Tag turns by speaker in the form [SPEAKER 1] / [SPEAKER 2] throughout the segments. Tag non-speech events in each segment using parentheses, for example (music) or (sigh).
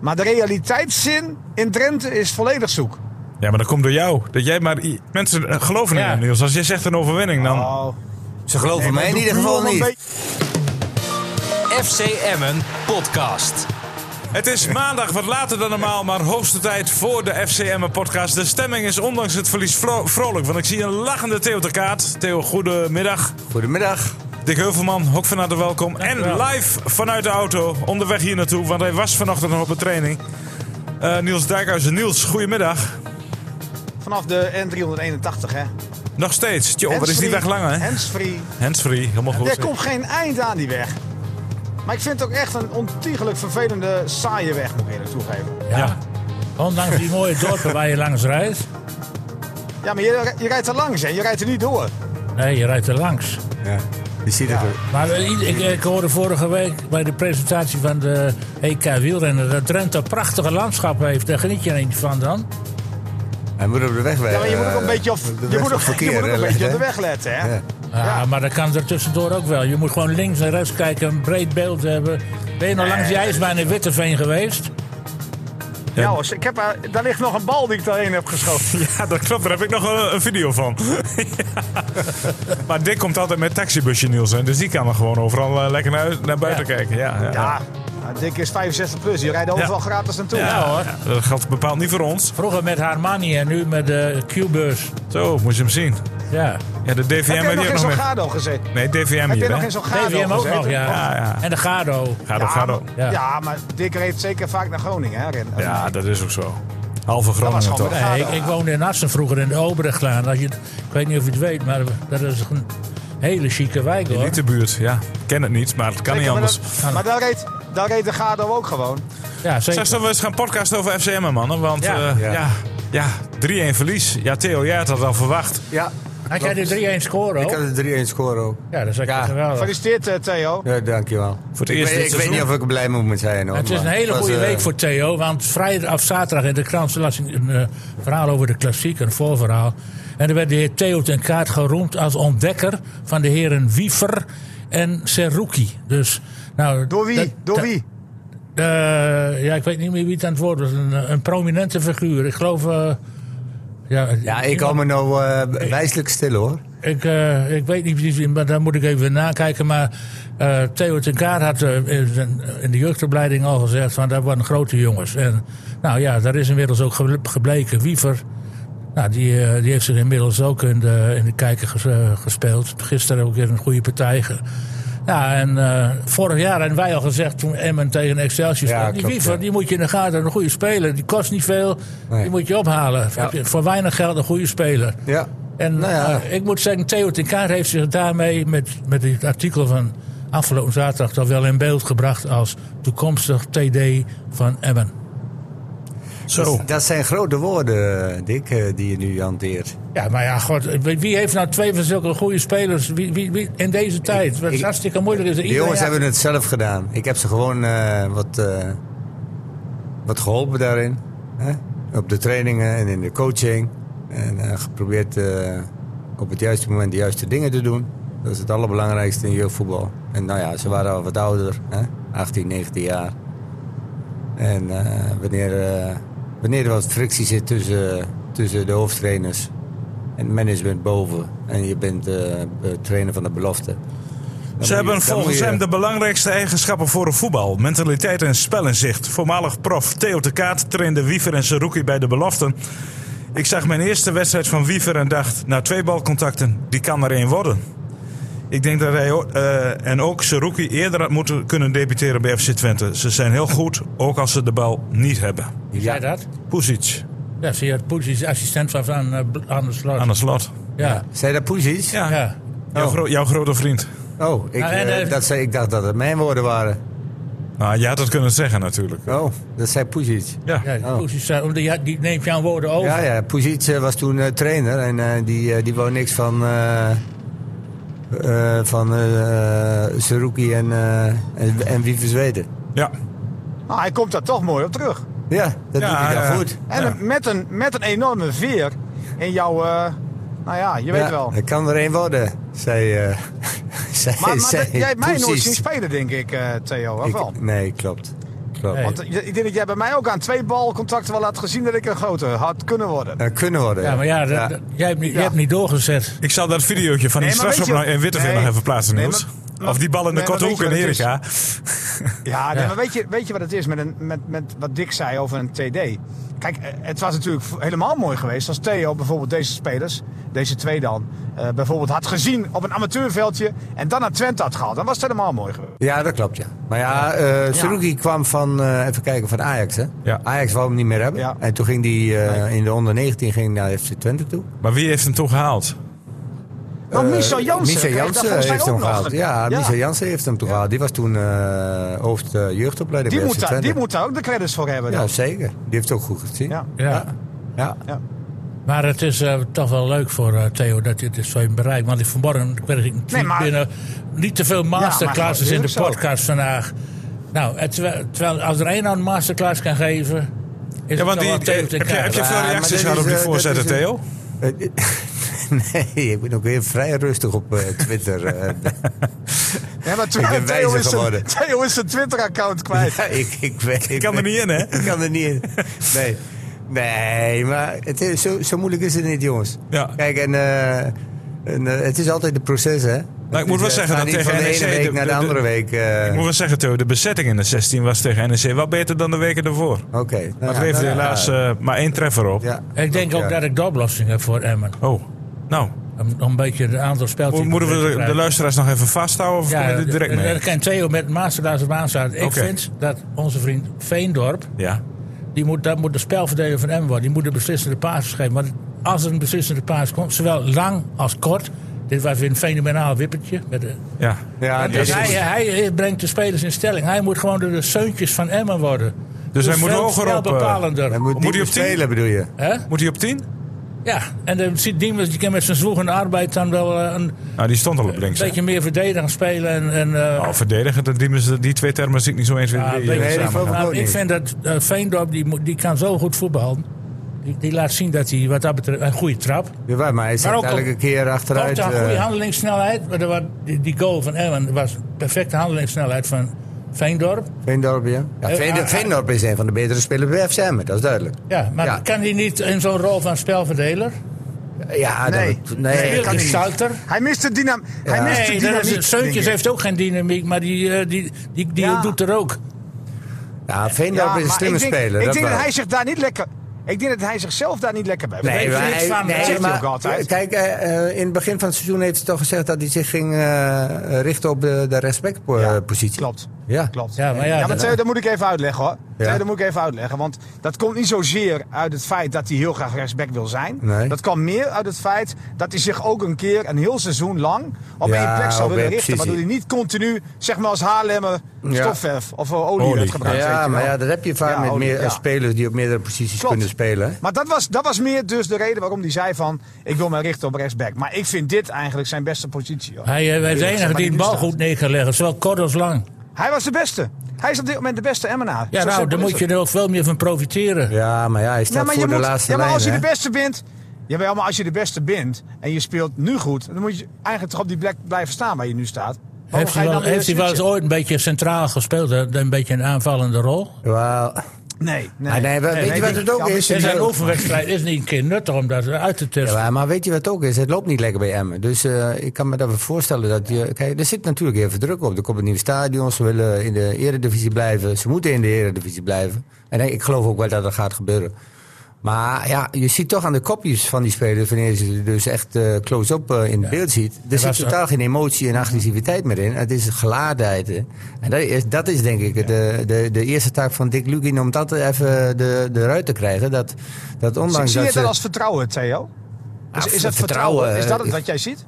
[SPEAKER 1] Maar de realiteitszin in Drenthe is volledig zoek.
[SPEAKER 2] Ja, maar dat komt door jou. Dat jij maar... Mensen eh, geloven in
[SPEAKER 1] Ja.
[SPEAKER 2] jou, Niels. Als jij zegt een overwinning, dan...
[SPEAKER 1] Oh.
[SPEAKER 3] Ze geloven mij in ieder geval niet.
[SPEAKER 4] FC Emmen podcast.
[SPEAKER 2] Het is maandag wat later dan normaal, maar hoogste tijd voor de FCM podcast. De stemming is ondanks het verlies vro- vrolijk, want ik zie een lachende Theo de Kaat. Theo, goedemiddag.
[SPEAKER 3] Goedemiddag.
[SPEAKER 2] Dick Heuvelman, ook van harte welkom. En live vanuit de auto, onderweg hier naartoe, want hij was vanochtend nog op een training. Eh, Niels Dijkhuizen. Niels, goedemiddag.
[SPEAKER 1] Vanaf de N381, hè.
[SPEAKER 2] Nog steeds. Tjoh, wat is die weg langer, hè?
[SPEAKER 1] Handsfree.
[SPEAKER 2] Handsfree, helemaal goed.
[SPEAKER 1] Er komt geen eind aan die weg. Maar ik vind het ook echt een ontiegelijk vervelende, saaie weg, moet ik eerlijk toegeven.
[SPEAKER 2] Ja.
[SPEAKER 5] Ondanks die mooie dorpen waar je langs rijdt.
[SPEAKER 1] Ja, maar je, je rijdt er langs, hè. Je rijdt er niet door.
[SPEAKER 5] Nee, je rijdt er langs.
[SPEAKER 3] Ja, je ziet het er.
[SPEAKER 5] Maar eh, i- ik, ik hoorde vorige week bij de presentatie van de EK wielrennen... dat Drenthe prachtige landschappen heeft. Daar geniet je niet van dan.
[SPEAKER 3] Hij moet op de weg eh,
[SPEAKER 1] Ja,
[SPEAKER 3] wijzen.
[SPEAKER 1] maar je moet ook een beetje op, je moet ook, je moet ook een beetje op de weg letten, hè.
[SPEAKER 3] Ja.
[SPEAKER 5] Ja, Ah, maar dat kan er tussendoor ook wel. Je moet gewoon links en rechts kijken, een breed beeld hebben. Ben je nog langs die ijsbaan in Witteveen geweest?
[SPEAKER 1] Ja, jongens, ik heb, eh, daar ligt nog een bal die ik daarin heb geschoten.
[SPEAKER 2] (laughs) Ja, dat klopt. Daar heb ik nog een, een video
[SPEAKER 1] (laughs)
[SPEAKER 2] van. Maar Dick komt altijd met taxibusje, Niels. Hè? Dus die kan er gewoon overal eh, lekker naar, naar buiten kijken. Ja, ja.
[SPEAKER 1] Ja, nou, Dick is 65 plus. Die rijden overal gratis naartoe.
[SPEAKER 2] Ja,
[SPEAKER 5] Ja, hoor.
[SPEAKER 2] ja, dat geldt bepaald niet voor ons.
[SPEAKER 5] Vroeger met Harmani en nu met de Q-bus.
[SPEAKER 2] Zo, moest je hem zien.
[SPEAKER 5] Ja,
[SPEAKER 2] Ja, de DVM
[SPEAKER 1] heb je nog
[SPEAKER 2] heeft hier
[SPEAKER 1] in
[SPEAKER 2] ook nog
[SPEAKER 1] zo'n
[SPEAKER 2] mee.
[SPEAKER 1] gado gezeten?
[SPEAKER 2] Nee, DVM
[SPEAKER 1] Heb je
[SPEAKER 2] hier,
[SPEAKER 1] nog
[SPEAKER 2] hè?
[SPEAKER 1] in zo'n gado
[SPEAKER 5] TVM ook
[SPEAKER 1] gezeten?
[SPEAKER 5] nog, ja.
[SPEAKER 2] Ja, ja.
[SPEAKER 5] En de Gado.
[SPEAKER 2] Ga door, ga
[SPEAKER 1] maar-
[SPEAKER 2] door.
[SPEAKER 1] Ja.
[SPEAKER 5] Ja.
[SPEAKER 1] maar Dick reed zeker vaak naar Groningen. Hè, Ren?
[SPEAKER 2] Ja, dat is ook zo. Halve Groningen
[SPEAKER 1] gewoon
[SPEAKER 2] toch?
[SPEAKER 1] weg.
[SPEAKER 5] Nee, ik, ik woonde in Assen vroeger in de Obrechtlaan. Als je, het- ik weet niet of je het weet, maar dat is een hele chique wijk hoor.
[SPEAKER 2] Niet de buurt, ja. Ik ken het niet, maar het kan niet
[SPEAKER 1] Zeker, maar
[SPEAKER 2] anders.
[SPEAKER 1] dat- Maar daar reed, daar reed de Gado ook gewoon.
[SPEAKER 5] Ja,
[SPEAKER 2] Zeg
[SPEAKER 5] zeker.
[SPEAKER 2] dat we eens gaan podcasten over FCM, mannen. Want
[SPEAKER 5] Ja.
[SPEAKER 2] eh, ja,
[SPEAKER 3] Ja.
[SPEAKER 2] ja. 3-1 verlies. Ja, Theo, jij had dat al verwacht.
[SPEAKER 3] Ja,
[SPEAKER 5] Had jij de 3-1 scoren
[SPEAKER 3] ik had
[SPEAKER 5] ook?
[SPEAKER 3] een 3-1 score ook.
[SPEAKER 5] Ja, dat is echt
[SPEAKER 3] Ja.
[SPEAKER 5] geweldig.
[SPEAKER 1] Gefeliciteerd, eh, Theo.
[SPEAKER 3] Ja, dankjewel.
[SPEAKER 2] Voor het
[SPEAKER 3] Ik,
[SPEAKER 2] eerst
[SPEAKER 3] weet,
[SPEAKER 2] dit
[SPEAKER 3] ik weet
[SPEAKER 2] seizoen.
[SPEAKER 3] niet of ik er blij mee moet zijn. Hoor,
[SPEAKER 5] Het is een
[SPEAKER 3] maar
[SPEAKER 5] hele
[SPEAKER 3] was,
[SPEAKER 5] goede
[SPEAKER 3] eh,
[SPEAKER 5] week voor Theo, want vrijdag of zaterdag in de krant las ik een eh, verhaal over de klassiek, een voorverhaal. En er werd de heer Theo ten Kaart geroemd als ontdekker van de heren Wiever en Seruki. Dus, nou,
[SPEAKER 1] Door wie?
[SPEAKER 5] dat-
[SPEAKER 1] Door
[SPEAKER 5] dat-
[SPEAKER 1] wie?
[SPEAKER 5] eh, ja, ik weet niet meer wie het aan het woord was. Een, eh, een prominente figuur. Ik geloof... eh, ja,
[SPEAKER 3] Ja, ik hou me nou eh, wijselijk stil hoor.
[SPEAKER 5] Ik, eh, ik weet niet precies, maar daar moet ik even nakijken. Maar eh, Theo ten Kaart had eh, in zijn- in de jeugdopleiding al gezegd... van dat waren grote jongens. En nou ja, daar is inmiddels ook geble- gebleken. Wiever, nou, die, eh, die heeft zich inmiddels ook in de, in de kijker ges- eh, gespeeld. Gisteren ook weer een goede partij. ge- ja, en eh, vorig jaar hadden wij al gezegd toen Emmen tegen Excelsior
[SPEAKER 3] Ja,
[SPEAKER 5] speelde... die
[SPEAKER 3] klopt,
[SPEAKER 5] Wiever,
[SPEAKER 3] ja.
[SPEAKER 5] die moet je in de gaten, een goede speler. Die kost niet veel,
[SPEAKER 3] Nee.
[SPEAKER 5] die moet je ophalen. Heb je voor weinig geld een goede speler.
[SPEAKER 3] Ja.
[SPEAKER 5] En
[SPEAKER 3] Nou ja.
[SPEAKER 5] eh, ik moet zeggen, Theo ten Kaart heeft zich daarmee met, met het artikel van afgelopen zaterdag toch wel in beeld gebracht als toekomstig TD van Emmen. Dus,
[SPEAKER 2] Zo.
[SPEAKER 3] Dat zijn grote woorden, eh, Dick, eh, die je nu hanteert.
[SPEAKER 5] Ja, maar ja, god, wie wie heeft nou twee van zulke goede spelers wie, wie, wie- in deze tijd? Wat
[SPEAKER 3] ik-
[SPEAKER 5] hartstikke moeilijk is.
[SPEAKER 3] De jongens hebben het zelf gedaan. Ik heb ze gewoon eh, wat, eh, wat geholpen daarin. Hè? Op de trainingen en in de coaching. En eh, geprobeerd eh, op het juiste moment de juiste dingen te doen. Dat is het allerbelangrijkste in jeugdvoetbal. En nou ja, ze waren al wat ouder. Hè? 18, 19 jaar. En eh, wanneer, eh, wanneer er wat frictie zit tussen, tussen de hoofdtrainers en het management boven. En je bent eh, trainer van de belofte. Dan
[SPEAKER 2] Ze
[SPEAKER 3] moet
[SPEAKER 2] hebben
[SPEAKER 3] je- dan
[SPEAKER 2] volgens
[SPEAKER 3] moet je-
[SPEAKER 2] hem de belangrijkste eigenschappen voor een voetbal. Mentaliteit en spelinzicht. Voormalig prof Theo de Kaat trainde Wiever en Saruki bij de beloften. Ik zag mijn eerste wedstrijd van Wiever en dacht... na twee balcontacten, die kan er één worden. Ik denk dat hij o- eh, en ook Saruki eerder had moeten kunnen debuteren bij FC Twente. Ze zijn heel goed, ook als ze de bal niet hebben.
[SPEAKER 5] Ja, dat?
[SPEAKER 2] Pusic
[SPEAKER 5] Ja, zie je, het politie assistent was aan, eh, bl- aan de slag.
[SPEAKER 2] aan de slot.
[SPEAKER 5] ja.
[SPEAKER 3] Zei dat Poesies?
[SPEAKER 2] Ja,
[SPEAKER 5] ja.
[SPEAKER 2] Jouw, gro- jouw grote vriend.
[SPEAKER 3] Oh, ik,
[SPEAKER 5] Nou, en,
[SPEAKER 3] eh,
[SPEAKER 5] eh,
[SPEAKER 3] dat zei, ik dacht dat het mijn woorden waren.
[SPEAKER 2] Nou, je had het kunnen zeggen natuurlijk.
[SPEAKER 3] Oh, dat zei Poesies.
[SPEAKER 2] Ja.
[SPEAKER 5] Ja,
[SPEAKER 3] Oh.
[SPEAKER 5] Poesies, eh, omdat ja, die neemt jouw woorden
[SPEAKER 1] Oh.
[SPEAKER 5] over.
[SPEAKER 3] Ja, ja, Poesies eh, was toen eh, trainer en eh, die, eh, die wou niks van, eh eh, van eh, eh, Saruki en, eh en, en Wiever Zweden.
[SPEAKER 2] Ja.
[SPEAKER 1] Nou, hij komt daar toch mooi op terug.
[SPEAKER 3] Ja, dat
[SPEAKER 2] Ja,
[SPEAKER 3] doet hij dan
[SPEAKER 2] ja.
[SPEAKER 3] goed.
[SPEAKER 1] En
[SPEAKER 2] Ja.
[SPEAKER 1] een- met, een, met een enorme veer in jouw... eh, nou ja, je weet
[SPEAKER 3] Ja,
[SPEAKER 1] wel. Maar,
[SPEAKER 3] Er kan er één worden, zei, eh (laughs) zei,
[SPEAKER 1] maar
[SPEAKER 3] zei
[SPEAKER 1] dat- jij hebt mij nooit
[SPEAKER 3] Poesies.
[SPEAKER 1] zien spelen, denk ik, eh, Theo. Of wel?
[SPEAKER 3] Ik, nee, klopt. klopt.
[SPEAKER 5] Nee.
[SPEAKER 3] Nee.
[SPEAKER 6] Want eh, ik denk dat jij bij mij ook aan twee balcontacten wel had gezien dat ik een grote had kunnen worden.
[SPEAKER 3] kunnen worden.
[SPEAKER 5] Ja, maar ja, dat- dat- jij, hebt, niet- jij hebt niet doorgezet.
[SPEAKER 2] Ik zal dat videootje van die nou
[SPEAKER 6] Nee, maar weet je-
[SPEAKER 2] strafschopnij en Witteveen
[SPEAKER 6] Nee.
[SPEAKER 2] nog even plaatsen,
[SPEAKER 6] Nee,
[SPEAKER 2] Niels.
[SPEAKER 6] maar- maar-
[SPEAKER 2] of die bal in de
[SPEAKER 6] Nee, maar
[SPEAKER 2] korte
[SPEAKER 6] weet
[SPEAKER 2] hoek
[SPEAKER 6] je
[SPEAKER 2] in
[SPEAKER 6] wat het is?
[SPEAKER 2] Erika.
[SPEAKER 6] Ja, nee,
[SPEAKER 5] Ja.
[SPEAKER 6] maar weet je, weet je wat het is met, een, met, met wat Dick zei over een TD? Kijk, eh, het was natuurlijk v- helemaal mooi geweest als Theo bijvoorbeeld deze spelers, deze twee dan, eh, bijvoorbeeld had gezien op een amateurveldje en dan naar Twente had gehaald. Dan was het helemaal mooi geweest.
[SPEAKER 3] Ja, dat klopt, ja. Maar ja, eh Saruki kwam van, eh, even kijken, van Ajax, hè?
[SPEAKER 2] Ja.
[SPEAKER 3] Ajax wou hem niet meer hebben.
[SPEAKER 6] Ja.
[SPEAKER 3] En toen ging hij eh, in de onder 19 ging naar FC Twente toe.
[SPEAKER 2] Maar wie heeft hem toch gehaald?
[SPEAKER 6] Maar Nou, Oh, Michel
[SPEAKER 3] Eh,
[SPEAKER 6] Jansen,
[SPEAKER 3] Michel
[SPEAKER 6] kreeg daar
[SPEAKER 3] Jansen
[SPEAKER 6] volgens mij
[SPEAKER 3] heeft
[SPEAKER 6] ook
[SPEAKER 3] hem
[SPEAKER 6] nog
[SPEAKER 3] gehaald.
[SPEAKER 6] een-
[SPEAKER 3] Ja,
[SPEAKER 6] ja.
[SPEAKER 3] Michel Jansen heeft hem toen gehaald. Die was toen eh hoofd eh, jeugdopleiding
[SPEAKER 6] Die
[SPEAKER 3] bij
[SPEAKER 6] moet,
[SPEAKER 3] FC
[SPEAKER 6] daar,
[SPEAKER 3] Twente.
[SPEAKER 6] die moet daar ook de credits voor hebben.
[SPEAKER 3] Ja,
[SPEAKER 6] dan.
[SPEAKER 3] zeker. Die heeft het ook goed gezien.
[SPEAKER 6] Ja.
[SPEAKER 5] Ja.
[SPEAKER 3] Ja.
[SPEAKER 5] Maar het is eh, toch wel leuk voor eh, Theo dat dit is zo in bereik. Want ik vanmorgen kreeg ik een tweet
[SPEAKER 6] Nee, maar-
[SPEAKER 5] binnen. Niet te veel masterclasses
[SPEAKER 6] Ja, maar
[SPEAKER 5] in
[SPEAKER 6] dat
[SPEAKER 5] de
[SPEAKER 6] is ook zo.
[SPEAKER 5] podcast vandaag. Nou, en terwijl, terwijl als er één nou een masterclass kan geven... Is
[SPEAKER 2] Ja, want
[SPEAKER 5] het
[SPEAKER 2] die,
[SPEAKER 5] toch wel Theo
[SPEAKER 2] heb,
[SPEAKER 5] ten
[SPEAKER 2] je, heb je
[SPEAKER 5] Kade.
[SPEAKER 2] veel
[SPEAKER 3] maar
[SPEAKER 2] reacties
[SPEAKER 3] dit
[SPEAKER 2] gehad op
[SPEAKER 3] is,
[SPEAKER 2] die
[SPEAKER 3] eh,
[SPEAKER 2] voorzetten,
[SPEAKER 3] dit is, eh,
[SPEAKER 2] Theo?
[SPEAKER 3] Eh, (laughs) nee, ik ben ook weer vrij rustig op eh, Twitter. eh.
[SPEAKER 6] Ja, maar (laughs)
[SPEAKER 3] Ik
[SPEAKER 6] Theo
[SPEAKER 3] ben wijzer
[SPEAKER 6] is, zijn,
[SPEAKER 3] geworden.
[SPEAKER 6] Theo is zijn Twitter-account kwijt.
[SPEAKER 3] Ja, ik, ik, weet-
[SPEAKER 2] Ik kan er niet in, hè?
[SPEAKER 3] (laughs) Ik kan er niet in. Nee, nee maar het is, zo, zo moeilijk is het niet, jongens.
[SPEAKER 2] Ja.
[SPEAKER 3] Kijk, en, eh, en, eh, het is altijd een proces, hè? eh,
[SPEAKER 2] Nou, ik moet wel zeggen dat
[SPEAKER 3] niet
[SPEAKER 2] tegen E
[SPEAKER 3] van de ene
[SPEAKER 2] NEC
[SPEAKER 3] week naar de, andere week. eh,
[SPEAKER 2] Ik moet wel zeggen, Theo, de bezetting in de 16 was tegen NEC wel beter dan de weken daarvoor.
[SPEAKER 3] Oké. nou
[SPEAKER 2] Maar
[SPEAKER 3] ja,
[SPEAKER 2] het leverde
[SPEAKER 3] nou ja.
[SPEAKER 2] helaas eh, maar één treffer op.
[SPEAKER 3] Ja,
[SPEAKER 5] Ik denk
[SPEAKER 3] klopt,
[SPEAKER 5] ook
[SPEAKER 3] ja.
[SPEAKER 5] dat ik de oplossing heb voor Emmen.
[SPEAKER 2] Oh, nou.
[SPEAKER 5] Om, om een beetje het aantal
[SPEAKER 2] Mo-
[SPEAKER 5] speltjes...
[SPEAKER 2] Moeten we de- de, luisteraars nog even vasthouden of
[SPEAKER 5] Ja,
[SPEAKER 2] kunnen we dit direct mee?
[SPEAKER 5] dat kan Theo met masterclass op aanstaan. Ik
[SPEAKER 2] Oké.
[SPEAKER 5] vind dat onze vriend Veendorp...
[SPEAKER 2] Ja.
[SPEAKER 5] Die moet, dat moet de spelverdeler van Emmen worden. Die moet de beslissende paas geven. Want als er een beslissende paas komt, zowel lang als kort. Dit was weer een fenomenaal wippertje. Met de,
[SPEAKER 2] Ja.
[SPEAKER 3] Ja,
[SPEAKER 5] dus
[SPEAKER 3] dat
[SPEAKER 5] hij,
[SPEAKER 3] is-
[SPEAKER 5] hij brengt de spelers in stelling. Hij moet gewoon de, de zeuntjes van Emmen worden.
[SPEAKER 2] Dus hij moet
[SPEAKER 5] veel-
[SPEAKER 2] hoger
[SPEAKER 5] veel
[SPEAKER 2] op, eh,
[SPEAKER 5] bepalender.
[SPEAKER 3] Hij moet,
[SPEAKER 2] Moet hij
[SPEAKER 3] die
[SPEAKER 2] op tien?
[SPEAKER 3] spelen, bedoel je?
[SPEAKER 5] Hè?
[SPEAKER 2] Moet hij op 10?
[SPEAKER 5] Ja, en dan ziet Diemers, die kan met zijn zwoegende arbeid dan wel eh, een
[SPEAKER 2] Nou, die stond al op links. hè?
[SPEAKER 5] beetje meer verdedigend spelen. En, en, eh,
[SPEAKER 2] Oh, verdedigen, dat- die, die twee termen zie ik niet zo eens.
[SPEAKER 5] Ja,
[SPEAKER 2] weer.
[SPEAKER 5] een beetje
[SPEAKER 3] nee,
[SPEAKER 5] samen.
[SPEAKER 3] die vond ik
[SPEAKER 5] Nou,
[SPEAKER 3] ook
[SPEAKER 5] ik
[SPEAKER 3] niet.
[SPEAKER 5] vind dat eh, Veendorp, die, moet- die kan zo goed voetballen. Die, die laat zien dat hij wat dat betreft een goede trap.
[SPEAKER 3] Jawel, maar hij zit
[SPEAKER 5] Maar ook
[SPEAKER 3] elke
[SPEAKER 5] al-
[SPEAKER 3] keer achteruit.
[SPEAKER 5] Ook een goede
[SPEAKER 3] eh,
[SPEAKER 5] handelingssnelheid. Maar er wa- die, die goal van Emmen was perfecte handelingssnelheid van Veendorp.
[SPEAKER 3] Veendorp, ja. ja
[SPEAKER 5] Eh,
[SPEAKER 3] Veendorp,
[SPEAKER 5] ah, ah.
[SPEAKER 3] Veendorp is een van de betere spelers bij FC Emmen, dat is duidelijk.
[SPEAKER 5] Ja, maar
[SPEAKER 3] Ja.
[SPEAKER 5] kan hij niet in zo'n rol van spelverdeler?
[SPEAKER 3] Ja,
[SPEAKER 6] Nee.
[SPEAKER 3] dat,
[SPEAKER 6] Nee,
[SPEAKER 3] nee.
[SPEAKER 6] kan
[SPEAKER 5] de
[SPEAKER 6] niet.
[SPEAKER 5] Souter?
[SPEAKER 6] Hij mist de dynam. Hij mist de
[SPEAKER 5] Nee, dat
[SPEAKER 6] dynamiek.
[SPEAKER 5] is,
[SPEAKER 6] denk ik.
[SPEAKER 5] Seuntjes heeft ook geen dynamiek, maar die, eh, die, die, die
[SPEAKER 6] Ja.
[SPEAKER 5] doet er ook.
[SPEAKER 3] Ja, Veendorp
[SPEAKER 6] maar
[SPEAKER 3] is een slimme
[SPEAKER 6] ik denk,
[SPEAKER 3] speler.
[SPEAKER 6] Ik
[SPEAKER 3] dat
[SPEAKER 6] denk dat
[SPEAKER 3] wel.
[SPEAKER 6] hij zich daar niet lekker. Ik denk dat hij zichzelf daar niet lekker bij voelt.
[SPEAKER 3] Nee,
[SPEAKER 5] Weet
[SPEAKER 3] maar,
[SPEAKER 5] je niks
[SPEAKER 3] hij-
[SPEAKER 5] van,
[SPEAKER 3] nee,
[SPEAKER 5] dat zegt
[SPEAKER 6] hij
[SPEAKER 3] maar-
[SPEAKER 6] ook altijd.
[SPEAKER 3] Kijk, eh, eh, in het begin van het seizoen heeft hij toch gezegd dat hij zich ging eh, richten op de, de
[SPEAKER 6] Ja,
[SPEAKER 3] respectpositie.
[SPEAKER 6] Klopt.
[SPEAKER 3] eh, Ja.
[SPEAKER 6] Klopt.
[SPEAKER 5] Ja, maar ja, dat-
[SPEAKER 6] Theo, dat moet ik even uitleggen hoor.
[SPEAKER 3] Ja.
[SPEAKER 6] Theo, dat moet ik even uitleggen. Want dat komt niet zozeer uit het feit dat hij heel graag rechtsback wil zijn.
[SPEAKER 3] Nee.
[SPEAKER 6] Dat kwam meer uit het feit dat hij zich ook een keer een heel seizoen lang op
[SPEAKER 3] Ja,
[SPEAKER 6] één plek zou
[SPEAKER 3] op
[SPEAKER 6] willen
[SPEAKER 3] één
[SPEAKER 6] richten.
[SPEAKER 3] positie.
[SPEAKER 6] Waardoor hij niet continu, zeg maar als Haarlemmer,
[SPEAKER 3] Ja.
[SPEAKER 6] stofverf of eh, olie,
[SPEAKER 2] Olie.
[SPEAKER 6] werd gebruikt. weet je
[SPEAKER 3] Ja,
[SPEAKER 6] wel.
[SPEAKER 3] maar ja, dat heb je vaak
[SPEAKER 6] Ja,
[SPEAKER 3] met
[SPEAKER 6] oh,
[SPEAKER 3] meer, eh,
[SPEAKER 6] ja.
[SPEAKER 3] spelers die op meerdere posities
[SPEAKER 6] Klopt.
[SPEAKER 3] kunnen spelen. hè?
[SPEAKER 6] Maar dat was, dat was meer dus de reden waarom hij zei van... ik wil mij richten op rechtsback. Maar ik vind dit eigenlijk zijn beste positie. hoor.
[SPEAKER 5] Hij eh, is de
[SPEAKER 6] Eerlijk
[SPEAKER 5] enige
[SPEAKER 6] gezegd,
[SPEAKER 5] die
[SPEAKER 6] maar
[SPEAKER 5] een
[SPEAKER 6] nu
[SPEAKER 5] bal
[SPEAKER 6] staat.
[SPEAKER 5] goed neer kan leggen, zowel kort als lang.
[SPEAKER 6] Hij was de beste. Hij is op dit moment de beste Emmenaar.
[SPEAKER 5] Ja,
[SPEAKER 6] Zo
[SPEAKER 5] nou,
[SPEAKER 6] simpel
[SPEAKER 5] daar
[SPEAKER 6] is
[SPEAKER 5] moet je
[SPEAKER 6] het.
[SPEAKER 5] er ook veel meer van profiteren.
[SPEAKER 3] Ja, maar ja, hij
[SPEAKER 6] Ja,
[SPEAKER 3] staat
[SPEAKER 6] maar,
[SPEAKER 3] voor
[SPEAKER 6] je
[SPEAKER 3] de
[SPEAKER 6] moet,
[SPEAKER 3] laatste
[SPEAKER 6] ja, maar
[SPEAKER 3] lijn.
[SPEAKER 6] als je
[SPEAKER 3] hè?
[SPEAKER 6] de beste bent... Jawel, maar als je de beste bent en je speelt nu goed... dan moet je eigenlijk toch op die plek blijven staan waar je nu staat. Waarom
[SPEAKER 5] Heeft
[SPEAKER 6] ga
[SPEAKER 5] hij
[SPEAKER 6] je
[SPEAKER 5] wel,
[SPEAKER 6] dan weer
[SPEAKER 5] heeft hij wel eens
[SPEAKER 6] switchen?
[SPEAKER 5] ooit een beetje centraal gespeeld? hè? Een beetje een aanvallende rol?
[SPEAKER 3] Wel,
[SPEAKER 6] Nee, nee.
[SPEAKER 3] Ah, nee, we- weet je wat
[SPEAKER 6] die-
[SPEAKER 3] het ook
[SPEAKER 6] ja, maar-
[SPEAKER 3] is?
[SPEAKER 5] En zijn
[SPEAKER 3] Serieus?
[SPEAKER 5] oefenwedstrijd is niet een keer nuttig om dat uit te testen.
[SPEAKER 3] ja, maar weet je wat ook is? Het loopt niet lekker bij Emmen. Dus eh, ik kan me daarvoor voorstellen dat je... Kijk, er zit natuurlijk heel veel druk op. Er komt een nieuw stadion. Ze willen in de eredivisie blijven. Ze moeten in de eredivisie blijven. En ik- ik geloof ook wel dat dat gaat gebeuren. Maar ja, je ziet toch aan de kopjes van die spelers... wanneer je ze dus echt eh, close-up eh, in beeld ziet... er zit
[SPEAKER 5] was-
[SPEAKER 3] totaal geen emotie en agressiviteit meer in. Het is gelaadheid. hè. En dat is, dat is denk ik de, de, de eerste taak van Dick Lugin... om dat even de, eruit te krijgen. Dat, dat ondanks
[SPEAKER 6] Zie je
[SPEAKER 3] dat
[SPEAKER 6] dat
[SPEAKER 3] ze-
[SPEAKER 6] als vertrouwen, Theo? Is,
[SPEAKER 3] Ah,
[SPEAKER 6] is het vertrouwen? Is dat het
[SPEAKER 3] eh,
[SPEAKER 6] wat jij ziet?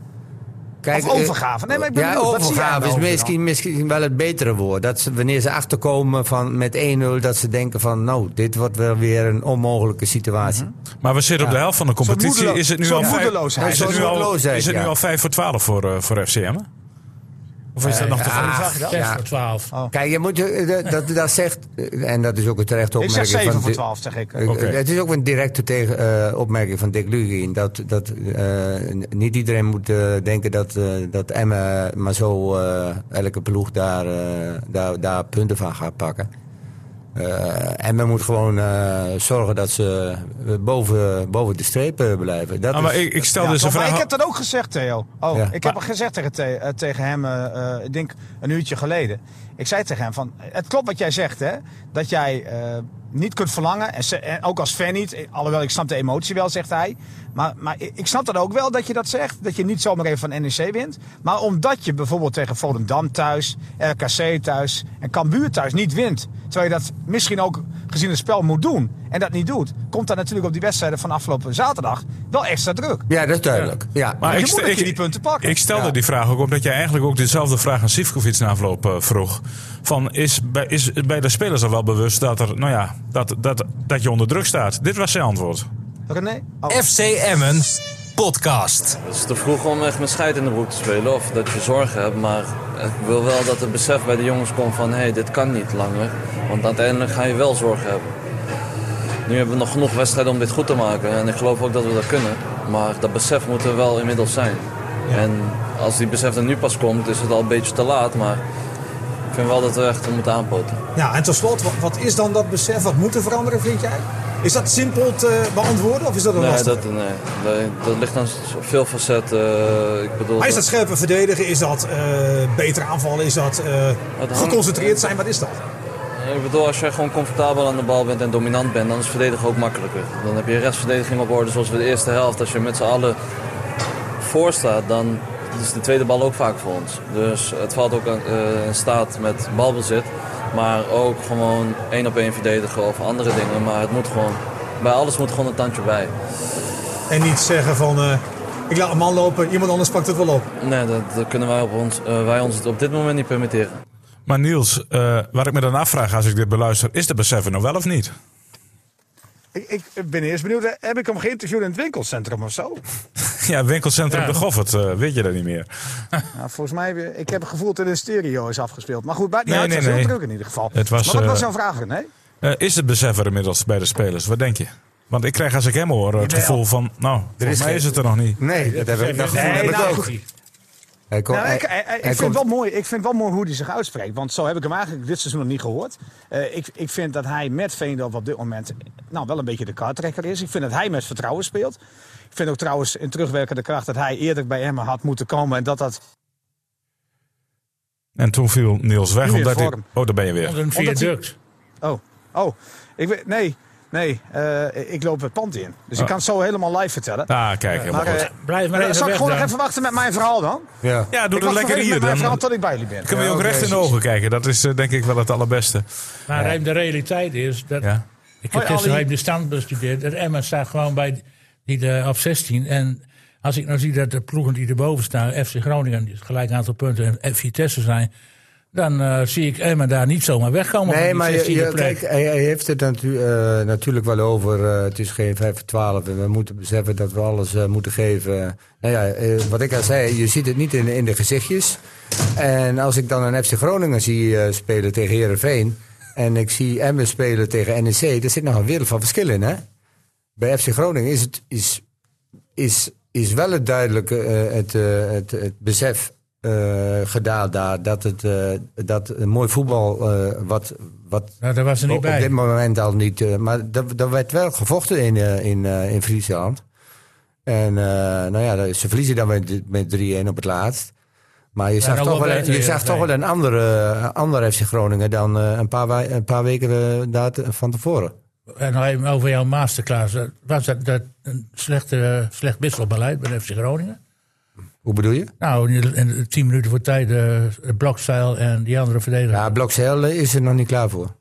[SPEAKER 3] Kijk, eh,
[SPEAKER 6] Of overgave? Nee, maar ik bedoel,
[SPEAKER 3] ja,
[SPEAKER 6] wat zie jij nou aan de
[SPEAKER 3] overgave is
[SPEAKER 6] overkant?
[SPEAKER 3] misschien, misschien wel het betere woord. Dat ze, wanneer ze achterkomen van, met 1-0, dat ze denken van... nou, dit wordt wel weer een onmogelijke situatie.
[SPEAKER 6] Mhm.
[SPEAKER 2] Maar we zitten op de helft van de competitie.
[SPEAKER 6] moedelo-
[SPEAKER 2] Is het nu
[SPEAKER 6] zo'n
[SPEAKER 2] al
[SPEAKER 6] moedeloosheid.
[SPEAKER 2] vijf, is het nu
[SPEAKER 3] Zo'n
[SPEAKER 2] al,
[SPEAKER 3] moedeloosheid,
[SPEAKER 2] is het nu
[SPEAKER 3] ja.
[SPEAKER 2] al vijf voor 12 voor, eh, voor FCM? hè? Of is dat nog te vroeg?
[SPEAKER 3] ah,
[SPEAKER 6] zag je dat?
[SPEAKER 5] Zes
[SPEAKER 3] ja.
[SPEAKER 5] voor 12.
[SPEAKER 3] Kijk, je moet, eh, dat, dat, dat zegt... eh, en dat is ook een terechte
[SPEAKER 6] Ik zeg
[SPEAKER 3] opmerking
[SPEAKER 6] 7
[SPEAKER 3] van...
[SPEAKER 6] voor
[SPEAKER 3] Di-
[SPEAKER 6] 12, zeg ik.
[SPEAKER 3] eh,
[SPEAKER 2] Oké.
[SPEAKER 3] Het is ook een directe tegen, eh, opmerking van Dick Lugin. Dat, dat eh, niet iedereen moet eh, denken dat, eh dat Emma maar zo eh, elke ploeg daar, eh, daar, daar punten van gaat pakken. Eh, en men moet gewoon eh, zorgen dat ze eh, boven, boven de streep eh, blijven. Dat
[SPEAKER 2] Ah, maar
[SPEAKER 3] is-
[SPEAKER 2] ik, ik stel
[SPEAKER 6] Ja,
[SPEAKER 2] dus een
[SPEAKER 6] toch, maar
[SPEAKER 2] vraag.
[SPEAKER 6] ik heb dat ook gezegd, Theo. Oh,
[SPEAKER 3] Ja.
[SPEAKER 6] ik heb het gezegd tegen, The- eh, tegen hem, eh, eh, ik denk een uurtje geleden. Ik zei tegen hem van, het klopt wat jij zegt, hè. Dat jij eh, niet kunt verlangen, en, ze- en ook als fan niet. eh, Alhoewel, ik snap de emotie wel, zegt hij. Maar, maar ik ik snap dat ook wel, dat je dat zegt. Dat je niet zomaar even van NEC wint. Maar omdat je bijvoorbeeld tegen Volendam thuis, RKC thuis en Cambuur thuis niet wint. Terwijl je dat misschien ook gezien het spel moet doen. En dat niet doet. Komt dat natuurlijk op die wedstrijden van afgelopen zaterdag wel extra druk.
[SPEAKER 3] Ja, dat is duidelijk. Ja.
[SPEAKER 2] Maar
[SPEAKER 6] je
[SPEAKER 2] ik,
[SPEAKER 6] moet
[SPEAKER 2] stel-
[SPEAKER 6] dat je
[SPEAKER 2] ik-
[SPEAKER 6] die punten pakken.
[SPEAKER 2] Ik stelde
[SPEAKER 3] Ja.
[SPEAKER 2] die vraag ook omdat jij eigenlijk ook dezelfde vraag aan Sivkovic na afloop eh, vroeg. Van is, bij, is bij de spelers al wel bewust dat, er, nou ja, dat, dat, dat je onder druk staat? Dit was zijn antwoord.
[SPEAKER 6] René? Oh.
[SPEAKER 7] FC Emmen podcast.
[SPEAKER 8] Het is te vroeg om echt met scheid in de broek te spelen of dat je zorgen hebt. Maar ik wil wel dat het besef bij de jongens komt van hé, hey, dit kan niet langer. Want uiteindelijk ga je wel zorgen hebben. Nu hebben we nog genoeg wedstrijden om dit goed te maken. En ik geloof ook dat we dat kunnen. Maar dat besef moet er wel inmiddels zijn. En als die besef er nu pas komt, is het al een beetje te laat. Maar ik vind wel dat we echt moeten aanpoten.
[SPEAKER 9] Ja, en tenslotte, wat, wat is dan dat besef? Wat moet er veranderen, vind jij? Is dat simpel te beantwoorden of is dat een
[SPEAKER 8] Nee,
[SPEAKER 9] lastig?
[SPEAKER 8] dat, nee, nee, dat ligt aan veel facetten. Ik bedoel,
[SPEAKER 9] Maar is dat scherper verdedigen? Is dat eh, beter aanvallen? Is dat eh,
[SPEAKER 8] hangt-
[SPEAKER 9] geconcentreerd zijn? Wat is dat?
[SPEAKER 8] Ik bedoel, als jij gewoon comfortabel aan de bal bent en dominant bent, dan is verdedigen ook makkelijker. Dan heb je restverdediging op orde, zoals we de eerste helft. Als je met z'n allen voor staat, dan is de tweede bal ook vaak voor ons. Dus het valt ook aan- eh, in staat met balbezit, maar ook gewoon één op één verdedigen of andere dingen. Maar het moet gewoon, bij alles moet gewoon een tandje bij.
[SPEAKER 9] En niet zeggen van, eh, ik laat een man lopen, iemand anders pakt het wel op.
[SPEAKER 8] Nee, dat, dat kunnen wij, op ons, eh, wij ons het op dit moment niet permitteren.
[SPEAKER 2] Maar Niels, eh, waar ik me dan afvraag als ik dit beluister, is dat beseffen nou wel of niet? (laughs)
[SPEAKER 6] Ik, ik ben eerst benieuwd, eh, heb ik hem geïnterviewd in het winkelcentrum of zo?
[SPEAKER 2] Ja, winkelcentrum
[SPEAKER 5] Ja.
[SPEAKER 2] de Goffert, eh, weet je dat niet meer.
[SPEAKER 6] Nou, volgens mij, eh, ik heb het gevoel dat het in de stereo is afgespeeld. Maar goed, buiten
[SPEAKER 2] Nee,
[SPEAKER 6] nee,
[SPEAKER 2] nee,
[SPEAKER 6] het was
[SPEAKER 2] nee.
[SPEAKER 6] heel druk in ieder geval.
[SPEAKER 2] Het was,
[SPEAKER 6] maar wat
[SPEAKER 2] eh,
[SPEAKER 6] was jouw vraag, René?
[SPEAKER 2] Eh, is het beseffen inmiddels bij de spelers? Wat denk je? Want ik krijg als ik hem hoor eh, het gevoel van, nou, volgens
[SPEAKER 3] is
[SPEAKER 2] mij
[SPEAKER 3] geen-
[SPEAKER 2] is het er nog niet.
[SPEAKER 3] Nee, dat heb ik, dat gevoel heb ik
[SPEAKER 6] nou,
[SPEAKER 3] ook. Hij komt-
[SPEAKER 6] Nou, ik,
[SPEAKER 3] hij-
[SPEAKER 6] eh, eh,
[SPEAKER 3] hij
[SPEAKER 6] ik, vind
[SPEAKER 3] komt-
[SPEAKER 6] wel mooi, ik vind wel mooi hoe hij zich uitspreekt. Want zo heb ik hem eigenlijk dit seizoen nog niet gehoord. Eh, ik, ik vind dat hij met Veendorp op dit moment nou, wel een beetje de kartrekker is. Ik vind dat hij met vertrouwen speelt. Ik vind ook trouwens in terugwerkende kracht dat hij eerder bij Emmen had moeten komen. En dat dat
[SPEAKER 2] En toen viel Niels weg
[SPEAKER 6] Nu weer
[SPEAKER 2] omdat hij...
[SPEAKER 6] vorm.
[SPEAKER 2] Oh, daar ben je weer.
[SPEAKER 5] Onder een
[SPEAKER 6] Omdat hij-
[SPEAKER 5] viaduct.
[SPEAKER 6] Oh, oh. Ik weet, nee, nee. eh, ik loop het pand in. Dus ik kan het zo helemaal live vertellen.
[SPEAKER 2] Ah, kijk, helemaal
[SPEAKER 6] Maar,
[SPEAKER 2] Oh. goed.
[SPEAKER 6] eh,
[SPEAKER 5] Blijf maar
[SPEAKER 6] zal
[SPEAKER 5] even
[SPEAKER 6] ik
[SPEAKER 5] weg
[SPEAKER 6] gewoon nog
[SPEAKER 5] dan.
[SPEAKER 6] even wachten met mijn verhaal dan?
[SPEAKER 3] ja.
[SPEAKER 2] Ja, doe
[SPEAKER 6] ik wacht
[SPEAKER 2] dat lekker
[SPEAKER 6] nog even
[SPEAKER 2] hier
[SPEAKER 6] met mijn
[SPEAKER 2] dan.
[SPEAKER 6] verhaal
[SPEAKER 2] Dan
[SPEAKER 6] tot ik bij jullie ben.
[SPEAKER 2] kunnen we je ook recht in de ogen kijken. Dat is eh, denk ik wel het allerbeste.
[SPEAKER 5] Maar Rijm, de realiteit is dat.
[SPEAKER 2] Ja.
[SPEAKER 5] Ik heb
[SPEAKER 6] Hoi,
[SPEAKER 5] gisteren
[SPEAKER 6] Ali.
[SPEAKER 5] even de stand bestudeerd. Dat Emma staat gewoon bij die de, op 16. En als ik nou zie dat de ploegen die erboven staan, FC Groningen, die het gelijk aantal punten en Vitesse zijn. Dan eh, zie ik Emma daar niet zomaar wegkomen. van
[SPEAKER 3] Nee,
[SPEAKER 5] die
[SPEAKER 3] maar je,
[SPEAKER 5] 16e
[SPEAKER 3] je-
[SPEAKER 5] plek.
[SPEAKER 3] kijk, hij, hij heeft het natu- eh, natuurlijk wel over. eh, het is geen 5 voor 12 en we moeten beseffen dat we alles eh, moeten geven. Nou ja, eh, wat ik al zei, je ziet het niet in, in de gezichtjes. En als ik dan een FC Groningen zie eh, spelen tegen Herenveen en ik zie Emmen spelen tegen NEC, daar zit nog een wereld van verschil in, hè? Bij FC Groningen is het is, is, is wel het duidelijke eh, het, eh, het, het besef eh, gedaan daar dat het eh, dat een mooi voetbal eh, wat, wat
[SPEAKER 5] nou, daar was ze niet
[SPEAKER 3] op, op
[SPEAKER 5] bij.
[SPEAKER 3] dit moment al niet. eh, maar dat, dat werd wel gevochten in, eh, in, eh, in Friesland. En eh, nou ja, ze verliezen dan met, met 3-1 op het laatst. Maar je zag,
[SPEAKER 5] nog
[SPEAKER 3] toch
[SPEAKER 5] wel
[SPEAKER 3] wel,
[SPEAKER 5] beter,
[SPEAKER 3] je zag
[SPEAKER 5] Heerenveen.
[SPEAKER 3] toch wel een andere, eh, andere FC Groningen dan eh, een, paar, wij- een paar weken eh, daar te- van tevoren.
[SPEAKER 5] En nog even over jouw masterclass. Dat- Was dat, dat een slechte, slecht wisselbeleid bij FC Groningen?
[SPEAKER 3] Hoe bedoel je?
[SPEAKER 5] Nou, in, in tien minuten voor tijd, eh blokstijl en die andere verdediger.
[SPEAKER 3] Ja, Blokzeil eh, is er nog niet klaar voor.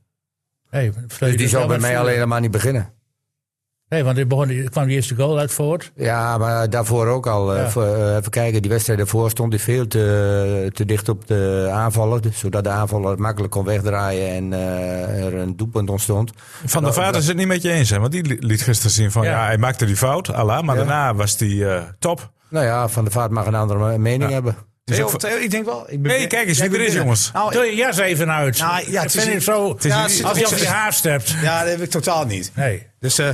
[SPEAKER 5] hey,
[SPEAKER 3] Dus die zal bij mij al helemaal niet beginnen.
[SPEAKER 5] Nee, want er, begon, er kwam die eerste goal uit voort.
[SPEAKER 3] Ja, maar daarvoor ook al. eh,
[SPEAKER 5] Ja.
[SPEAKER 3] voor, eh, even kijken, die wedstrijd daarvoor stond hij veel te, te dicht op de aanvaller. dus Zodat de aanvaller het makkelijk kon wegdraaien en eh, er een doelpunt ontstond.
[SPEAKER 2] Van der Vaart is het niet met je eens, hè? Want die li- liet gisteren zien van, ja,
[SPEAKER 5] Ja.
[SPEAKER 2] hij maakte die fout, Allah, maar
[SPEAKER 3] Ja.
[SPEAKER 2] daarna was die eh, top.
[SPEAKER 3] Nou ja, Van der Vaart mag een andere me- mening hebben.
[SPEAKER 2] Dus
[SPEAKER 6] Theo,
[SPEAKER 2] ook van-
[SPEAKER 6] Theo, ik denk wel... Ik ben-
[SPEAKER 2] Nee, kijk eens
[SPEAKER 6] jij
[SPEAKER 2] wie er
[SPEAKER 6] bent
[SPEAKER 2] is,
[SPEAKER 6] binnen.
[SPEAKER 2] jongens.
[SPEAKER 6] Nou,
[SPEAKER 5] Doe je jas even uit.
[SPEAKER 6] Nou, ja,
[SPEAKER 5] ja,
[SPEAKER 6] het
[SPEAKER 5] ik
[SPEAKER 6] is
[SPEAKER 5] vind
[SPEAKER 6] een-
[SPEAKER 5] het zo.
[SPEAKER 6] is een-
[SPEAKER 5] Als je op je
[SPEAKER 6] het is-
[SPEAKER 5] haast hebt.
[SPEAKER 6] Ja, dat heb ik totaal niet.
[SPEAKER 5] Nee.
[SPEAKER 6] Dus eh,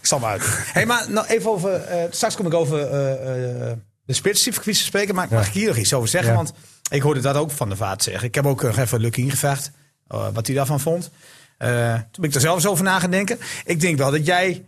[SPEAKER 6] ik zal maar uit. hey, maar nou, even over... eh, straks kom ik over eh, eh, de spitsdiefkwies te spreken. Maar mag ik hier nog iets over zeggen?
[SPEAKER 3] Ja.
[SPEAKER 6] Want ik hoorde dat ook van de Vaart zeggen. Ik heb ook nog even eh, Lucky ingevraagd. eh, wat hij daarvan vond. Eh, toen ben ik er zelf eens over na gaan denken. Ik denk wel dat jij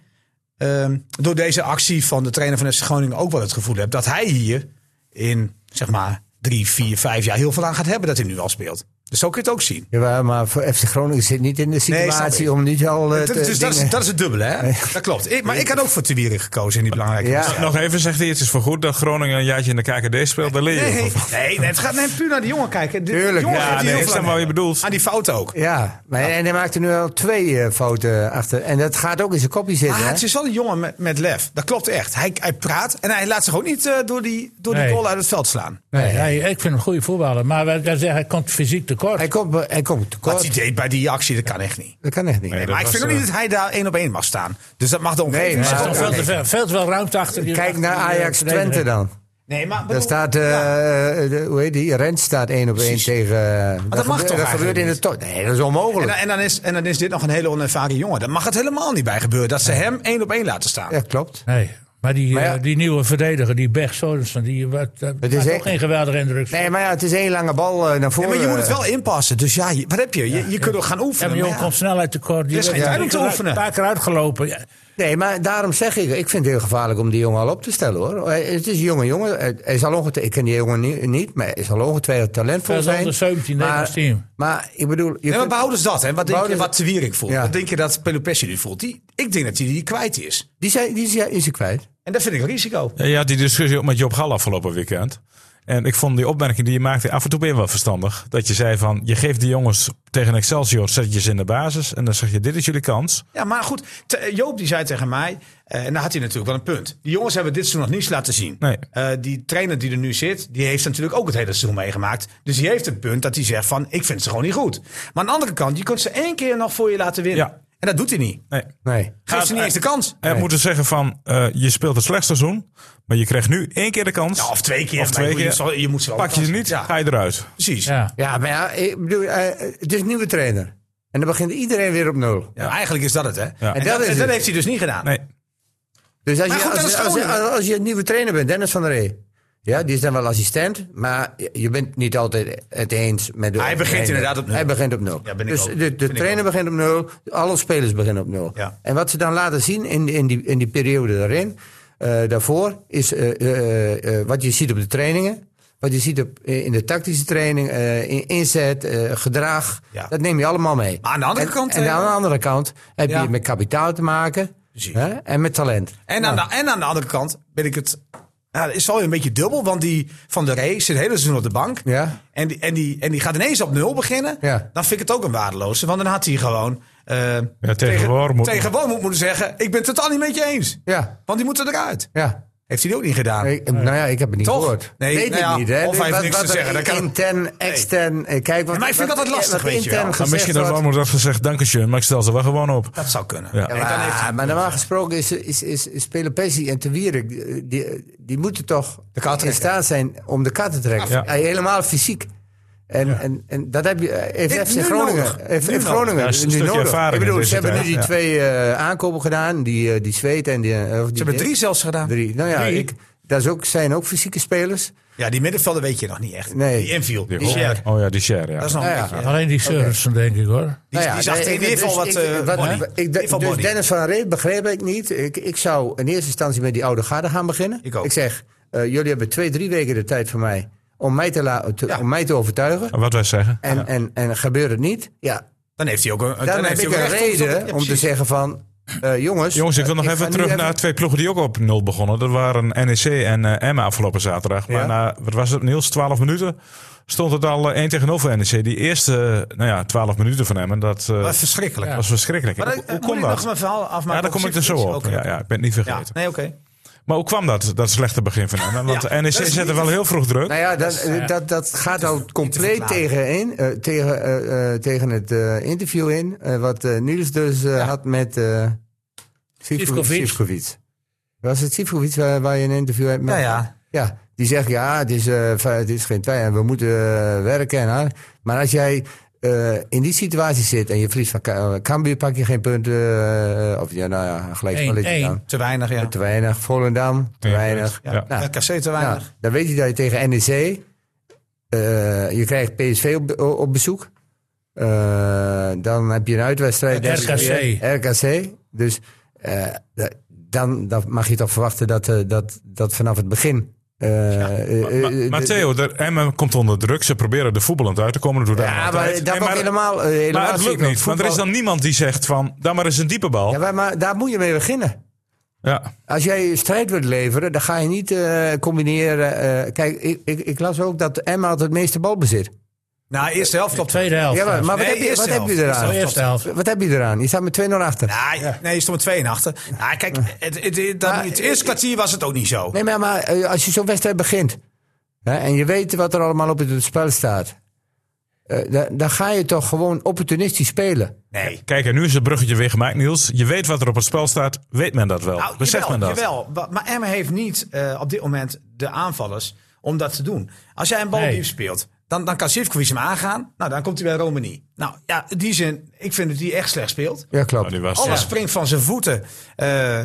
[SPEAKER 6] ehm, door deze actie van de trainer van FC Groningen ook wel het gevoel hebt dat hij hier in zeg maar drie, vier, vijf jaar heel veel aan gaat hebben dat hij nu al speelt. Dus zo kun je het ook zien.
[SPEAKER 3] Jawel, maar voor FC Groningen zit niet in de
[SPEAKER 6] snap
[SPEAKER 3] situatie
[SPEAKER 6] ik.
[SPEAKER 3] om niet al eh,
[SPEAKER 6] Dat,
[SPEAKER 3] te-
[SPEAKER 6] dus dat, is,
[SPEAKER 3] dingen-
[SPEAKER 6] dat is het dubbele, hè? Dat klopt. Ik- maar ik had ook voor Tewiri gekozen in die belangrijke
[SPEAKER 3] Ja.
[SPEAKER 6] wedstrijd.
[SPEAKER 2] Nog even zegt hij, het is voorgoed dat Groningen een jaartje in de KKD speelt. Daar leer je ook
[SPEAKER 6] Nee,
[SPEAKER 2] wel van.
[SPEAKER 6] nee, nee, het gaat nee, puur naar de jongen kijken. De
[SPEAKER 3] Tuurlijk,
[SPEAKER 6] jongen
[SPEAKER 3] ja,
[SPEAKER 6] heeft
[SPEAKER 2] Ja,
[SPEAKER 6] hier
[SPEAKER 2] nee,
[SPEAKER 6] heel
[SPEAKER 2] ik
[SPEAKER 6] veel
[SPEAKER 2] snap
[SPEAKER 6] aan.
[SPEAKER 2] wat je bedoelt.
[SPEAKER 6] Aan die fouten ook.
[SPEAKER 3] Ja, maar, en hij maakte nu al twee eh, fouten achter. En dat gaat ook in zijn kopje zitten.
[SPEAKER 6] Maar
[SPEAKER 3] hè?
[SPEAKER 6] Ah, het is wel een jongen met, met lef. Dat klopt echt. Hij, hij praat en hij laat zich ook niet eh, door die, door die
[SPEAKER 5] Nee.
[SPEAKER 6] goal uit het veld slaan.
[SPEAKER 5] Nee, hij- ik vind hem een goede voetballer. Maar wij- wij zeggen, hij komt fysiek tekort.
[SPEAKER 3] Hij komt, be- hij komt
[SPEAKER 6] Wat hij
[SPEAKER 3] tekort.
[SPEAKER 6] deed bij die actie, dat kan echt niet.
[SPEAKER 3] Dat kan echt niet.
[SPEAKER 2] Nee, dat
[SPEAKER 6] maar ik
[SPEAKER 2] was,
[SPEAKER 6] vind ook
[SPEAKER 2] eh,
[SPEAKER 6] niet dat hij daar één op één mag staan. Dus dat mag de omgeving
[SPEAKER 3] Nee,
[SPEAKER 5] Er is
[SPEAKER 6] zeggen.
[SPEAKER 5] nog
[SPEAKER 3] maar-
[SPEAKER 5] veel, te veel, veel te veel ruimte achter die
[SPEAKER 3] Kijk
[SPEAKER 5] achter
[SPEAKER 3] naar
[SPEAKER 5] die, eh,
[SPEAKER 3] Ajax
[SPEAKER 5] verdediger.
[SPEAKER 3] Twente dan.
[SPEAKER 6] Nee, maar
[SPEAKER 3] Daar
[SPEAKER 6] bedoel-
[SPEAKER 3] staat, eh,
[SPEAKER 6] Ja.
[SPEAKER 3] eh, de- hoe heet die? Rens staat één op één
[SPEAKER 6] Precies.
[SPEAKER 3] tegen. eh, dat
[SPEAKER 6] mag
[SPEAKER 3] gebeurt-
[SPEAKER 6] toch
[SPEAKER 3] Dat gebeurt in de
[SPEAKER 6] eigenlijk
[SPEAKER 3] top. Nee, dat is
[SPEAKER 6] en,
[SPEAKER 3] onmogelijk.
[SPEAKER 6] dan, en, dan is, en dan is dit nog een hele onervaren jongen. Daar mag het helemaal niet bij gebeuren dat ze hem één op één laten staan.
[SPEAKER 3] Ja, klopt.
[SPEAKER 5] Nee, maar die,
[SPEAKER 3] Maar ja.
[SPEAKER 5] eh, die nieuwe verdediger, die Berg Sorensen, die wat, dat
[SPEAKER 3] is
[SPEAKER 5] maakt ook
[SPEAKER 3] echt-
[SPEAKER 5] geen geweldige indruk.
[SPEAKER 3] Nee, maar ja, het is één lange bal eh, naar
[SPEAKER 6] Ja,
[SPEAKER 3] voren.
[SPEAKER 6] maar je moet het wel inpassen. Dus ja, je- wat heb je? Je, je kunt ook gaan
[SPEAKER 5] Ja,
[SPEAKER 6] oefenen.
[SPEAKER 5] maar joh,
[SPEAKER 6] maar ja.
[SPEAKER 5] komt snelheid tekort. Die
[SPEAKER 6] Er is geen
[SPEAKER 5] werd
[SPEAKER 6] tijd om
[SPEAKER 5] een
[SPEAKER 6] te
[SPEAKER 5] keer-
[SPEAKER 6] oefenen.
[SPEAKER 5] Een paar keer uitgelopen. Ja.
[SPEAKER 3] Nee, maar daarom zeg ik, ik vind het heel gevaarlijk om die jongen al op te stellen hoor. Hij- Het is een jonge jongen, hij hij zal ongetwijfeld, ik ken die jongen ni- niet, maar hij zal ongetwijfeld
[SPEAKER 5] Hij
[SPEAKER 3] talentvol
[SPEAKER 5] is
[SPEAKER 3] zijn.
[SPEAKER 5] onder 17, Nederlands
[SPEAKER 3] maar,
[SPEAKER 5] team.
[SPEAKER 3] Maar ik bedoel, je
[SPEAKER 6] Nee, maar
[SPEAKER 3] kunt-
[SPEAKER 6] behouden ze dat? Hè? Wat denk je
[SPEAKER 3] Behouden
[SPEAKER 6] wat de Wierik voelt?
[SPEAKER 3] Ja.
[SPEAKER 6] Wat denk je dat Pelopessi nu voelt? Die, ik denk dat hij die kwijt is.
[SPEAKER 3] die, zijn, die zijn- is hij kwijt.
[SPEAKER 6] En dat vind ik een risico.
[SPEAKER 2] Eh, Ja, je had die discussie ook met Job Gal afgelopen weekend. En ik vond die opmerking die je maakte af en toe ben je wel verstandig. Dat je zei van, je geeft die jongens tegen Excelsior, zet je ze in de basis. En dan zeg je, dit is jullie kans.
[SPEAKER 6] Ja, maar goed. te- eh, Joop die zei tegen mij, eh, en daar had hij natuurlijk wel een punt. Die jongens hebben dit seizoen nog niets laten zien.
[SPEAKER 2] Nee.
[SPEAKER 6] Eh, die trainer die er nu zit, die heeft natuurlijk ook het hele seizoen meegemaakt. Dus die heeft een punt dat hij zegt van, ik vind ze gewoon niet goed. Maar aan de andere kant, je kunt ze één keer nog voor je laten winnen.
[SPEAKER 2] Ja.
[SPEAKER 6] En dat doet hij niet.
[SPEAKER 2] Nee.
[SPEAKER 3] Nee.
[SPEAKER 6] Geeft ze niet
[SPEAKER 2] eh,
[SPEAKER 6] eens de kans.
[SPEAKER 2] En moeten zeggen van, eh, je speelt het slecht seizoen. Maar je krijgt nu één keer de kans.
[SPEAKER 6] Ja, of twee keer.
[SPEAKER 2] Of
[SPEAKER 6] maar
[SPEAKER 2] twee
[SPEAKER 6] je moet
[SPEAKER 2] keer.
[SPEAKER 6] ze wel- Je moet ze wel
[SPEAKER 2] pak je
[SPEAKER 6] de
[SPEAKER 2] ze
[SPEAKER 6] kans
[SPEAKER 2] niet,
[SPEAKER 6] geven.
[SPEAKER 2] ga je eruit.
[SPEAKER 6] Ja, precies.
[SPEAKER 5] Ja.
[SPEAKER 3] Ja, maar ja, ik bedoel, eh, het is een nieuwe trainer. En dan begint iedereen weer op nul.
[SPEAKER 6] Ja, Nou, eigenlijk is dat het, hè? En,
[SPEAKER 2] En
[SPEAKER 6] dat,
[SPEAKER 3] dat is
[SPEAKER 6] en dat
[SPEAKER 3] het.
[SPEAKER 6] heeft hij dus niet gedaan.
[SPEAKER 2] Nee.
[SPEAKER 3] Dus als
[SPEAKER 6] Maar
[SPEAKER 3] je,
[SPEAKER 6] goed, dat
[SPEAKER 3] als,
[SPEAKER 6] is
[SPEAKER 3] als, als,
[SPEAKER 6] Groningen.
[SPEAKER 3] als je een nieuwe trainer bent, Dennis van der Ree. Ja, die is dan wel assistent, maar je- je bent niet altijd het eens met de
[SPEAKER 6] Hij begint
[SPEAKER 3] trainer.
[SPEAKER 6] inderdaad op nul.
[SPEAKER 3] Hij begint op nul.
[SPEAKER 6] Ja, ben ik
[SPEAKER 3] dus
[SPEAKER 6] ook.
[SPEAKER 3] de, de
[SPEAKER 6] Vind ik
[SPEAKER 3] trainer begint op nul, alle spelers beginnen op nul.
[SPEAKER 6] Ja.
[SPEAKER 3] En wat ze dan laten zien in, in, die, in die periode daarin, eh, daarvoor, is eh, eh, eh, wat je ziet op de trainingen. Wat je ziet op, eh, in de tactische training, eh, in- inzet, eh, gedrag.
[SPEAKER 6] Ja.
[SPEAKER 3] Dat neem je allemaal mee.
[SPEAKER 6] Maar aan de andere
[SPEAKER 3] En-
[SPEAKER 6] kant,
[SPEAKER 3] En
[SPEAKER 6] eh,
[SPEAKER 3] aan de andere kant heb
[SPEAKER 6] ja.
[SPEAKER 3] je met kapitaal te maken.
[SPEAKER 6] Precies.
[SPEAKER 3] Hè, en met talent.
[SPEAKER 6] En, aan de, en aan de andere kant ben ik het. Ja, dat is wel een beetje dubbel, want die van de Ree zit het hele seizoen op de bank.
[SPEAKER 3] Ja.
[SPEAKER 6] En, die, en, die, en die gaat ineens op nul beginnen.
[SPEAKER 3] Ja.
[SPEAKER 6] Dan vind ik het ook een waardeloze, want dan had hij gewoon. eh,
[SPEAKER 2] tegen Wormoed.
[SPEAKER 6] tegen Wormoed moeten zeggen: Ik ben het totaal niet met je eens.
[SPEAKER 3] Ja.
[SPEAKER 6] Want die moeten eruit.
[SPEAKER 3] Ja.
[SPEAKER 6] Heeft hij die ook niet gedaan?
[SPEAKER 3] Ik, nou ja, ik heb het niet
[SPEAKER 6] Ah, eh, Toch?
[SPEAKER 3] gehoord.
[SPEAKER 6] Nee,
[SPEAKER 3] weet
[SPEAKER 6] nou
[SPEAKER 3] ik
[SPEAKER 6] ja,
[SPEAKER 3] niet. Hè.
[SPEAKER 6] of hij heeft
[SPEAKER 3] Wat-
[SPEAKER 6] niks
[SPEAKER 3] wat
[SPEAKER 6] te
[SPEAKER 3] er
[SPEAKER 6] zeggen, dat kan-
[SPEAKER 3] Intern, extern. eh, Kijk, wat,
[SPEAKER 6] Ja, maar ik vind
[SPEAKER 3] wat-
[SPEAKER 6] dat altijd lastig,
[SPEAKER 3] wat
[SPEAKER 6] weet je wel.
[SPEAKER 3] intern
[SPEAKER 6] Maar
[SPEAKER 2] Maar
[SPEAKER 3] gezegd
[SPEAKER 2] misschien dat
[SPEAKER 3] wordt-
[SPEAKER 2] Warmoed had gezegd, dankjewel, maar ik stel ze wel gewoon op.
[SPEAKER 6] Dat zou kunnen.
[SPEAKER 2] Ja.
[SPEAKER 6] En
[SPEAKER 3] Ja,
[SPEAKER 6] dan heeft hij-
[SPEAKER 3] maar normaal gesproken is, is, is, is spelen Pessie en Te Wierik, eh, die, die moeten toch in staat zijn om de kaart te trekken.
[SPEAKER 2] Ja.
[SPEAKER 3] Ja, helemaal fysiek. En, en, en dat heb je, eh,
[SPEAKER 6] Dit
[SPEAKER 3] heeft
[SPEAKER 6] nu
[SPEAKER 3] FC Groningen,
[SPEAKER 6] nodig.
[SPEAKER 3] heeft,
[SPEAKER 6] Nu
[SPEAKER 3] heeft
[SPEAKER 6] nodig.
[SPEAKER 3] Groningen
[SPEAKER 2] Ja, is een
[SPEAKER 3] nu
[SPEAKER 2] stukje
[SPEAKER 3] nodig.
[SPEAKER 2] ervaring
[SPEAKER 3] ik
[SPEAKER 2] in
[SPEAKER 3] bedoel,
[SPEAKER 2] deze
[SPEAKER 3] ze hebben nu
[SPEAKER 2] tijd,
[SPEAKER 3] die
[SPEAKER 2] ja.
[SPEAKER 3] twee eh, aankopen gedaan, die, eh die Zweed en die... eh, of die
[SPEAKER 6] Ze hebben drie zelfs gedaan.
[SPEAKER 3] Drie. Nou ja,
[SPEAKER 5] Drie?
[SPEAKER 3] ik, dat is ook, zijn ook fysieke spelers.
[SPEAKER 6] Ja, die middenvelder weet je nog niet echt.
[SPEAKER 3] Nee.
[SPEAKER 6] Die inviel. Die
[SPEAKER 2] Die
[SPEAKER 6] Sher.
[SPEAKER 2] Oh ja, die share, ja.
[SPEAKER 6] Dat is nog een
[SPEAKER 3] Ja, ja.
[SPEAKER 6] beetje.
[SPEAKER 5] Alleen die Sorensen, denk ik hoor.
[SPEAKER 6] Die,
[SPEAKER 3] Nou ja,
[SPEAKER 6] die zag
[SPEAKER 3] nee,
[SPEAKER 6] tegen in
[SPEAKER 3] ik-
[SPEAKER 6] ieder geval wat.
[SPEAKER 3] dus ik-
[SPEAKER 6] eh, body.
[SPEAKER 3] ik-
[SPEAKER 6] In ieder geval
[SPEAKER 3] dus
[SPEAKER 6] body.
[SPEAKER 3] Dennis van Reep begreep ik niet. Ik, ik zou in eerste instantie met die oude garde gaan beginnen.
[SPEAKER 6] Ik ook.
[SPEAKER 3] zeg, eh, jullie hebben twee, drie weken de tijd voor mij om mij te, la- te-
[SPEAKER 6] Ja.
[SPEAKER 3] om mij te overtuigen.
[SPEAKER 2] Wat wij zeggen.
[SPEAKER 3] En, en, en gebeurt het niet, ja,
[SPEAKER 6] Dan heeft hij ook een.
[SPEAKER 3] dan, heb
[SPEAKER 6] heeft
[SPEAKER 3] ik
[SPEAKER 6] hij ook
[SPEAKER 3] een
[SPEAKER 6] recht op-
[SPEAKER 3] reden
[SPEAKER 6] Ja,
[SPEAKER 3] om te
[SPEAKER 6] precies.
[SPEAKER 3] zeggen van... eh, jongens,
[SPEAKER 2] Jongens, ik wil nog
[SPEAKER 3] eh, ga
[SPEAKER 2] even
[SPEAKER 3] nu
[SPEAKER 2] terug naar twee ploegen die ook op nul begonnen. Dat waren NEC en eh Emma afgelopen zaterdag. Maar
[SPEAKER 3] Ja.
[SPEAKER 2] na, wat was het, Niels, 12 minuten stond het al eh, 1 tegen 0 voor NEC. Die eerste, eh, nou ja, 12 minuten van Emmen, dat eh,
[SPEAKER 6] Wat verschrikkelijk.
[SPEAKER 2] was verschrikkelijk.
[SPEAKER 6] Maar
[SPEAKER 2] hoe
[SPEAKER 6] dat,
[SPEAKER 2] hoe
[SPEAKER 6] moet
[SPEAKER 2] kon
[SPEAKER 6] ik nog
[SPEAKER 2] dat?
[SPEAKER 6] mijn verhaal afmaken?
[SPEAKER 2] Ja, daar kom ik er zo op.
[SPEAKER 6] Oké.
[SPEAKER 2] Ja, ja, ik ben het niet
[SPEAKER 6] Ja,
[SPEAKER 2] vergeten.
[SPEAKER 6] nee, oké.
[SPEAKER 2] Maar hoe kwam dat, dat slechte begin van Emmen? Want E
[SPEAKER 6] Ja,
[SPEAKER 2] NEC
[SPEAKER 6] dat is
[SPEAKER 2] zette
[SPEAKER 6] niet-
[SPEAKER 2] wel heel vroeg druk.
[SPEAKER 3] Nou ja, dat, eh, dat, dat gaat al compleet
[SPEAKER 6] verklaren.
[SPEAKER 3] tegen, in, eh, tegen, eh, eh, tegen het eh, interview in. eh, wat eh, Niels dus eh, had met eh Sivko-
[SPEAKER 5] Sivkovic.
[SPEAKER 3] Sivkovic. Was het Sivkovic waar, waar je een interview hebt met?
[SPEAKER 6] Ja, ja.
[SPEAKER 3] Ja, die zegt ja, het is, eh, fa- het is geen tijd en we moeten eh, werken. En, aan. maar als jij eh, in die situatie zit en je verliest van Ka- eh, Cambuur, pak je geen punten. eh, of ja, nou ja, gelijk
[SPEAKER 5] Eén,
[SPEAKER 3] spelletje
[SPEAKER 5] één.
[SPEAKER 3] dan.
[SPEAKER 6] Te weinig, ja.
[SPEAKER 3] Te weinig, Volendam, te
[SPEAKER 2] Ja,
[SPEAKER 3] weinig.
[SPEAKER 2] ja.
[SPEAKER 6] Ja,
[SPEAKER 3] Nou,
[SPEAKER 6] KC te weinig.
[SPEAKER 3] nou, dan weet je dat je tegen NEC. eh, je krijgt PSV op, op bezoek. Eh, dan heb je een uitwedstrijd.
[SPEAKER 5] Met
[SPEAKER 3] denk ik. RKC. Dus eh, da- dan, dan mag je toch verwachten dat, eh, dat, dat vanaf het begin. eh, eh, eh,
[SPEAKER 2] Maar, maar
[SPEAKER 3] de-
[SPEAKER 2] Theo, de- Emmen komt onder druk. Ze proberen er voetballend uit te komen. Dat doen ze
[SPEAKER 3] ja, maar
[SPEAKER 2] altijd.
[SPEAKER 3] dat
[SPEAKER 2] Nee,
[SPEAKER 3] wordt helemaal, eh, helemaal
[SPEAKER 2] maar het
[SPEAKER 3] ziek,
[SPEAKER 2] lukt niet. Want er is
[SPEAKER 3] voetbal-
[SPEAKER 2] dan niemand die zegt van... Dan maar eens een diepe bal.
[SPEAKER 3] Ja, maar, maar daar moet je mee beginnen.
[SPEAKER 2] Ja.
[SPEAKER 3] Als jij strijd wilt leveren, dan ga je niet eh, combineren. eh, kijk, ik, ik, ik las ook dat Emma had het meeste balbezit.
[SPEAKER 6] Nou, eerste helft
[SPEAKER 5] Op
[SPEAKER 6] klopt.
[SPEAKER 5] tweede helft.
[SPEAKER 3] Ja, maar, maar
[SPEAKER 6] Nee,
[SPEAKER 3] wat, heb je,
[SPEAKER 6] eerste
[SPEAKER 3] wat heb je
[SPEAKER 6] helft.
[SPEAKER 5] De
[SPEAKER 3] eraan?
[SPEAKER 5] eerste helft.
[SPEAKER 3] Wat heb je eraan? Je staat met 2-0 achter.
[SPEAKER 6] Nee, nee, Nou, je stond met 2 achter. Nou, kijk, het, het, het, dan-
[SPEAKER 3] Maar-
[SPEAKER 6] het eerste kwartier was het ook niet zo.
[SPEAKER 3] Nee, maar, maar eh, als je zo'n wedstrijd begint hè, en je weet wat er allemaal op het spel staat, eh, dan, dan ga je toch gewoon opportunistisch spelen.
[SPEAKER 6] Nee.
[SPEAKER 2] Kijk, en nu is het bruggetje weer gemaakt, Niels. Je weet wat er op het spel staat. Weet men dat wel?
[SPEAKER 6] Nou,
[SPEAKER 2] Beseft
[SPEAKER 6] jawel,
[SPEAKER 2] men dat?
[SPEAKER 6] jawel. Wa- Maar Emma heeft niet eh, op dit moment de aanvallers om dat te doen. Als jij een bal
[SPEAKER 5] Nee.
[SPEAKER 6] diep speelt, dan, dan kan Sivkovic hem aangaan. Nou, dan komt hij bij Romani. Nou, ja, in die zin, ik vind dat hij echt slecht speelt.
[SPEAKER 3] Ja,
[SPEAKER 2] Nou,
[SPEAKER 3] klopt.
[SPEAKER 2] die was-
[SPEAKER 6] Alles
[SPEAKER 2] ja.
[SPEAKER 6] springt van zijn voeten. Eh,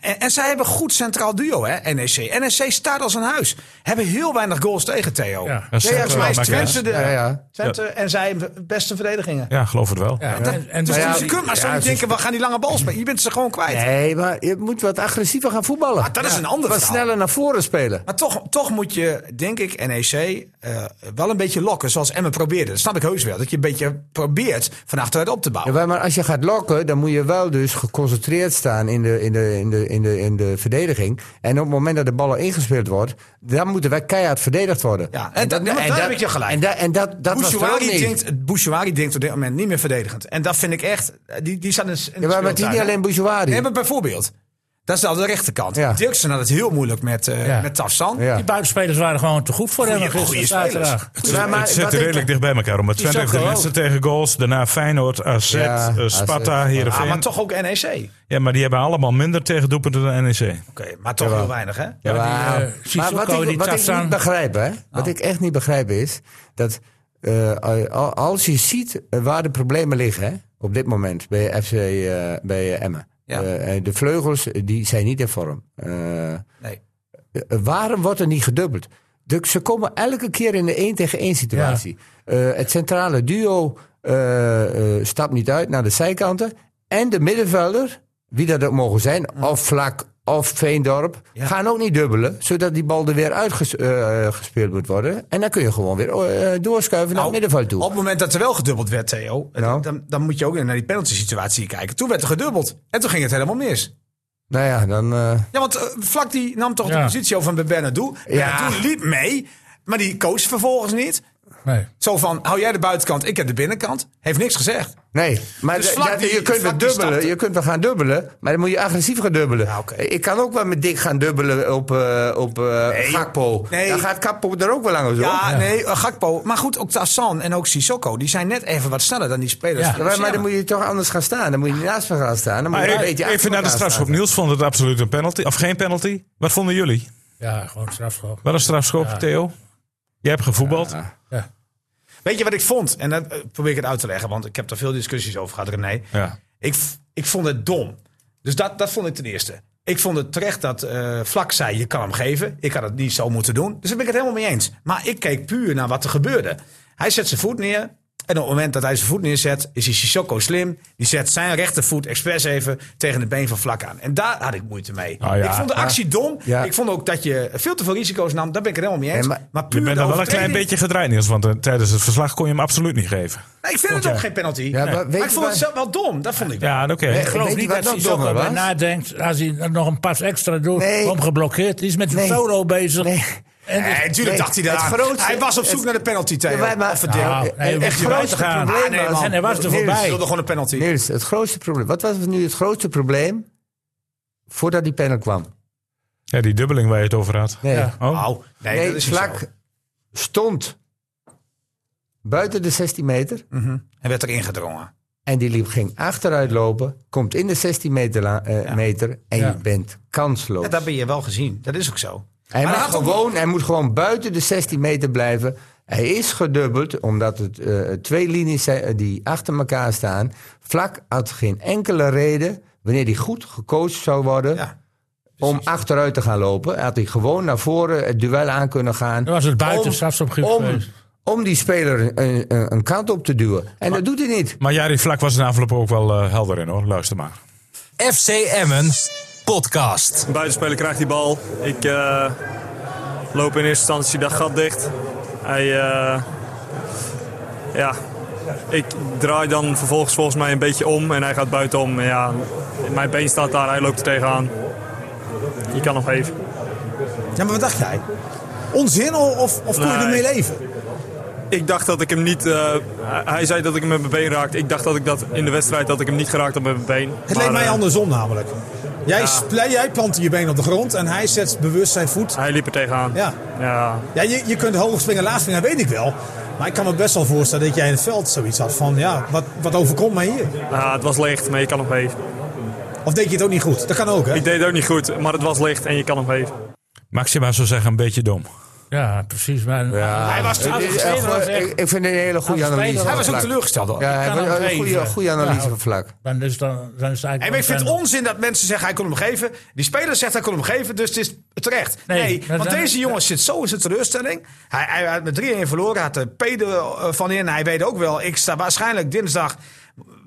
[SPEAKER 6] en, en zij hebben een goed centraal duo, hè, E NEC. NEC staat als een huis. Hebben heel weinig goals tegen, Theo.
[SPEAKER 5] Ja.
[SPEAKER 2] Ja, zeker
[SPEAKER 6] Volgens mij is
[SPEAKER 2] wel, maar-
[SPEAKER 6] Twente, de,
[SPEAKER 3] Ja, ja.
[SPEAKER 6] Twente en zij de beste verdedigingen.
[SPEAKER 2] Ja, geloof het wel.
[SPEAKER 5] Ja, en, en
[SPEAKER 6] Dus
[SPEAKER 3] Maar ja,
[SPEAKER 6] je kunt maar zo
[SPEAKER 3] ja,
[SPEAKER 6] niet
[SPEAKER 3] het is-
[SPEAKER 6] denken, we gaan die lange bal spelen. Je bent ze gewoon kwijt.
[SPEAKER 3] Nee, maar je moet wat agressiever gaan voetballen.
[SPEAKER 6] Maar Ah, dat is een ander
[SPEAKER 3] Wat
[SPEAKER 6] verhaal.
[SPEAKER 3] sneller naar voren spelen.
[SPEAKER 6] Maar toch, toch moet je, denk ik, NEC eh, wel een beetje lokken zoals Emmen probeerde. Dat snap ik heus wel. Dat je een beetje probeert van achteruit op te
[SPEAKER 3] Ja,
[SPEAKER 6] bouwen.
[SPEAKER 3] maar- maar als je gaat lokken, dan moet je wel dus geconcentreerd staan in de, in de, in de, in de, in de verdediging. En op het moment dat de ballen ingespeeld wordt, dan moeten wij keihard verdedigd worden.
[SPEAKER 6] Ja, en dat- maar daar heb ik je gelijk.
[SPEAKER 3] En, da- en dat, dat was wel
[SPEAKER 6] Bouchouari
[SPEAKER 3] niet.
[SPEAKER 6] denkt, Bouchouari denkt op dit moment niet meer verdedigend. En dat vind ik echt, eh, die, die staat in in de
[SPEAKER 3] ja, maar het is
[SPEAKER 6] speeltuin,
[SPEAKER 3] niet
[SPEAKER 6] hè?
[SPEAKER 3] alleen Bouchouari.
[SPEAKER 6] Nee, maar bijvoorbeeld, dat is aan de rechterkant.
[SPEAKER 3] Ja.
[SPEAKER 6] Dirksen had het heel moeilijk met, eh
[SPEAKER 5] Ja.
[SPEAKER 6] met Tafsan.
[SPEAKER 3] Ja.
[SPEAKER 5] Die buitenspelers waren gewoon te goed voor
[SPEAKER 6] Goeie-
[SPEAKER 5] hem.
[SPEAKER 6] goeie
[SPEAKER 5] gisteren
[SPEAKER 6] spelers.
[SPEAKER 5] zaterdag.
[SPEAKER 2] Het,
[SPEAKER 3] Ja, maar
[SPEAKER 2] het
[SPEAKER 3] wat
[SPEAKER 2] zit
[SPEAKER 3] ik-
[SPEAKER 2] redelijk dicht bij elkaar. Maar Twente
[SPEAKER 5] zag
[SPEAKER 2] heeft de
[SPEAKER 5] gewoon.
[SPEAKER 2] minste tegen goals. Daarna Feyenoord, AZ,
[SPEAKER 3] Ja,
[SPEAKER 2] eh, Sparta,
[SPEAKER 3] AZ.
[SPEAKER 2] Heerenveen.
[SPEAKER 6] Ah, maar toch ook NEC. Oké,
[SPEAKER 2] Ja, maar die hebben allemaal minder tegen doelpunten dan E NEC.
[SPEAKER 6] maar toch heel weinig, hè?
[SPEAKER 3] Ja,
[SPEAKER 5] die, eh, Sissoko,
[SPEAKER 3] maar wat
[SPEAKER 5] die
[SPEAKER 3] ik, wat ik
[SPEAKER 5] Tafsan-
[SPEAKER 3] niet begrijp,
[SPEAKER 6] Oh.
[SPEAKER 3] hè? Wat ik echt niet begrijp is dat eh, al- als je ziet eh, waar de problemen liggen hè, op dit moment bij FC eh, bij eh, Emmen.
[SPEAKER 6] Ja.
[SPEAKER 3] Eh, eh, de vleugels eh, die zijn niet in vorm. Eh,
[SPEAKER 6] Nee.
[SPEAKER 3] eh, waarom wordt er niet gedubbeld? De, ze komen elke keer in de 1 tegen 1 situatie. Eh, het centrale duo eh, eh, stapt niet uit naar de zijkanten. En de middenvelder, wie dat ook mogen zijn, of Vlak of Veendorp, gaan ook niet dubbelen. Zodat die bal er weer uitgespeeld moet worden. En dan kun je gewoon weer eh, doorschuiven naar het middenveld toe.
[SPEAKER 6] Nou, Op het moment dat er wel gedubbeld werd, Theo, eh,
[SPEAKER 3] Nou.
[SPEAKER 6] dan, dan moet je ook naar die penalty situatie kijken. Toen werd er gedubbeld. En toen ging het helemaal mis.
[SPEAKER 3] Nou ja, dan. eh,
[SPEAKER 6] Ja, want eh, Vlak die nam toch de
[SPEAKER 5] Ja.
[SPEAKER 6] positie over van Bernardo.
[SPEAKER 3] Ja.
[SPEAKER 6] Bernardo liep mee, maar die coach vervolgens niet.
[SPEAKER 5] Nee.
[SPEAKER 6] Zo van, hou jij de buitenkant, ik heb de binnenkant. Heeft niks gezegd.
[SPEAKER 3] Nee, maar
[SPEAKER 6] Dus
[SPEAKER 3] d-
[SPEAKER 6] Vlak
[SPEAKER 3] dat-
[SPEAKER 6] die-
[SPEAKER 3] je, kunt
[SPEAKER 6] Vlak
[SPEAKER 3] wel
[SPEAKER 6] die
[SPEAKER 3] dubbelen,
[SPEAKER 6] stapte.
[SPEAKER 3] je kunt wel gaan dubbelen, maar dan moet je agressief gaan dubbelen.
[SPEAKER 6] Ja, oké.
[SPEAKER 3] Ik kan ook wel met Dick gaan dubbelen op, eh, op eh, Gakpo.
[SPEAKER 6] Nee.
[SPEAKER 3] Dan gaat Gakpo er ook wel langs op.
[SPEAKER 6] Ja, nee, eh, Gakpo. Maar goed, ook Tassan en ook Sissoko. Die zijn net even wat sneller dan die spelers.
[SPEAKER 5] Ja.
[SPEAKER 6] van
[SPEAKER 3] Ja, maar, maar
[SPEAKER 6] Emmen.
[SPEAKER 3] dan moet je toch anders gaan staan. Dan moet je niet naast me gaan staan. Dan moet
[SPEAKER 2] Maar
[SPEAKER 3] je een
[SPEAKER 2] even,
[SPEAKER 3] beetje
[SPEAKER 2] even
[SPEAKER 3] achter
[SPEAKER 2] naar de
[SPEAKER 3] elkaar staan.
[SPEAKER 2] strafschop. Niels vond het absoluut een penalty. Of geen penalty. Wat vonden jullie?
[SPEAKER 5] Ja, gewoon strafschop.
[SPEAKER 2] Wel een strafschop, Theo? Jij hebt gevoetbald.
[SPEAKER 5] Ja.
[SPEAKER 6] Weet je wat ik vond? En dan eh, probeer ik het uit te leggen, want ik heb daar veel discussies over gehad, René.
[SPEAKER 2] Ja.
[SPEAKER 6] Ik, v- ik vond het dom. Dus dat, dat vond ik ten eerste. Ik vond het terecht dat eh, Vlak zei, je kan hem geven. Ik had het niet zo moeten doen. Dus daar ben ik het helemaal mee eens. Maar ik keek puur naar wat er gebeurde. Hij zet zijn voet neer. En op het moment dat hij zijn voet neerzet, is hij Sissoko slim. Die zet zijn rechtervoet expres even tegen het been van Vlak aan. En daar had ik moeite mee.
[SPEAKER 2] Ah, ja.
[SPEAKER 6] Ik vond de actie dom.
[SPEAKER 3] Ja.
[SPEAKER 6] Ik vond ook dat je veel te veel risico's nam. Daar ben ik het helemaal mee eens.
[SPEAKER 3] Ja,
[SPEAKER 6] maar,
[SPEAKER 3] maar-
[SPEAKER 6] puur
[SPEAKER 2] Je bent
[SPEAKER 6] de
[SPEAKER 2] dan wel een klein
[SPEAKER 6] overtreding-
[SPEAKER 2] beetje gedraaid, Niels. Want eh, tijdens het verslag kon je hem absoluut niet geven.
[SPEAKER 6] Nee, ik vind het ook geen penalty.
[SPEAKER 3] Ja, maar
[SPEAKER 6] Nee.
[SPEAKER 3] weet
[SPEAKER 6] maar ik
[SPEAKER 3] je
[SPEAKER 6] vond
[SPEAKER 3] waar-
[SPEAKER 6] het zelf wel dom. Dat vond ik wel.
[SPEAKER 2] Ja, oké.
[SPEAKER 5] Ik
[SPEAKER 3] Weet
[SPEAKER 5] geloof
[SPEAKER 3] je
[SPEAKER 5] niet
[SPEAKER 3] wat
[SPEAKER 5] dat
[SPEAKER 3] nog
[SPEAKER 5] Sissoko
[SPEAKER 3] dommer
[SPEAKER 5] erbij
[SPEAKER 3] was?
[SPEAKER 5] nadenkt als hij nog een pas extra doet.
[SPEAKER 3] Nee.
[SPEAKER 5] Om geblokkeerd. Die is met een
[SPEAKER 3] Nee.
[SPEAKER 5] solo bezig.
[SPEAKER 3] Nee.
[SPEAKER 5] En
[SPEAKER 6] Nee, natuurlijk
[SPEAKER 3] Nee,
[SPEAKER 6] dacht hij
[SPEAKER 3] het
[SPEAKER 6] daar.
[SPEAKER 3] grootste-
[SPEAKER 6] hij was op zoek
[SPEAKER 3] het-
[SPEAKER 6] naar de penalty
[SPEAKER 3] Ja,
[SPEAKER 6] tegen.
[SPEAKER 3] wij- maar-
[SPEAKER 5] Nou,
[SPEAKER 3] het-
[SPEAKER 5] nee, we
[SPEAKER 3] het
[SPEAKER 5] moeten eruit
[SPEAKER 3] grootste
[SPEAKER 5] gaan.
[SPEAKER 3] probleem
[SPEAKER 5] Ah, nee,
[SPEAKER 3] was-
[SPEAKER 5] man. En hij was er
[SPEAKER 3] Niels,
[SPEAKER 5] voorbij.
[SPEAKER 6] Hij wilde gewoon een penalty.
[SPEAKER 3] Niels, het grootste probleem. Wat was nu het grootste probleem voordat die panel kwam?
[SPEAKER 2] Ja, die dubbeling waar je het over had.
[SPEAKER 3] Nee,
[SPEAKER 5] Ja.
[SPEAKER 2] Oh.
[SPEAKER 6] Nou, nee,
[SPEAKER 3] nee
[SPEAKER 6] dat is vlak.
[SPEAKER 3] Vlak stond buiten de 16 meter.
[SPEAKER 6] Hij werd erin gedrongen.
[SPEAKER 3] En die liep ging achteruit lopen, komt in de 16 meter, la- eh, meter en
[SPEAKER 5] Ja.
[SPEAKER 3] je bent kansloos.
[SPEAKER 6] Ja, dat ben je wel gezien. Dat is ook zo.
[SPEAKER 3] hij,
[SPEAKER 6] maar
[SPEAKER 3] mag
[SPEAKER 6] hij had ook-
[SPEAKER 3] gewoon, hij moet gewoon buiten de 16 meter blijven. Hij is gedubbeld, omdat het eh, twee linies zijn eh, die achter elkaar staan. Vlak had geen enkele reden, wanneer hij goed gecoacht zou worden,
[SPEAKER 6] Ja.
[SPEAKER 3] om achteruit te gaan lopen. Had hij gewoon naar voren het duel aan kunnen gaan.
[SPEAKER 5] Dan was het buiten
[SPEAKER 3] Om-
[SPEAKER 5] strafschopgebied
[SPEAKER 3] om,
[SPEAKER 5] geweest.
[SPEAKER 3] om die speler een, een, een kant op te duwen. En dat doet hij niet.
[SPEAKER 2] Maar Jari Vlak was in de afloop ook wel eh, helder in hoor. Luister maar.
[SPEAKER 4] FC Emmen podcast.
[SPEAKER 10] Een buitenspeler krijgt die bal. Ik eh, loop in eerste instantie dat gat dicht. Hij, eh, ja, ik draai dan vervolgens volgens mij een beetje om en hij gaat buitenom. En Ja, mijn been staat daar, hij loopt er tegenaan. Je kan nog even.
[SPEAKER 9] Ja, maar wat dacht jij? Onzin o- of, of kon je
[SPEAKER 10] Nee.
[SPEAKER 9] ermee leven?
[SPEAKER 10] Ik dacht dat ik hem niet. eh, hij zei dat ik hem met mijn been raakte. Ik dacht dat ik dat in de wedstrijd dat ik hem niet geraakt had met mijn been.
[SPEAKER 9] Het
[SPEAKER 10] Maar,
[SPEAKER 9] leek mij
[SPEAKER 10] eh,
[SPEAKER 9] andersom namelijk. Jij, sple- jij plantte je been op de grond en hij zet bewust zijn voet.
[SPEAKER 10] Hij liep er tegenaan.
[SPEAKER 9] Ja.
[SPEAKER 10] ja.
[SPEAKER 9] Ja, je, je kunt hoog springen, laag springen, dat weet ik wel. Maar ik kan me best wel voorstellen dat jij in het veld zoiets had van... Ja, wat, wat overkomt mij hier?
[SPEAKER 10] Ja, het was licht, maar je kan nog even.
[SPEAKER 9] Of deed je het ook niet goed? Dat kan ook, hè?
[SPEAKER 10] Ik deed het ook niet goed, maar het was licht en je kan nog even.
[SPEAKER 2] Maxima zou zeggen, een beetje dom.
[SPEAKER 5] Ja, precies. Maar
[SPEAKER 1] Hij was te
[SPEAKER 3] Ah, Het is echt
[SPEAKER 1] afgesneden.
[SPEAKER 3] wel-
[SPEAKER 1] was echt-
[SPEAKER 3] ik, ik vind het een hele goede
[SPEAKER 5] Hij was
[SPEAKER 3] analyse.
[SPEAKER 1] Hij
[SPEAKER 3] van
[SPEAKER 1] was ook
[SPEAKER 3] Vlak.
[SPEAKER 1] teleurgesteld. hoor.
[SPEAKER 3] Ja, hij
[SPEAKER 5] kan
[SPEAKER 3] was
[SPEAKER 5] hem
[SPEAKER 3] een goede,
[SPEAKER 5] geven.
[SPEAKER 3] goede analyse
[SPEAKER 5] Ja.
[SPEAKER 3] van vlak.
[SPEAKER 5] dan is, dan, dan is het eigenlijk...
[SPEAKER 6] En ik vind het
[SPEAKER 5] dan-
[SPEAKER 6] onzin dat mensen zeggen hij kon hem geven. Die speler zegt hij kon hem geven, dus het is terecht.
[SPEAKER 5] Nee,
[SPEAKER 6] Nee,
[SPEAKER 5] dat
[SPEAKER 6] want
[SPEAKER 5] zijn-
[SPEAKER 6] deze jongen zit zo in zijn teleurstelling. Hij, hij had met 3-1 verloren, had er peden eh, van in. Hij weet ook wel, ik sta waarschijnlijk dinsdag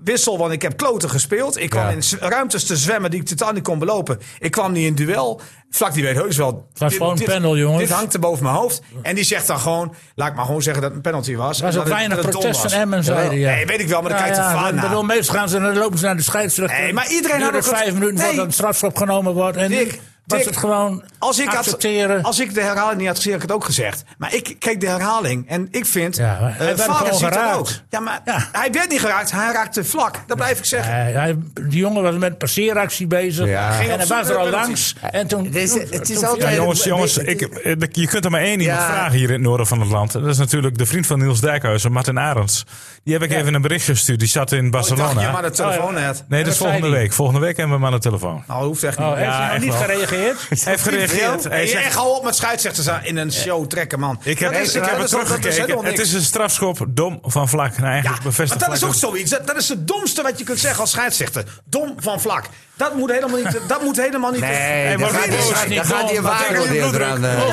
[SPEAKER 6] wissel, want ik heb kloten gespeeld. Ik kwam
[SPEAKER 3] Ja.
[SPEAKER 6] in z- ruimtes te zwemmen die ik totaal niet kon belopen. Ik kwam niet in duel. Vlak die weet heus wel.
[SPEAKER 5] was
[SPEAKER 6] dit-
[SPEAKER 5] gewoon een
[SPEAKER 6] dit-
[SPEAKER 5] panel, jongens.
[SPEAKER 6] Dit hangt er boven mijn hoofd. En die zegt dan gewoon, laat ik maar gewoon zeggen dat het een penalty was.
[SPEAKER 5] Er was
[SPEAKER 6] En dat
[SPEAKER 5] ook
[SPEAKER 6] het-
[SPEAKER 5] weinig
[SPEAKER 6] dat het dom
[SPEAKER 5] protest
[SPEAKER 6] was.
[SPEAKER 5] van Emmen, zeiden ja.
[SPEAKER 6] Nee, weet ik wel, maar dan kijkt de vader
[SPEAKER 5] Ik
[SPEAKER 6] naar.
[SPEAKER 5] bedoel, meestal gaan ze en dan lopen ze naar de scheidsrechter.
[SPEAKER 6] Nee, maar iedereen had
[SPEAKER 5] Iedere
[SPEAKER 6] ook het-
[SPEAKER 5] vijf minuten
[SPEAKER 6] Nee.
[SPEAKER 5] wordt een strafschop genomen wordt. En
[SPEAKER 6] Dick,
[SPEAKER 5] nu was
[SPEAKER 6] Dick,
[SPEAKER 5] het gewoon
[SPEAKER 6] Als ik, had,
[SPEAKER 5] accepteren.
[SPEAKER 6] als ik de herhaling niet had gezien, had ik het ook gezegd. Maar ik keek de herhaling en ik vind...
[SPEAKER 5] Ja, maar
[SPEAKER 6] eh,
[SPEAKER 5] hij werd
[SPEAKER 6] Vader
[SPEAKER 5] gewoon
[SPEAKER 6] ziet dat
[SPEAKER 5] geraakt.
[SPEAKER 6] ook. Ja, maar
[SPEAKER 5] Ja.
[SPEAKER 6] hij werd niet geraakt. Hij raakte vlak. Dat blijf ik zeggen.
[SPEAKER 5] Hij- Eh, hij, die jongen was met passeeractie bezig.
[SPEAKER 3] Ja. Ging
[SPEAKER 5] En
[SPEAKER 6] op
[SPEAKER 5] hij
[SPEAKER 6] zoek
[SPEAKER 5] was
[SPEAKER 6] naar
[SPEAKER 5] er al
[SPEAKER 6] de penalty.
[SPEAKER 5] langs. En toen, Oh,
[SPEAKER 3] Het is-
[SPEAKER 5] toen-
[SPEAKER 3] het is
[SPEAKER 5] toen-
[SPEAKER 3] altijd-
[SPEAKER 2] Ja,
[SPEAKER 3] Nee,
[SPEAKER 2] jongens,
[SPEAKER 3] dat-
[SPEAKER 2] jongens
[SPEAKER 3] nee,
[SPEAKER 2] ik, ik- je kunt er maar één iemand
[SPEAKER 3] Ja.
[SPEAKER 2] vragen hier in het noorden van het land. Dat is natuurlijk de vriend van Niels Dijkhuizen, Martin Arends. Die heb ik even een bericht gestuurd. Die zat in
[SPEAKER 6] Oh, Ik dacht, je
[SPEAKER 2] Barcelona.
[SPEAKER 6] maar de telefoon net.
[SPEAKER 2] Oh, Nee, dat is
[SPEAKER 5] Wat zei
[SPEAKER 2] volgende
[SPEAKER 5] die?
[SPEAKER 2] week. Volgende week hebben we hem aan de
[SPEAKER 6] (laughs)
[SPEAKER 2] telefoon.
[SPEAKER 6] Nou, hoeft echt niet.
[SPEAKER 5] Oh,
[SPEAKER 6] Oh,
[SPEAKER 5] heeft hij nou
[SPEAKER 2] echt
[SPEAKER 5] niet
[SPEAKER 2] wel.
[SPEAKER 5] gereageerd?
[SPEAKER 2] Hij heeft gereageerd. Hij zegt,
[SPEAKER 6] echt al op met scheidsrechters aan- in een show trekken, man.
[SPEAKER 2] ik heb,
[SPEAKER 6] Dat is-
[SPEAKER 2] ik heb
[SPEAKER 6] dat
[SPEAKER 2] het
[SPEAKER 6] is- dat is helemaal
[SPEAKER 2] teruggekeken. Het
[SPEAKER 6] niks.
[SPEAKER 2] is een strafschop dom van vlak. Nou,
[SPEAKER 6] Ja,
[SPEAKER 2] eigenlijk
[SPEAKER 6] maar
[SPEAKER 2] bevestigt
[SPEAKER 6] dat is
[SPEAKER 2] Vlak
[SPEAKER 6] ook zoiets. Dat, dat is het domste wat je kunt zeggen als scheidsrechter. Dom van vlak. Dat moet helemaal niet. Dat moet helemaal niet
[SPEAKER 3] Nee, daar
[SPEAKER 2] wordt
[SPEAKER 3] gaat
[SPEAKER 2] niet boos,
[SPEAKER 3] hij-
[SPEAKER 5] niet
[SPEAKER 3] daar gaat hij een
[SPEAKER 5] boos.
[SPEAKER 3] waardeoordeel eraan eh,
[SPEAKER 6] Ja, maar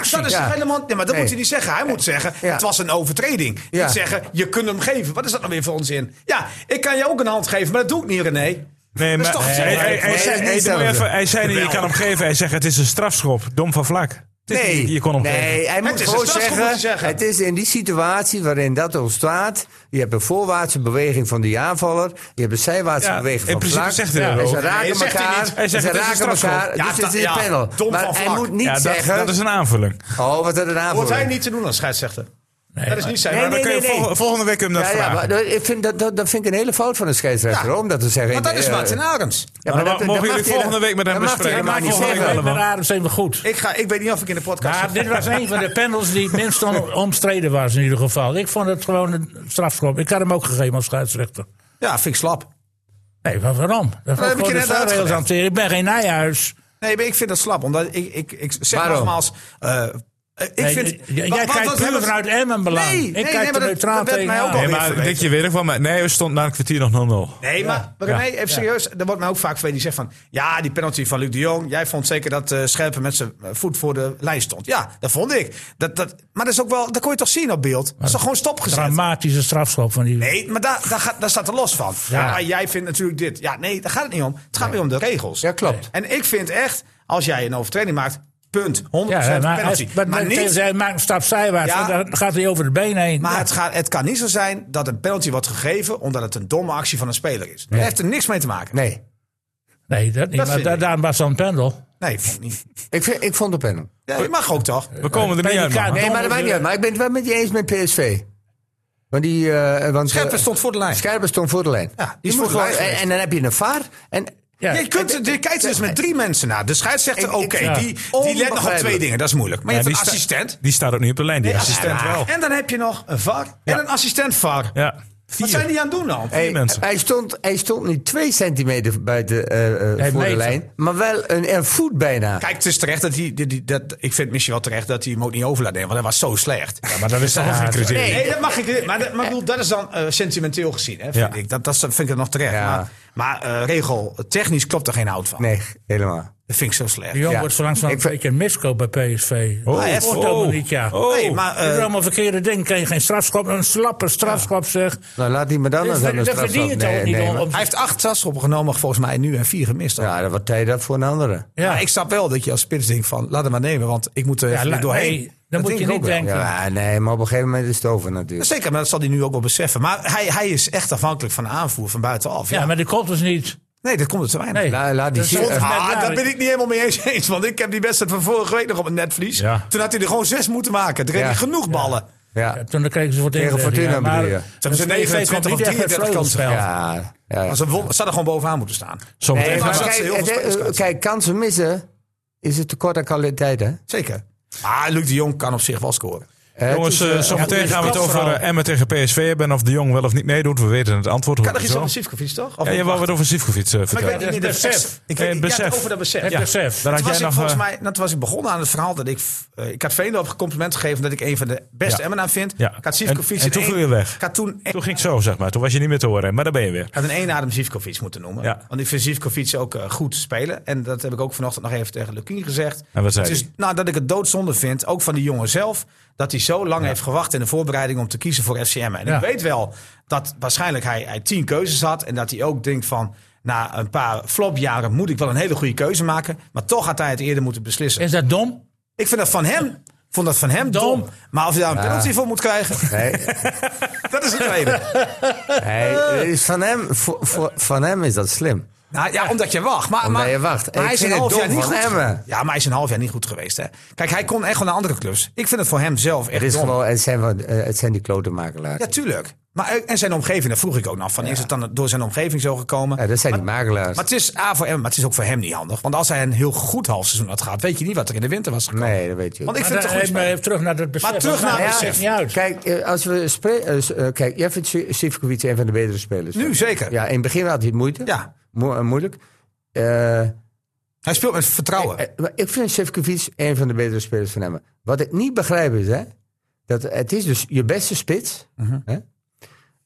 [SPEAKER 3] zetten.
[SPEAKER 6] dat is
[SPEAKER 3] Ja.
[SPEAKER 6] helemaal, nee, maar dat
[SPEAKER 3] Nee.
[SPEAKER 6] moet hij niet zeggen. Hij moet zeggen,
[SPEAKER 3] Ja.
[SPEAKER 6] het was een overtreding.
[SPEAKER 3] Ja.
[SPEAKER 6] Niet zeggen, je kunt hem geven. Wat is dat nou weer voor onzin? Ja, ik kan je ook een hand geven, maar dat doe ik niet,
[SPEAKER 5] Ah,
[SPEAKER 6] René.
[SPEAKER 2] Nee,
[SPEAKER 6] Dat
[SPEAKER 2] maar
[SPEAKER 6] is toch
[SPEAKER 2] hij- hij-
[SPEAKER 6] hetzelfde?
[SPEAKER 2] hij
[SPEAKER 3] Nee,
[SPEAKER 2] zei-
[SPEAKER 3] dat is
[SPEAKER 2] hey,
[SPEAKER 3] niet
[SPEAKER 2] doe maar
[SPEAKER 3] hetzelfde.
[SPEAKER 2] even- hij zei niet, je kan hem geven. Hij zegt, het is een strafschop. Dom van vlak. Het is niet,
[SPEAKER 3] Nee,
[SPEAKER 2] je kon hem geven.
[SPEAKER 3] nee hij moet
[SPEAKER 6] is een
[SPEAKER 3] gewoon
[SPEAKER 6] strafschop,
[SPEAKER 3] zeggen,
[SPEAKER 6] moet hij zeggen.
[SPEAKER 3] Het is in die situatie waarin dat ontstaat. Je hebt een voorwaartse beweging van die aanvaller. Je hebt een zijwaartse
[SPEAKER 2] Ja,
[SPEAKER 3] beweging
[SPEAKER 2] in
[SPEAKER 3] van
[SPEAKER 2] principe
[SPEAKER 3] Vlak.
[SPEAKER 2] zegt hij dat
[SPEAKER 3] en ze
[SPEAKER 2] ook.
[SPEAKER 3] raken
[SPEAKER 6] Nee, zegt hij
[SPEAKER 3] elkaar.
[SPEAKER 6] niet.
[SPEAKER 2] Hij zegt,
[SPEAKER 3] en
[SPEAKER 2] het
[SPEAKER 3] ze
[SPEAKER 2] is een
[SPEAKER 3] raken elkaar.
[SPEAKER 2] strafschop.
[SPEAKER 6] Ja,
[SPEAKER 3] dus het is
[SPEAKER 6] dat-
[SPEAKER 3] een
[SPEAKER 6] ja,
[SPEAKER 3] panel.
[SPEAKER 6] dom van
[SPEAKER 3] maar hij
[SPEAKER 6] Vlak.
[SPEAKER 3] moet niet
[SPEAKER 2] Ja, dat-
[SPEAKER 3] zeggen.
[SPEAKER 2] dat is een aanvulling. Nou,
[SPEAKER 3] Oh, wat er een
[SPEAKER 6] Hoort hij
[SPEAKER 3] aanvaller.
[SPEAKER 6] niet te doen als scheidsrechter. dat is niet zijn.
[SPEAKER 3] Nee,
[SPEAKER 6] maar
[SPEAKER 2] Dan kun je
[SPEAKER 3] nee, nee.
[SPEAKER 2] volg- Volgende week hem dat
[SPEAKER 3] Ja, ja,
[SPEAKER 2] vragen.
[SPEAKER 3] maar ik vind dat, dat, dat vind ik een hele fout van een scheidsrechter.
[SPEAKER 6] Ja.
[SPEAKER 3] Om dat te zeggen.
[SPEAKER 6] Want dat
[SPEAKER 3] Eh,
[SPEAKER 6] is Martin Arends.
[SPEAKER 3] Ja,
[SPEAKER 2] Maar dan mogen
[SPEAKER 3] dat- dat
[SPEAKER 2] jullie
[SPEAKER 3] mag hij-
[SPEAKER 2] volgende week met hem
[SPEAKER 3] dat mag hij
[SPEAKER 2] bespreken.
[SPEAKER 3] helemaal
[SPEAKER 2] Maar
[SPEAKER 3] niet
[SPEAKER 2] volgende
[SPEAKER 3] zeggen.
[SPEAKER 2] week
[SPEAKER 5] Met
[SPEAKER 2] wel.
[SPEAKER 5] Adams even goed.
[SPEAKER 6] Ik, ga, ik weet niet of ik in de podcast...
[SPEAKER 5] Maar dit was een van de panels die het minst on- omstreden was in ieder geval. Ik vond het gewoon een strafschop. Ik had hem ook gegeven als scheidsrechter.
[SPEAKER 6] Ja, vind ik slap.
[SPEAKER 5] Nee, maar waarom? Dat
[SPEAKER 6] heb ik je
[SPEAKER 5] ik,
[SPEAKER 6] net uitgelegd.
[SPEAKER 5] ik ben geen Nijhuis.
[SPEAKER 6] Nee, maar ik vind dat slap. Omdat ik, ik, ik zeg
[SPEAKER 3] Waarom?
[SPEAKER 6] nogmaals... eh, eh, ik
[SPEAKER 5] Nee,
[SPEAKER 6] vind,
[SPEAKER 5] j- j- jij kijkt puur
[SPEAKER 6] hebben we-
[SPEAKER 5] vanuit Emmenbelang.
[SPEAKER 6] Nee,
[SPEAKER 5] Ik
[SPEAKER 6] nee,
[SPEAKER 5] kijk
[SPEAKER 6] nee,
[SPEAKER 5] er
[SPEAKER 6] maar dat-
[SPEAKER 5] neutraal
[SPEAKER 6] dat werd mij
[SPEAKER 5] tegenaan.
[SPEAKER 6] ook alweer
[SPEAKER 2] Nee, maar
[SPEAKER 6] verweten.
[SPEAKER 2] Dick, je weet nog wel, maar nee, we stond na een kwartier nog 0-0.
[SPEAKER 6] Nee, maar René, even serieus. Er wordt mij ook vaak verweten. Die zegt van, ja, die penalty van Luc de Jong. Jij vond zeker dat eh Scherpen met zijn eh, voet voor de lijn stond. Ja, dat vond ik. Dat, dat, maar dat is ook wel, dat kon je toch zien op beeld? Dat is toch gewoon stopgezet?
[SPEAKER 5] Dramatische strafschop van die.
[SPEAKER 6] Nee, maar daar, daar, gaat, daar staat er los van. Ja. maar jij vindt natuurlijk dit. Ja, nee, daar gaat het niet om. Het gaat weer om de regels.
[SPEAKER 3] Ja, klopt.
[SPEAKER 6] En ik vind echt, als jij een overtreding maakt, punt. 100%
[SPEAKER 5] Ja, maar,
[SPEAKER 6] penalty.
[SPEAKER 5] hij, maar,
[SPEAKER 6] maar niet...
[SPEAKER 5] hij maakt een stap zijwaarts.
[SPEAKER 6] Ja.
[SPEAKER 5] want Dan gaat hij over de been heen.
[SPEAKER 6] Maar
[SPEAKER 5] Ja.
[SPEAKER 6] het, gaat, het kan niet zo zijn dat een penalty wordt gegeven omdat het een domme actie van een speler is. Dat heeft er niks mee te maken. Nee,
[SPEAKER 3] Nee,
[SPEAKER 5] nee, dat niet.
[SPEAKER 6] Dat
[SPEAKER 5] maar
[SPEAKER 6] vind
[SPEAKER 5] da-
[SPEAKER 6] ik.
[SPEAKER 5] daarom was zo'n pendel.
[SPEAKER 6] vond ik niet.
[SPEAKER 3] ik, vind, ik vond de panel.
[SPEAKER 6] Ja, dat mag ook toch?
[SPEAKER 2] We komen er niet uit, man.
[SPEAKER 3] Nee, maar dat maakt niet uit. Maar ik ben het wel met je eens met PSV. Want die... eh want, eh,
[SPEAKER 6] Scherpen stond voor de lijn.
[SPEAKER 3] Scherpen stond voor de lijn.
[SPEAKER 6] Ja, die is
[SPEAKER 3] Je
[SPEAKER 6] voor
[SPEAKER 3] moet
[SPEAKER 6] de
[SPEAKER 3] gewoon-
[SPEAKER 6] lijn
[SPEAKER 3] en,
[SPEAKER 6] geweest.
[SPEAKER 3] en dan heb je een vaar. En,
[SPEAKER 5] Ja.
[SPEAKER 6] Je, kunt, je kijkt er dus met drie mensen naar. De scheidsrechter,
[SPEAKER 3] Ik-
[SPEAKER 6] oké,
[SPEAKER 3] ik-
[SPEAKER 5] ja.
[SPEAKER 6] die, die let nog op twee
[SPEAKER 3] Onbegrijpelijk.
[SPEAKER 6] dingen. Dat is moeilijk. Maar je
[SPEAKER 2] die
[SPEAKER 6] hebt een
[SPEAKER 2] sta-
[SPEAKER 6] assistent.
[SPEAKER 2] Die staat ook niet op de lijn, die
[SPEAKER 6] Ja,
[SPEAKER 2] assistent
[SPEAKER 6] ja.
[SPEAKER 2] wel.
[SPEAKER 6] En dan heb je nog een VAR en een assistent VAR.
[SPEAKER 2] Ja,
[SPEAKER 6] Wat zijn die aan het doen dan?
[SPEAKER 3] Hey,
[SPEAKER 2] mensen.
[SPEAKER 3] hij, stond, hij stond niet twee centimeter buiten, eh, eh, voor de
[SPEAKER 5] meter.
[SPEAKER 3] lijn. Maar wel een, een voet bijna.
[SPEAKER 6] Kijk, het is terecht dat hij... die- die- dat, ik vind het misschien wel terecht dat hij hem ook niet over laat nemen. Want hij was zo slecht.
[SPEAKER 2] maar dat is toch ook geen criterium.
[SPEAKER 6] (laughs) Nee, dat mag ik niet. Maar, dat, maar ik bedoel, dat is dan eh, sentimenteel gezien. Hè, vind
[SPEAKER 2] Ja.
[SPEAKER 6] ik. Dat, dat vind ik het nog terecht.
[SPEAKER 3] Ja.
[SPEAKER 6] Maar, maar eh, regel, technisch klopt er geen hout van.
[SPEAKER 3] Nee, helemaal.
[SPEAKER 6] Dat vind ik zo slecht.
[SPEAKER 5] De jong
[SPEAKER 3] Ja.
[SPEAKER 5] wordt zo langzaam
[SPEAKER 3] Ik
[SPEAKER 5] een
[SPEAKER 3] ver-
[SPEAKER 5] beetje een miskoop bij PSV.
[SPEAKER 2] Oh,
[SPEAKER 5] dat wordt
[SPEAKER 2] oh,
[SPEAKER 5] allemaal niet, ja.
[SPEAKER 2] oh.
[SPEAKER 6] Nee, maar,
[SPEAKER 5] Doe
[SPEAKER 6] eh,
[SPEAKER 5] allemaal verkeerde dingen. Krijg je geen strafschop. Een slappe strafschop, zeg.
[SPEAKER 3] Nou, laat die maar dan
[SPEAKER 5] Dat
[SPEAKER 3] eens aan de strafschop.
[SPEAKER 5] verdien je toch
[SPEAKER 3] Nee,
[SPEAKER 5] niet
[SPEAKER 3] nee,
[SPEAKER 5] om...
[SPEAKER 3] maar-
[SPEAKER 5] om-
[SPEAKER 6] Hij heeft acht strafschoppen genomen volgens mij nu en vier gemist. Ja.
[SPEAKER 3] Ja, wat tijd dat voor een andere?
[SPEAKER 5] Ja.
[SPEAKER 6] Maar ik snap wel dat je als spits denkt van, laat hem maar nemen, want ik moet er
[SPEAKER 5] Ja,
[SPEAKER 6] even
[SPEAKER 5] la-
[SPEAKER 6] doorheen.
[SPEAKER 5] nee,
[SPEAKER 6] Dat
[SPEAKER 5] dan moet
[SPEAKER 6] denk
[SPEAKER 5] je
[SPEAKER 6] ik
[SPEAKER 5] niet
[SPEAKER 6] ook wel.
[SPEAKER 5] denken.
[SPEAKER 3] Ja, nee, maar op een gegeven moment is het over natuurlijk.
[SPEAKER 6] Zeker, maar dat zal hij nu ook wel beseffen. Maar hij, hij is echt afhankelijk van de aanvoer van buitenaf. Ja.
[SPEAKER 5] Ja, maar dat komt dus niet.
[SPEAKER 6] Nee, dat komt er te weinig.
[SPEAKER 5] Nee.
[SPEAKER 3] La- laat die
[SPEAKER 5] Dat is
[SPEAKER 3] zien.
[SPEAKER 5] volgens mij
[SPEAKER 6] Ah,
[SPEAKER 5] daar-
[SPEAKER 6] daar ben ik niet helemaal mee eens, (laughs) eens. Want ik heb die wedstrijd van vorige week nog op mijn netvlies.
[SPEAKER 2] Ja.
[SPEAKER 6] Toen had hij er gewoon zes moeten maken. Toen kreeg
[SPEAKER 3] Ja.
[SPEAKER 6] hij genoeg ballen.
[SPEAKER 5] Ja,
[SPEAKER 3] Ja,
[SPEAKER 5] toen kregen ze voor het
[SPEAKER 3] Tegen
[SPEAKER 5] inleggen,
[SPEAKER 3] Fortuna
[SPEAKER 5] ja, maar
[SPEAKER 3] bedoel je?
[SPEAKER 5] dat
[SPEAKER 6] Ze hebben
[SPEAKER 5] PSV
[SPEAKER 6] ze 29
[SPEAKER 5] kwam
[SPEAKER 6] of
[SPEAKER 5] niet echt
[SPEAKER 6] 33 kansen.
[SPEAKER 5] vleugelspel.
[SPEAKER 3] ja, ja.
[SPEAKER 6] Maar Ze, won, ze hadden gewoon bovenaan moeten staan.
[SPEAKER 2] Zometeen
[SPEAKER 3] Nee,
[SPEAKER 2] gaan
[SPEAKER 3] maar
[SPEAKER 2] we-
[SPEAKER 6] dat ze heel
[SPEAKER 3] kijk,
[SPEAKER 6] veel
[SPEAKER 3] het-
[SPEAKER 6] spelers kwijt.
[SPEAKER 3] kijk, kansen missen is het tekort aan kwaliteit, hè?
[SPEAKER 6] Zeker. Ah, Luc de Jong kan op zich wel scoren.
[SPEAKER 3] Het
[SPEAKER 2] Jongens,
[SPEAKER 3] is,
[SPEAKER 2] eh,
[SPEAKER 3] eh,
[SPEAKER 2] zometeen gaan we het over eh, Emmen tegen PSV hebben. En of de Jong wel of niet meedoet, we weten het antwoord.
[SPEAKER 6] Kan
[SPEAKER 2] hoor
[SPEAKER 6] er
[SPEAKER 2] je
[SPEAKER 6] iets
[SPEAKER 2] zo.
[SPEAKER 6] aan Sivkovic, toch? Of
[SPEAKER 2] Ja, je wou wat over Sivkovic eh,
[SPEAKER 6] Maar ik weet
[SPEAKER 2] vertellen.
[SPEAKER 6] niet,
[SPEAKER 5] Ja,
[SPEAKER 6] dat
[SPEAKER 5] besef.
[SPEAKER 6] besef. Ik
[SPEAKER 2] Eh,
[SPEAKER 6] weet, ja,
[SPEAKER 2] besef.
[SPEAKER 6] over dat besef.
[SPEAKER 5] Het
[SPEAKER 6] Ja.
[SPEAKER 5] besef.
[SPEAKER 2] Daar had
[SPEAKER 6] Toen was
[SPEAKER 2] jij
[SPEAKER 6] ik
[SPEAKER 2] nog...
[SPEAKER 6] volgens
[SPEAKER 2] eh,
[SPEAKER 6] mij, dat was ik begonnen aan het verhaal dat ik... eh, ik had Veenloop complimenten gegeven dat ik een van de beste
[SPEAKER 2] Ja.
[SPEAKER 6] Emmenaar vind.
[SPEAKER 2] Ja.
[SPEAKER 6] Ik had
[SPEAKER 2] En-
[SPEAKER 6] Sivkovic
[SPEAKER 2] en toen
[SPEAKER 6] in
[SPEAKER 2] viel
[SPEAKER 6] één-
[SPEAKER 2] je weg.
[SPEAKER 6] Ik had toen
[SPEAKER 2] Toen ging het zo, zeg maar. Toen was je niet meer te horen, maar daar ben je weer.
[SPEAKER 6] Ik had een één adem Zivkovic moeten noemen.
[SPEAKER 2] Ja.
[SPEAKER 6] Want ik vind Zivkovic ook eh, goed spelen. En dat heb ik ook vanochtend nog even tegen Lukien gezegd.
[SPEAKER 2] En wat zei
[SPEAKER 6] het is,
[SPEAKER 2] hij?
[SPEAKER 6] nou, dat ik het doodzonde vind, ook van die jongen zelf... dat hij zo lang heeft gewacht in de voorbereiding om te kiezen voor FCM. En
[SPEAKER 5] Ja.
[SPEAKER 6] ik weet wel dat waarschijnlijk hij, hij tien keuzes had... en dat hij ook denkt van... na een paar flopjaren moet ik wel een hele goede keuze maken. Maar toch had hij het eerder moeten beslissen.
[SPEAKER 5] Is dat dom?
[SPEAKER 6] Ik vind dat van hem... ik vond dat van hem dom.
[SPEAKER 5] Dom.
[SPEAKER 6] Maar of hij daar een penalty voor moet krijgen, (laughs)
[SPEAKER 3] nee,
[SPEAKER 6] dat is het tweede.
[SPEAKER 3] nee, het is van, hem, voor, voor- van hem is dat slim.
[SPEAKER 6] Nou, ja, omdat je wacht. Maar,
[SPEAKER 3] Omdat
[SPEAKER 6] maar,
[SPEAKER 3] je wacht.
[SPEAKER 6] maar
[SPEAKER 3] Ik
[SPEAKER 6] hij is
[SPEAKER 3] vind
[SPEAKER 6] een
[SPEAKER 3] het
[SPEAKER 6] half jaar
[SPEAKER 3] dom
[SPEAKER 6] niet
[SPEAKER 3] van
[SPEAKER 6] goed.
[SPEAKER 3] Emmen.
[SPEAKER 6] Ja, maar hij is een half jaar niet goed geweest. Hè. Kijk, hij kon echt gewoon naar andere clubs. Ik vind het voor hem zelf echt
[SPEAKER 3] Het, is
[SPEAKER 6] dom.
[SPEAKER 3] gewoon, het, zijn, wel- eh, het zijn die klotenmakelaars.
[SPEAKER 6] Ja, tuurlijk. Maar, eh, en zijn omgeving, daar vroeg ik ook nog van. Is het dan door zijn omgeving zo gekomen?
[SPEAKER 3] Ja, Eh, dat zijn die makelaars.
[SPEAKER 6] Maar het is A voor hem, maar het is ook voor hem niet handig. Want als hij een heel goed halfseizoen had gehad, weet je niet wat er in de winter was gekomen.
[SPEAKER 3] nee, dat weet je
[SPEAKER 6] Want ik
[SPEAKER 5] Maar
[SPEAKER 6] vind het
[SPEAKER 5] daar-
[SPEAKER 6] toch
[SPEAKER 5] even,
[SPEAKER 6] goed.
[SPEAKER 5] even terug naar dat besef.
[SPEAKER 6] terug naar
[SPEAKER 5] want
[SPEAKER 6] het
[SPEAKER 5] dat maakt
[SPEAKER 6] besef.
[SPEAKER 5] niet uit.
[SPEAKER 3] Kijk, eh, als we spre- eh, s- eh, kijk, jij vindt Si- Sivkovic een van de betere spelers.
[SPEAKER 6] Nu zeker. Ja.
[SPEAKER 3] Ja, in het begin had hij het moeite. Mo- eh, moeilijk. Eh,
[SPEAKER 6] Hij speelt met
[SPEAKER 5] Oh,
[SPEAKER 6] vertrouwen.
[SPEAKER 3] eh, maar ik vind Sivkovic een van de betere spelers van Emmen. Wat ik niet begrijp is, hè, dat het is dus je beste spits,
[SPEAKER 5] Mhm.
[SPEAKER 3] hè,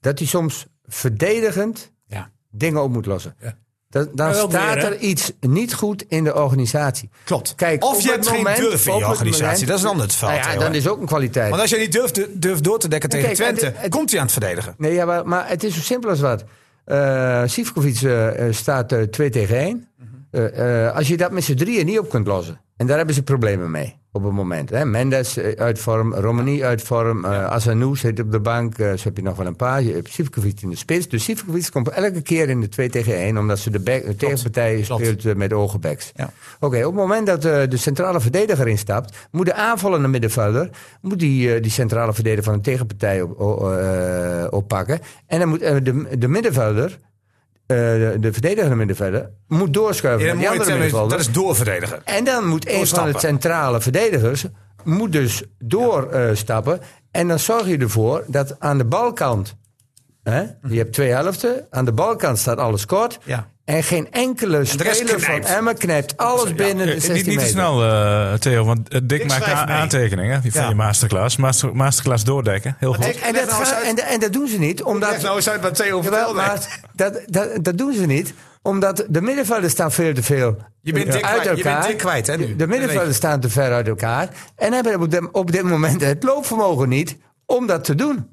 [SPEAKER 3] dat hij soms verdedigend
[SPEAKER 6] Ja.
[SPEAKER 3] dingen op moet lossen.
[SPEAKER 5] Ja.
[SPEAKER 3] Dan, dan
[SPEAKER 5] Ja, ook
[SPEAKER 3] staat
[SPEAKER 5] weer, hè?
[SPEAKER 3] er iets niet goed in de organisatie.
[SPEAKER 6] Klopt.
[SPEAKER 3] eh, Kijk, op
[SPEAKER 6] of je
[SPEAKER 3] het
[SPEAKER 6] hebt geen
[SPEAKER 3] moment-
[SPEAKER 6] durf in
[SPEAKER 3] op
[SPEAKER 6] je
[SPEAKER 3] het
[SPEAKER 6] organisatie.
[SPEAKER 3] moment-
[SPEAKER 6] dat is een ander verhaal.
[SPEAKER 3] Nou ja,
[SPEAKER 6] Theo,
[SPEAKER 3] dan
[SPEAKER 6] hè.
[SPEAKER 3] is ook een kwaliteit.
[SPEAKER 6] Want als je niet durft, durft door te dekken tegen
[SPEAKER 3] Kijk,
[SPEAKER 6] Twente,
[SPEAKER 3] het- het-
[SPEAKER 6] komt hij aan het verdedigen.
[SPEAKER 3] Nee, ja, maar, maar het is zo simpel als wat. Eh Sivkovic eh, eh, staat eh, 2 tegen 1. Eh, eh, als je dat met z'n drieën niet op kunt lossen. En daar hebben ze problemen mee op het moment. Hè? Mendes eh, uit vorm, Romani uit vorm, eh Assanou zit op de bank. eh, zo heb je nog wel een paar. Je hebt Sivkovic in de spits. Dus Sivkovic komt elke keer in de 2 tegen 1. Omdat ze de back- de tegenpartij speelt eh, met ogenbacks.
[SPEAKER 6] Ja.
[SPEAKER 3] Oké, op het moment dat eh, de centrale verdediger instapt, moet de aanvallende middenvelder moet die, eh, die centrale verdediger van de tegenpartij op, o- eh, oppakken. En dan moet eh, de, de middenvelder, eh, de, de verdedigende middenvelder, moet
[SPEAKER 6] In
[SPEAKER 3] doorschuiven naar
[SPEAKER 6] een
[SPEAKER 3] die
[SPEAKER 6] mooie
[SPEAKER 3] andere
[SPEAKER 6] term is-
[SPEAKER 3] middenvelder.
[SPEAKER 6] dat is doorverdedigen.
[SPEAKER 3] En dan moet een van
[SPEAKER 6] Doorstappen.
[SPEAKER 3] de centrale verdedigers moet dus doorstappen. en dan zorg je ervoor dat aan de balkant, hè, je hebt twee helften, aan de balkant staat alles kort.
[SPEAKER 6] Ja.
[SPEAKER 3] En geen enkele
[SPEAKER 6] rest
[SPEAKER 3] speler van
[SPEAKER 6] knijpt.
[SPEAKER 3] Emmen knijpt alles binnen
[SPEAKER 2] Eh,
[SPEAKER 3] de 16
[SPEAKER 2] niet, niet te
[SPEAKER 3] meter.
[SPEAKER 2] snel, eh, Theo, want eh, Dick
[SPEAKER 6] Ik
[SPEAKER 2] maakt
[SPEAKER 6] schrijf
[SPEAKER 2] a-
[SPEAKER 6] mee.
[SPEAKER 2] aantekeningen van
[SPEAKER 6] Ja.
[SPEAKER 2] je masterclass. Master, masterclass doordekken, heel goed.
[SPEAKER 6] Dick-
[SPEAKER 3] En
[SPEAKER 6] Leg
[SPEAKER 3] dat,
[SPEAKER 6] nou eens
[SPEAKER 3] gaan-
[SPEAKER 6] uit-
[SPEAKER 3] en, en dat doen ze niet,
[SPEAKER 6] Leg
[SPEAKER 3] omdat...
[SPEAKER 6] nou eens uit wat Theo
[SPEAKER 3] Jawel,
[SPEAKER 6] vertelde.
[SPEAKER 3] maar dat, dat, dat doen ze niet, omdat de middenvelders staan veel te veel
[SPEAKER 6] Je bent
[SPEAKER 3] eh,
[SPEAKER 6] dik
[SPEAKER 3] uit
[SPEAKER 6] kwijt- je
[SPEAKER 3] elkaar.
[SPEAKER 6] bent dik kwijt, hè, nu.
[SPEAKER 3] De
[SPEAKER 6] Dat weet
[SPEAKER 3] middenvelders staan te ver uit elkaar. En hebben op, de- op dit moment het loopvermogen niet om dat te doen.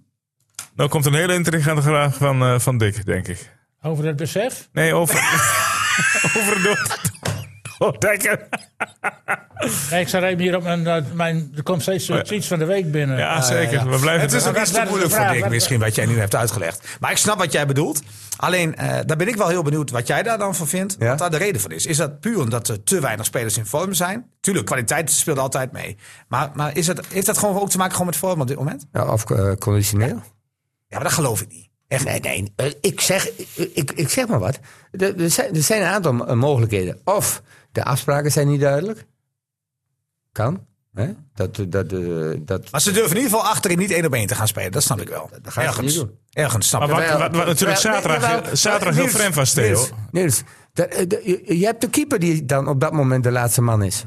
[SPEAKER 2] Nou komt een hele intelligente vraag van, eh, van Dick, denk ik.
[SPEAKER 5] Over dat besef?
[SPEAKER 2] Nee, over...
[SPEAKER 6] (laughs)
[SPEAKER 2] (laughs) over door, doordekken.
[SPEAKER 5] Nee, ik zat even hier op mijn... eh, mijn er komt steeds zoiets iets van de week binnen.
[SPEAKER 2] Ja, zeker. We blijven
[SPEAKER 6] Ah, Het is
[SPEAKER 2] erbij.
[SPEAKER 6] ook iets te moeilijk voor Dick, misschien wat jij nu hebt uitgelegd. Maar ik snap wat jij bedoelt. Alleen, eh, daar ben ik wel heel benieuwd wat jij daar dan van vindt.
[SPEAKER 3] Ja.
[SPEAKER 6] Wat daar de reden van is. Is dat puur omdat er te weinig spelers in vorm zijn? Tuurlijk, kwaliteit speelt altijd mee. Maar, maar is dat, heeft dat gewoon ook te maken gewoon met vorm op dit moment?
[SPEAKER 3] Ja, of eh, conditioneel.
[SPEAKER 6] Ja, maar dat geloof ik niet.
[SPEAKER 3] Echt, nee, nee. eh, Ik zeg, ik, ik zeg maar wat. Er, er zijn, er zijn een aantal eh, mogelijkheden. Of de afspraken zijn niet duidelijk. Kan. Hè? Dat, dat, eh, dat,
[SPEAKER 6] Maar ze durven in ieder geval achterin niet één op één te gaan spelen. Dat snap ik wel.
[SPEAKER 3] gaan ze
[SPEAKER 6] ergens.
[SPEAKER 3] niet doen.
[SPEAKER 6] Ergens snap
[SPEAKER 2] Maar
[SPEAKER 6] ik
[SPEAKER 2] wat,
[SPEAKER 6] wel.
[SPEAKER 2] wat, wat natuurlijk
[SPEAKER 3] Terwijl-
[SPEAKER 2] zaterdag,
[SPEAKER 3] nee, jawel.
[SPEAKER 2] zaterdag heel
[SPEAKER 3] Niels,
[SPEAKER 2] vreemd was, Theo.
[SPEAKER 3] dus, Niels, Niels, dat, eh, de- je, je hebt de keeper die dan op dat moment de laatste man is.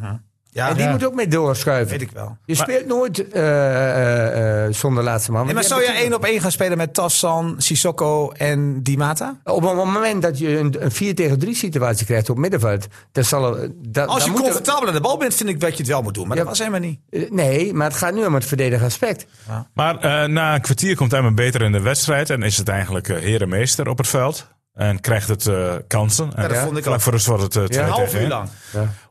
[SPEAKER 6] Ja,
[SPEAKER 3] en die
[SPEAKER 5] Ja.
[SPEAKER 3] moet ook mee doorschuiven.
[SPEAKER 6] weet ik wel.
[SPEAKER 3] Je speelt nooit eh, eh, eh, zonder laatste man.
[SPEAKER 6] En maar
[SPEAKER 3] Want
[SPEAKER 6] zou
[SPEAKER 3] je
[SPEAKER 6] jij één op één gaan spelen met Tassan, Sissoko en Di Mata?
[SPEAKER 3] Op het moment dat je een, een 4 tegen 3 situatie krijgt op middenveld, dan zal er- dan-
[SPEAKER 6] Als
[SPEAKER 3] dan
[SPEAKER 6] je
[SPEAKER 3] moet er-
[SPEAKER 6] comfortabel aan de bal bent, vind ik dat je het wel moet doen. Maar
[SPEAKER 3] Ja.
[SPEAKER 6] dat was helemaal niet.
[SPEAKER 3] eh, Nee, maar het gaat nu om het verdedigend aspect.
[SPEAKER 2] Maar eh, na een kwartier komt Emmen beter in de wedstrijd. En is het eigenlijk eh herenmeester op het veld. En krijgt het eh, kansen. En
[SPEAKER 6] dat vond ik
[SPEAKER 2] vlak
[SPEAKER 6] ook.
[SPEAKER 2] voor rust wordt het eh, twee
[SPEAKER 6] Een half
[SPEAKER 2] tegen
[SPEAKER 6] uur
[SPEAKER 2] één.
[SPEAKER 6] lang.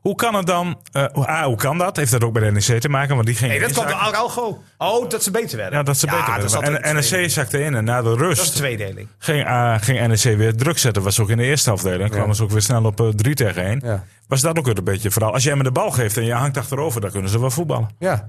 [SPEAKER 2] Hoe kan het dan? eh, hoe- ah, hoe kan dat? Heeft dat ook bij de NEC te maken? Want die ging.
[SPEAKER 6] Nee, dat
[SPEAKER 2] in-
[SPEAKER 6] kwam door Araujo. Oh, dat ze beter werden.
[SPEAKER 2] Ja, dat ze beter
[SPEAKER 6] dat zat
[SPEAKER 2] werden.
[SPEAKER 6] ook
[SPEAKER 2] En
[SPEAKER 6] een tweedeling.
[SPEAKER 2] NEC zakte in en na de
[SPEAKER 6] Dat is
[SPEAKER 2] rust
[SPEAKER 6] tweedeling.
[SPEAKER 2] ging, eh, ging NEC weer druk zetten. Was ook in de eerste afdeling. En kwamen ze ook weer snel op eh, 3 tegen 1.
[SPEAKER 3] Ja.
[SPEAKER 2] Was dat ook weer een beetje vooral? Als jij me de bal geeft en je hangt achterover, dan kunnen ze wel voetballen.
[SPEAKER 3] Ja,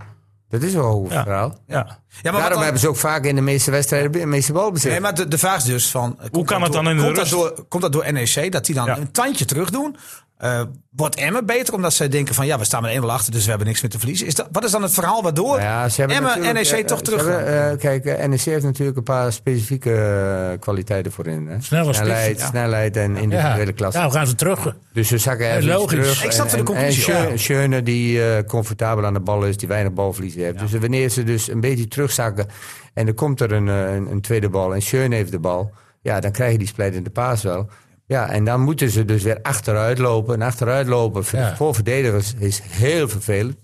[SPEAKER 3] dat is wel een
[SPEAKER 2] Ja.
[SPEAKER 3] verhaal.
[SPEAKER 2] Ja.
[SPEAKER 6] Ja, maar, wat
[SPEAKER 3] Daarom
[SPEAKER 6] dan-
[SPEAKER 3] hebben ze ook vaak in de meeste wedstrijden de meeste balbezit.
[SPEAKER 6] nee, maar de, de vraag is dus van... eh, komt
[SPEAKER 2] kan
[SPEAKER 6] dat
[SPEAKER 2] het dan
[SPEAKER 6] door-
[SPEAKER 2] in de
[SPEAKER 6] komt dat,
[SPEAKER 2] rust?
[SPEAKER 6] door, komt dat door NEC, dat die dan
[SPEAKER 2] Ja.
[SPEAKER 6] een tandje terug doen? Eh, wordt Emmen beter omdat zij denken van... ja, we staan met 1-0 achter, dus we hebben niks meer te verliezen. Is dat, wat is dan het verhaal waardoor
[SPEAKER 3] Ja, ze hebben
[SPEAKER 6] Emmen NEC
[SPEAKER 3] natuurlijk- eh,
[SPEAKER 6] E toch
[SPEAKER 3] eh,
[SPEAKER 6] terug...
[SPEAKER 3] ze hebben, eh, kijk, eh, NEC heeft natuurlijk een paar specifieke eh, kwaliteiten voorin. Hè?
[SPEAKER 5] Snelle spits,
[SPEAKER 3] snelheid,
[SPEAKER 5] ja.
[SPEAKER 3] snelheid en individuele klasse.
[SPEAKER 5] Nou, gaan ze terug.
[SPEAKER 3] Dus ze zakken even iets
[SPEAKER 5] logisch.
[SPEAKER 3] terug.
[SPEAKER 6] Ik snap de conclusie,
[SPEAKER 3] En, en
[SPEAKER 6] ja.
[SPEAKER 3] Schö- Schöne die eh, comfortabel aan de bal is, die weinig balverlies heeft. Dus wanneer ze dus een beetje terugzakken en er komt er een, eh, een, een tweede bal en Schöne heeft de bal. Ja, dan krijg je die splijtende paas wel. Ja, en dan moeten ze dus weer achteruit lopen. En achteruit lopen voor-
[SPEAKER 5] Ja.
[SPEAKER 3] voor verdedigers is heel vervelend.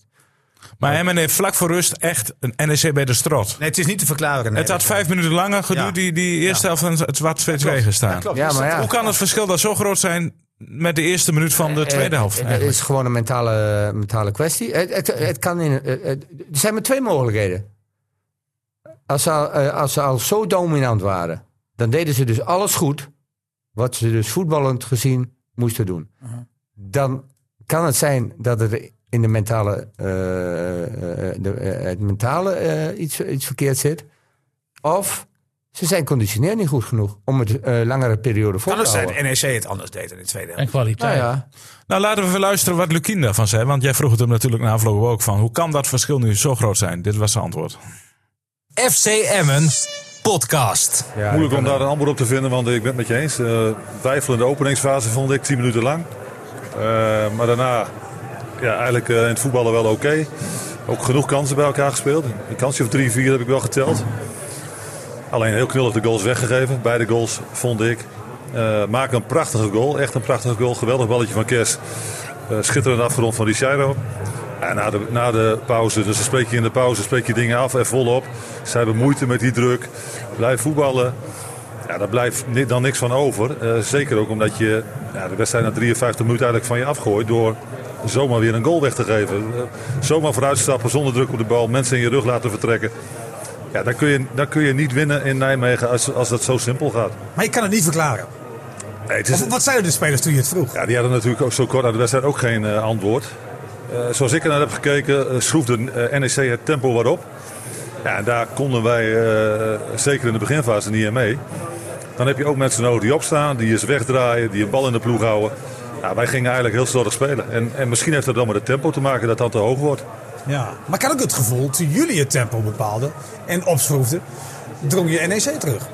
[SPEAKER 2] Maar Emmen heeft vlak voor rust echt een NEC bij de strot.
[SPEAKER 6] Nee, het is niet te verklaren. nee.
[SPEAKER 2] het had vijf minuten langer geduurd,
[SPEAKER 6] Ja.
[SPEAKER 2] die, die eerste helft, en het was 2-2
[SPEAKER 6] Ja,
[SPEAKER 2] gestaan.
[SPEAKER 6] klopt.
[SPEAKER 3] Ja,
[SPEAKER 6] Dus
[SPEAKER 3] maar
[SPEAKER 6] dat-
[SPEAKER 3] ja.
[SPEAKER 2] Hoe kan het verschil dan zo groot zijn met de eerste minuut van de tweede
[SPEAKER 3] Eh,
[SPEAKER 2] helft?
[SPEAKER 3] eh, Het
[SPEAKER 2] eigenlijk?
[SPEAKER 3] is gewoon een mentale, mentale kwestie. Het, het, het kan in, eh, eh, er zijn maar twee mogelijkheden. Als ze, al, eh, als ze al zo dominant waren, dan deden ze dus alles goed. Wat ze dus voetballend gezien moesten doen. Dan kan het zijn dat er in de mentale, eh, eh, de, eh, het mentale eh, iets, iets verkeerd zit. Of ze zijn conditioneel niet goed genoeg om het eh, langere periode voor
[SPEAKER 6] kan
[SPEAKER 3] te
[SPEAKER 6] ook zijn
[SPEAKER 3] houden.
[SPEAKER 6] dat NEC het anders deed in de tweede helft.
[SPEAKER 5] En kwaliteit.
[SPEAKER 3] Nou ja,
[SPEAKER 2] Nou, laten we even luisteren wat Lukien daarvan zei. Want jij vroeg het hem natuurlijk na afloop ook van. Hoe kan dat verschil nu zo groot zijn? Dit was zijn antwoord.
[SPEAKER 4] FC Emmen podcast.
[SPEAKER 11] Moeilijk om daar een antwoord op te vinden, want ik ben het met je eens. Eh twijfel in de openingsfase vond ik 10 minuten lang. Eh, maar daarna ja, eigenlijk eh, in het voetballen wel oké. Ook genoeg kansen bij elkaar gespeeld. Een kansje of drie, vier heb ik wel geteld. Alleen heel knullig de goals weggegeven. Beide goals vond ik. Eh maak een prachtige goal. Echt een prachtige goal. Geweldig balletje van Kers. Eh, schitterend afgerond van Richairo. Ja, na, de, na de pauze, dus dan spreek je in de pauze spreek je dingen af en volop. Zij hebben moeite met die druk. Blijf voetballen. Ja, daar blijft ni- dan niks van over. Eh, zeker ook omdat je ja, de wedstrijd na 53 minuten eigenlijk van je afgooit door zomaar weer een goal weg te geven. Eh, zomaar vooruitstappen zonder druk op de bal, mensen in je rug laten vertrekken. Ja, daar kun je, daar kun je niet winnen in Nijmegen als, als dat zo simpel gaat.
[SPEAKER 9] Maar je kan het niet verklaren.
[SPEAKER 11] Nee, het is,
[SPEAKER 9] Of wat zeiden de spelers toen je het vroeg?
[SPEAKER 11] ja, die hadden natuurlijk ook zo kort aan de wedstrijd ook geen eh, antwoord. Eh, zoals ik ernaar heb gekeken, eh, schroefde eh, NEC het tempo wat op. Ja, en daar konden wij eh, zeker in de beginfase niet aan mee. Dan heb je ook mensen nodig die opstaan, die eens wegdraaien, die een bal in de ploeg houden. Ja, wij gingen eigenlijk heel slordig spelen. En, en misschien heeft dat dan met het tempo te maken dat dat te hoog wordt.
[SPEAKER 9] Ja. Maar ik had ook het gevoel, toen jullie het tempo bepaalden en opschroefden, drong je NEC terug.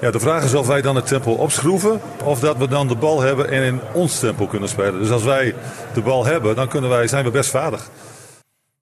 [SPEAKER 11] Ja, de vraag is of wij dan het tempo opschroeven of dat we dan de bal hebben en in ons tempo kunnen spelen. Dus als wij de bal hebben, dan kunnen wij, zijn we best vaardig.